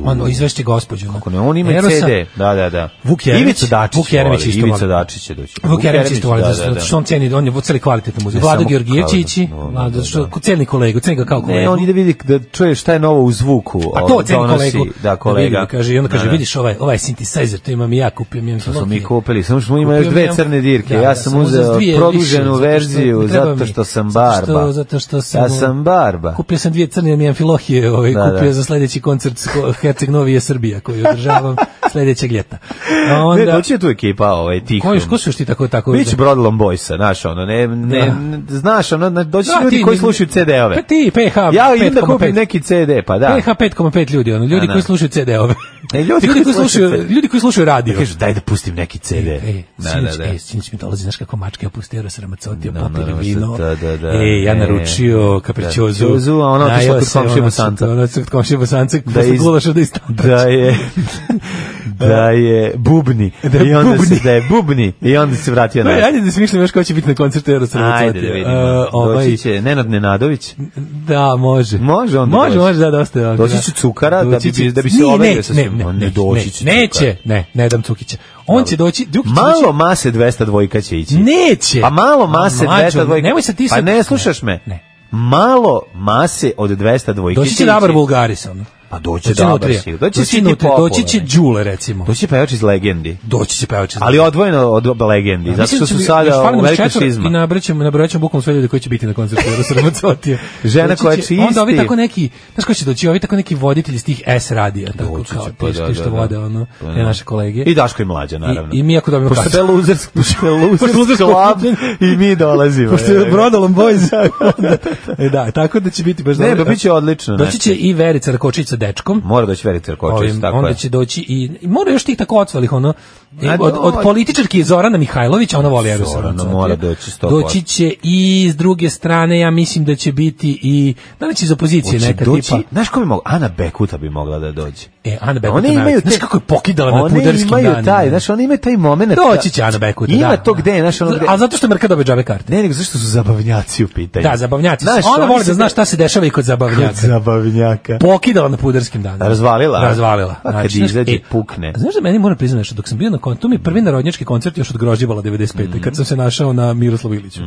Speaker 6: On izvešće gospođu. ono.
Speaker 5: Ako ne, on ima i
Speaker 6: Erosa.
Speaker 5: CD. Da, da, da.
Speaker 6: Vuk Jeremić-
Speaker 5: Ivica Dačić
Speaker 6: Vuk Jeremić
Speaker 5: voli,
Speaker 6: isto
Speaker 5: Ivica
Speaker 6: voli.
Speaker 5: Dačić će doći.
Speaker 6: Vuk Jeremić isto voli, zato
Speaker 5: da, da.
Speaker 6: što on ceni, on je voceli kvalitetnu muziku.
Speaker 5: Ne,
Speaker 6: Vlada
Speaker 5: samo
Speaker 6: Georgijevčić, i-
Speaker 5: kvalitetnu, ono,
Speaker 6: Vlada,
Speaker 5: da,
Speaker 6: što
Speaker 5: da.
Speaker 6: ceni kolegu, ceni ga kao kolegu.
Speaker 5: Ne, on ide vidi da čuje šta je novo u zvuku.
Speaker 6: Pa
Speaker 5: o,
Speaker 6: to ceni
Speaker 5: donosi,
Speaker 6: kolegu.
Speaker 5: Da,
Speaker 6: vidi,
Speaker 5: kolega.
Speaker 6: ga, kaže, i onda
Speaker 5: Da,
Speaker 6: kaže,
Speaker 5: da.
Speaker 6: vidiš ovaj, ovaj synthesizer, to imam i ja, kupim. Ja,
Speaker 5: To smo mi kupili, samo što ima još
Speaker 6: Kupio
Speaker 5: dve
Speaker 6: mi-
Speaker 5: crne dirke.
Speaker 6: Da,
Speaker 5: ja
Speaker 6: da,
Speaker 5: sam
Speaker 6: sam uzeo
Speaker 5: uzeo
Speaker 6: dvije više,
Speaker 5: produženu
Speaker 6: zato što-
Speaker 5: verziju
Speaker 6: treba mi.
Speaker 5: zato što sam
Speaker 6: Zato
Speaker 5: barba.
Speaker 6: što- zato što sam-
Speaker 5: Ja sam barba.
Speaker 6: Kupio sam dvije crne, jer mi je Amfilohije ovaj,
Speaker 5: Da,
Speaker 6: kupio
Speaker 5: da.
Speaker 6: za sledeći koncert sko- Herceg Novije Srbija, koji
Speaker 5: (laughs)
Speaker 6: održavam sledećeg ljeta. A
Speaker 5: Ne,
Speaker 6: Onda,
Speaker 5: doći je tu ekipa, ovaj, tih.
Speaker 6: ko, još- ko su još ti tako, tako?
Speaker 5: Biće Brodlom Boysa, znaš, ono, ne, ne, ne- znaš, ono, na- doći su
Speaker 6: Da,
Speaker 5: ljudi
Speaker 6: ti-
Speaker 5: koji slušaju CD-ove.
Speaker 6: Pa ti, PH,
Speaker 5: Ja idem da
Speaker 6: 5,5.
Speaker 5: kupim neki CD, pa da.
Speaker 6: PH 5,5 ljudi, ono, ljudi
Speaker 5: Da,
Speaker 6: koji
Speaker 5: da.
Speaker 6: slušaju CD-ove.
Speaker 5: E, ljudi koji slušaju CD.
Speaker 6: ljudi koji slušaju radio.
Speaker 5: Ja kažu, daj da pustim neki CD.
Speaker 6: Ej,
Speaker 5: Da,
Speaker 6: E, sinoć,
Speaker 5: da, da.
Speaker 6: ej, sinoć mi dolazi, znaš kako mačke opustero sa ramacotija,
Speaker 5: Da,
Speaker 6: popili
Speaker 5: naravno,
Speaker 6: vino.
Speaker 5: da, da, da.
Speaker 6: Ej, ja
Speaker 5: E,
Speaker 6: naručio kapričozu. ono
Speaker 5: kapričozu, a ona otišla ono kod komšije Bosanca.
Speaker 6: Ona otišla kod komšije bosanca
Speaker 5: da je iz-
Speaker 6: gulaša da istantač.
Speaker 5: da je
Speaker 6: (laughs)
Speaker 5: da je bubni
Speaker 6: Da je
Speaker 5: i onda
Speaker 6: bubni.
Speaker 5: se da je bubni i onda se
Speaker 6: (laughs)
Speaker 5: vratio
Speaker 6: Ne,
Speaker 5: na
Speaker 6: ajde da smišljam još ko će biti na koncertu Aerosrva
Speaker 5: Ajde da vidimo.
Speaker 6: e,
Speaker 5: Doći će Nenad Nenadović.
Speaker 6: ovaj, Da, može.
Speaker 5: Može on.
Speaker 6: Može, može, da, dosta je.
Speaker 5: Doći će Cukara da
Speaker 6: Doći
Speaker 5: bi-
Speaker 6: će-
Speaker 5: da bi se
Speaker 6: Nije,
Speaker 5: overio
Speaker 6: ne,
Speaker 5: sa
Speaker 6: ne,
Speaker 5: svim.
Speaker 6: ne,
Speaker 5: Ma, ne
Speaker 6: ne,
Speaker 5: doći
Speaker 6: ne,
Speaker 5: će
Speaker 6: Neće,
Speaker 5: Cukara.
Speaker 6: ne, ne dam Cukića. On će doći, Đukić će doći-
Speaker 5: Malo mase 200 dvojka će ići.
Speaker 6: Neće.
Speaker 5: Pa malo mase
Speaker 6: A, mlađo,
Speaker 5: 200 dvojka.
Speaker 6: Nemoj se ti
Speaker 5: Pa
Speaker 6: sad-
Speaker 5: ne slušaš me.
Speaker 6: Ne.
Speaker 5: Malo mase od 200 dvojke.
Speaker 6: Doći će
Speaker 5: ići.
Speaker 6: Dabar Bulgaris, ono.
Speaker 5: Pa doći će
Speaker 6: Doći će
Speaker 5: Dabar.
Speaker 6: Nutrija.
Speaker 5: sigurno. Doći će
Speaker 6: Doći
Speaker 5: Siti
Speaker 6: Nutrija,
Speaker 5: Popović.
Speaker 6: doći će Đule, recimo.
Speaker 5: Doći će pevač iz legendi.
Speaker 6: Doći će pevač iz
Speaker 5: Ali odvojeno od legendi.
Speaker 6: Ja,
Speaker 5: Zato
Speaker 6: mislim
Speaker 5: što
Speaker 6: da će
Speaker 5: su
Speaker 6: bi-
Speaker 5: sada
Speaker 6: još fali
Speaker 5: u
Speaker 6: nam
Speaker 5: velikoj
Speaker 6: četvoro I
Speaker 5: šizma.
Speaker 6: nabraćamo, nabraćamo bukvalno sve ljude koji će biti na koncertu Jaroslava Macotija.
Speaker 5: Žena
Speaker 6: Doći
Speaker 5: koja
Speaker 6: će-
Speaker 5: čisti.
Speaker 6: Onda ovi tako neki, znaš ko će doći, ovi tako neki voditelji iz tih S radija, tako
Speaker 5: Doći
Speaker 6: kao
Speaker 5: će, pa
Speaker 6: ti
Speaker 5: da,
Speaker 6: što- što
Speaker 5: da, da.
Speaker 6: vode, ono,
Speaker 5: Pa da.
Speaker 6: te naše kolege.
Speaker 5: I Daško i mlađa, naravno.
Speaker 6: I, i mi jako dobijemo
Speaker 5: Pošto (laughs)
Speaker 6: kasu.
Speaker 5: ste losers, pošto je
Speaker 6: Pošto je
Speaker 5: losers
Speaker 6: losers
Speaker 5: club
Speaker 6: club.
Speaker 5: i mi dolazimo.
Speaker 6: Pošto je
Speaker 5: evo ga.
Speaker 6: Brodolom Boys. E, (laughs) onda- e, da, tako da će biti baš
Speaker 5: Ne,
Speaker 6: dobro.
Speaker 5: pa bit će odlično.
Speaker 6: Doći će i Verica Rakočić sa dečkom.
Speaker 5: Mora doći Verica Rakočević,
Speaker 6: Ovim,
Speaker 5: tako
Speaker 6: onda
Speaker 5: je.
Speaker 6: će doći i i mora još tih tako ocvalih ono e,
Speaker 5: A
Speaker 6: od, od
Speaker 5: do-
Speaker 6: političarki Zorana Mihajlovića ona voli Erusa
Speaker 5: Zorana
Speaker 6: Ramazzotti.
Speaker 5: mora doći 100%.
Speaker 6: doći će i s druge strane ja mislim da će biti i da li će iz opozicije
Speaker 5: Hoće
Speaker 6: neka
Speaker 5: doći,
Speaker 6: tipa
Speaker 5: Znaš ko bi mogla? Ana Bekuta bi mogla da dođe.
Speaker 6: e Ana Bekuta
Speaker 5: One imaju te,
Speaker 6: znaš kako je pokidala na
Speaker 5: one
Speaker 6: pudarskim
Speaker 5: imaju
Speaker 6: danima
Speaker 5: taj, znaš, one imaju taj moment.
Speaker 6: doći će Ana Bekuta
Speaker 5: Ima
Speaker 6: da,
Speaker 5: to gde, znaš, ono gde.
Speaker 6: a zato što Merka dobe džabe karte
Speaker 5: Ne, nego zašto su zabavnjaci u pitanju?
Speaker 6: da zabavnjaci
Speaker 5: Znaš,
Speaker 6: ona
Speaker 5: oni
Speaker 6: voli
Speaker 5: se-
Speaker 6: da zna šta se dešava i kod zabavnjaka
Speaker 5: Kod zabavnjaka.
Speaker 6: pokidala na pudarskim danima.
Speaker 5: Razvalila?
Speaker 6: Razvalila.
Speaker 5: Pa kad
Speaker 6: Znači,
Speaker 5: je
Speaker 6: znaš,
Speaker 5: izađe,
Speaker 6: e,
Speaker 5: pukne.
Speaker 6: a Znaš da meni moram priznati nešto, dok sam bio na koncertu, to mi je prvi narodnjački koncert još od Grožđevala
Speaker 5: Mhm.
Speaker 6: 95. kad sam se našao na Miroslavu Iliću.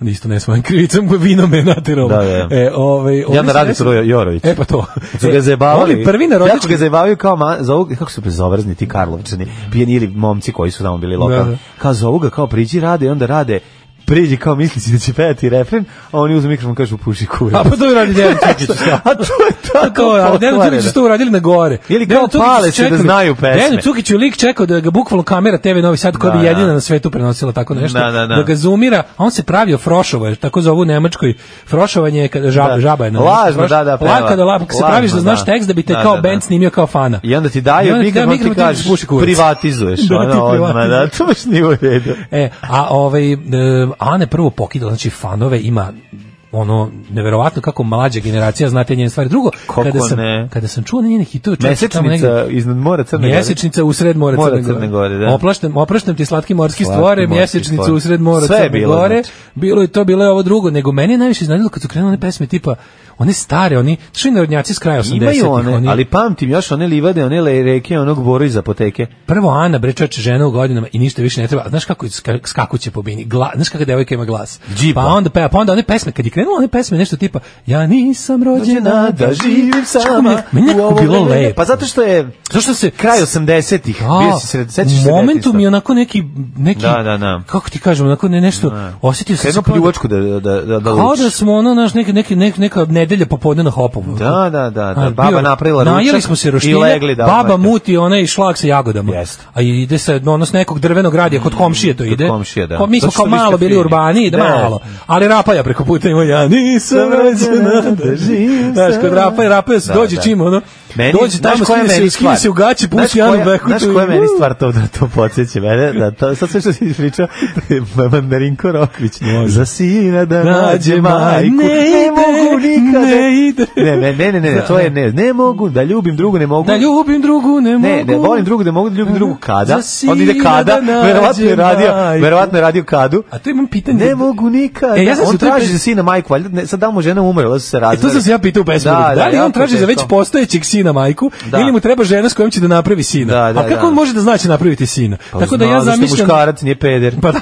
Speaker 6: On isto ne svojim krivicom, (laughs) vino me je naterao.
Speaker 5: Da, da.
Speaker 6: E, ovaj,
Speaker 5: Ja na
Speaker 6: se
Speaker 5: radicu
Speaker 6: desio-
Speaker 5: Jorović.
Speaker 6: E pa to.
Speaker 5: Kad su
Speaker 6: E,
Speaker 5: ga
Speaker 6: ovi
Speaker 5: zajebavali.
Speaker 6: prvi
Speaker 5: Jako ga
Speaker 6: narodnjački
Speaker 5: zajebavaju kao ma, zovu, ga- kako su bezobrazni ti Karlovčani, pijeni ili momci koji su tamo bili
Speaker 6: Da,
Speaker 5: lokalni.
Speaker 6: da.
Speaker 5: Kao zovu ga, kao priđi rade i onda rade priđi kao misli si da će pevati refren, a oni uzmu mikrofon i kažu puši kurac. Znači,
Speaker 6: A pa to je radi
Speaker 5: (laughs)
Speaker 6: Dejan Cukić.
Speaker 5: A to je tako
Speaker 6: Tako, a Dejan
Speaker 5: pokvareno.
Speaker 6: Cukić su to uradili na gore.
Speaker 5: Ili kao
Speaker 6: Dejanu Cukiću su
Speaker 5: Pale se da
Speaker 6: čekali-
Speaker 5: znaju pesme.
Speaker 6: Dejanu Cukiću je lik čekao da ga bukvalno kamera TV Novi Sad koja
Speaker 5: Da,
Speaker 6: bi jedina
Speaker 5: da.
Speaker 6: na svetu prenosila tako nešto.
Speaker 5: Da, da, da.
Speaker 6: ga zoomira, a on se pravio frošovo, jer tako zovu u Nemačkoj. Frošovanje je kada žaba,
Speaker 5: Da.
Speaker 6: žaba je na
Speaker 5: Lažno,
Speaker 6: Froš-
Speaker 5: da, da, peva.
Speaker 6: La- kada la- kad se
Speaker 5: Lažno,
Speaker 6: praviš da znaš
Speaker 5: da.
Speaker 6: tekst da bi te
Speaker 5: Da,
Speaker 6: kao
Speaker 5: da, da.
Speaker 6: band snimio kao fana.
Speaker 5: I onda ti daju
Speaker 6: onda ti
Speaker 5: mikrofon,
Speaker 6: daju
Speaker 5: ti
Speaker 6: mikrofon, ti
Speaker 5: kažeš,
Speaker 6: puši kurac.
Speaker 5: privatizuješ.
Speaker 6: (laughs) Da,
Speaker 5: ono,
Speaker 6: ti
Speaker 5: odmah, da,
Speaker 6: privatizuješ.
Speaker 5: to baš nije u redu.
Speaker 6: E, a ovaj e, Ane prvo pokidala, znači fanove ima ono neverovatno kako mlađa generacija zna te njene stvari. Drugo,
Speaker 5: Kako
Speaker 6: kada sam
Speaker 5: ne?
Speaker 6: kada sam čuo njene hitove, čovječe, tamo
Speaker 5: Mesečnica
Speaker 6: negde-
Speaker 5: iznad mora Crne Gore.
Speaker 6: Mjesečnica u sred mora,
Speaker 5: Mora Crne Gore, da.
Speaker 6: Oplaštam, opraštam ti slatki morski
Speaker 5: Slatki
Speaker 6: stvore,
Speaker 5: morski
Speaker 6: mjesečnica
Speaker 5: stvore.
Speaker 6: u sred mora
Speaker 5: Sve je
Speaker 6: Crne
Speaker 5: bilo,
Speaker 6: Gore.
Speaker 5: znači.
Speaker 6: Bilo je to, bilo je ovo drugo, nego meni je najviše iznenadilo kad su krenule one pesme tipa one stare, oni svi narodnjaci s kraja 80-ih,
Speaker 5: Imaju one,
Speaker 6: oni-
Speaker 5: ali pamtim još one livade, one le- reke, onog boru iz apoteke.
Speaker 6: Prvo Ana Brečač žena u godinama i ništa više ne treba. Znaš kako ska- skakuće po bini. Gla, znaš kako devojka ima glas.
Speaker 5: Džipa.
Speaker 6: Pa onda peva, pa onda one pesme kad je krenula one pesme nešto tipa ja nisam rođena da živim
Speaker 5: Znaš
Speaker 6: sama.
Speaker 5: kako mi je-
Speaker 6: Meni je
Speaker 5: u
Speaker 6: nekako
Speaker 5: ovo
Speaker 6: bilo
Speaker 5: vreme?
Speaker 6: lepo.
Speaker 5: Pa zato što je
Speaker 6: Zašto se
Speaker 5: kraj 80-ih.
Speaker 6: Da,
Speaker 5: bio si se, sećaš se
Speaker 6: u momentu
Speaker 5: detinjstva.
Speaker 6: mi je ono- onako neki neki
Speaker 5: Da, da, da.
Speaker 6: kako ti kažem, onako ne nešto osjetio sam se
Speaker 5: Krenuo
Speaker 6: kao da-
Speaker 5: pljuvačku da, da, da, da
Speaker 6: kao
Speaker 5: luči.
Speaker 6: da smo ono naš neki neki neki neka nedelja popodne na hopovu.
Speaker 5: Da, da, da, da.
Speaker 6: A,
Speaker 5: Baba
Speaker 6: bio-
Speaker 5: napravila
Speaker 6: Najeli
Speaker 5: ručak
Speaker 6: smo
Speaker 5: i
Speaker 6: se roštilja,
Speaker 5: legli da
Speaker 6: baba
Speaker 5: odmate.
Speaker 6: muti onaj šlag sa jagodama.
Speaker 5: Jeste.
Speaker 6: A ide se ono s nekog drvenog radija kod komšije to
Speaker 5: Mm, kod
Speaker 6: ide.
Speaker 5: komšije, da.
Speaker 6: Ko- mi smo
Speaker 5: Zato što
Speaker 6: kao
Speaker 5: vi ste
Speaker 6: malo bili
Speaker 5: fini.
Speaker 6: urbani, da,
Speaker 5: Da.
Speaker 6: malo. Ali rapaja preko puta ima ja nisam rođena da živim. Znaš, kod rapaja, rapaja se
Speaker 5: Da,
Speaker 6: dođe
Speaker 5: da.
Speaker 6: čim ono. dođe
Speaker 5: znaš
Speaker 6: tamo,
Speaker 5: koja je
Speaker 6: skine se,
Speaker 5: meni
Speaker 6: skine
Speaker 5: stvar?
Speaker 6: se u gaći,
Speaker 5: Znaš
Speaker 6: pusti
Speaker 5: koja-
Speaker 6: Janu Beku.
Speaker 5: Znaš koja je meni stvar to da to podsjeća mene? Da to, sad sve što si (laughs) pričao, Mandarinko Rokvić. Za sina da nađe majku, ne, mogu nikada.
Speaker 6: ne ide.
Speaker 5: Ne, ne, ne, ne, ne, to je ne, ne mogu, da ljubim drugu, ne mogu.
Speaker 6: Da ljubim drugu, ne mogu.
Speaker 5: Ne, ne, volim drugu, da mogu da ljubim drugu kada.
Speaker 6: Za sina
Speaker 5: Onda ide kada,
Speaker 6: da nađe
Speaker 5: verovatno je radio,
Speaker 6: majku.
Speaker 5: verovatno je radio kadu.
Speaker 6: A tu imam pitanje.
Speaker 5: Ne mogu nikad.
Speaker 6: E, ja sam se
Speaker 5: on
Speaker 6: u toj
Speaker 5: traži
Speaker 6: pre-
Speaker 5: za sina majku, valjda ne, sad da mu žena umrla, su se
Speaker 6: E,
Speaker 5: razveli.
Speaker 6: to sam se ja pitao u pesmi. Da, da li on
Speaker 5: jako
Speaker 6: traži za već
Speaker 5: teško.
Speaker 6: postojećeg sina majku
Speaker 5: Da.
Speaker 6: ili mu treba žena s kojom će da napravi sina?
Speaker 5: Da, da,
Speaker 6: A kako
Speaker 5: da.
Speaker 6: on može da znači napraviti sina?
Speaker 5: Pa
Speaker 6: Tako da ja
Speaker 5: znam, zašto
Speaker 6: zamišljam...
Speaker 5: muškarac nije peder.
Speaker 6: (laughs) Pa da,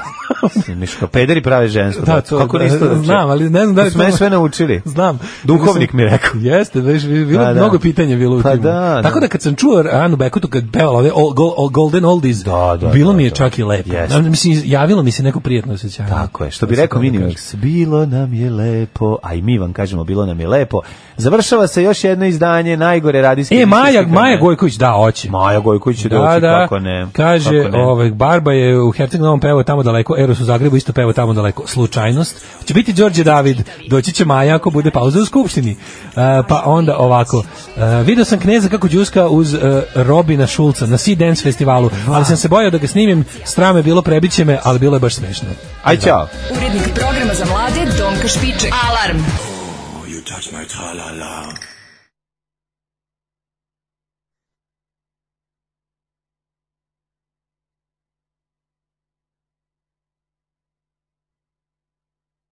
Speaker 5: Miško, pederi prave žensko.
Speaker 6: da, to,
Speaker 5: Kako
Speaker 6: da,
Speaker 5: niste naučili?
Speaker 6: znam, ali ne znam da li...
Speaker 5: To su mene sve naučili.
Speaker 6: Znam.
Speaker 5: Duhovnik mi je rekao.
Speaker 6: Jeste, već bi- bilo
Speaker 5: Pa da.
Speaker 6: mnogo pitanja bilo u
Speaker 5: Pa
Speaker 6: timu.
Speaker 5: da,
Speaker 6: Tako
Speaker 5: da.
Speaker 6: da kad sam čuo Anu Bekutu kad pevala ove All- Go- All- Golden Oldies,
Speaker 5: Da, da,
Speaker 6: bilo
Speaker 5: da,
Speaker 6: mi je
Speaker 5: da.
Speaker 6: čak i lepo.
Speaker 5: Jeste.
Speaker 6: Mislim, javilo mi se neko prijetno osjećanje.
Speaker 5: Tako je, što bi
Speaker 6: Da se
Speaker 5: rekao
Speaker 6: tako kaže.
Speaker 5: Minimax, bilo nam je lepo, a i mi vam kažemo bilo nam je lepo. Završava se još jedno izdanje najgore radijske.
Speaker 6: E, Maja,
Speaker 5: emisije.
Speaker 6: Maja Gojković, da, oće.
Speaker 5: Maja Gojković će doći, kako ne.
Speaker 6: Kaže,
Speaker 5: kako ne.
Speaker 6: ovaj, Barba je u Herceg Novom pevao tamo daleko, Eros u Zagrebu isto pevao tamo daleko. Slučajnost. Će biti Đorđe David, doći će Maja ako bude pauza u Skupštini. E, pa onda ovako, e, video sam Kneza kako džuska uz e, Robina Šulca na Sea Dance festivalu, ali sam se bojao da ga snimim, strame bilo prebiće me, ali bilo je baš smešno.
Speaker 5: Aj, čao.
Speaker 4: Urednik programa za mlade Donka Špiček. Alarm.
Speaker 15: You touch my tra-la-la.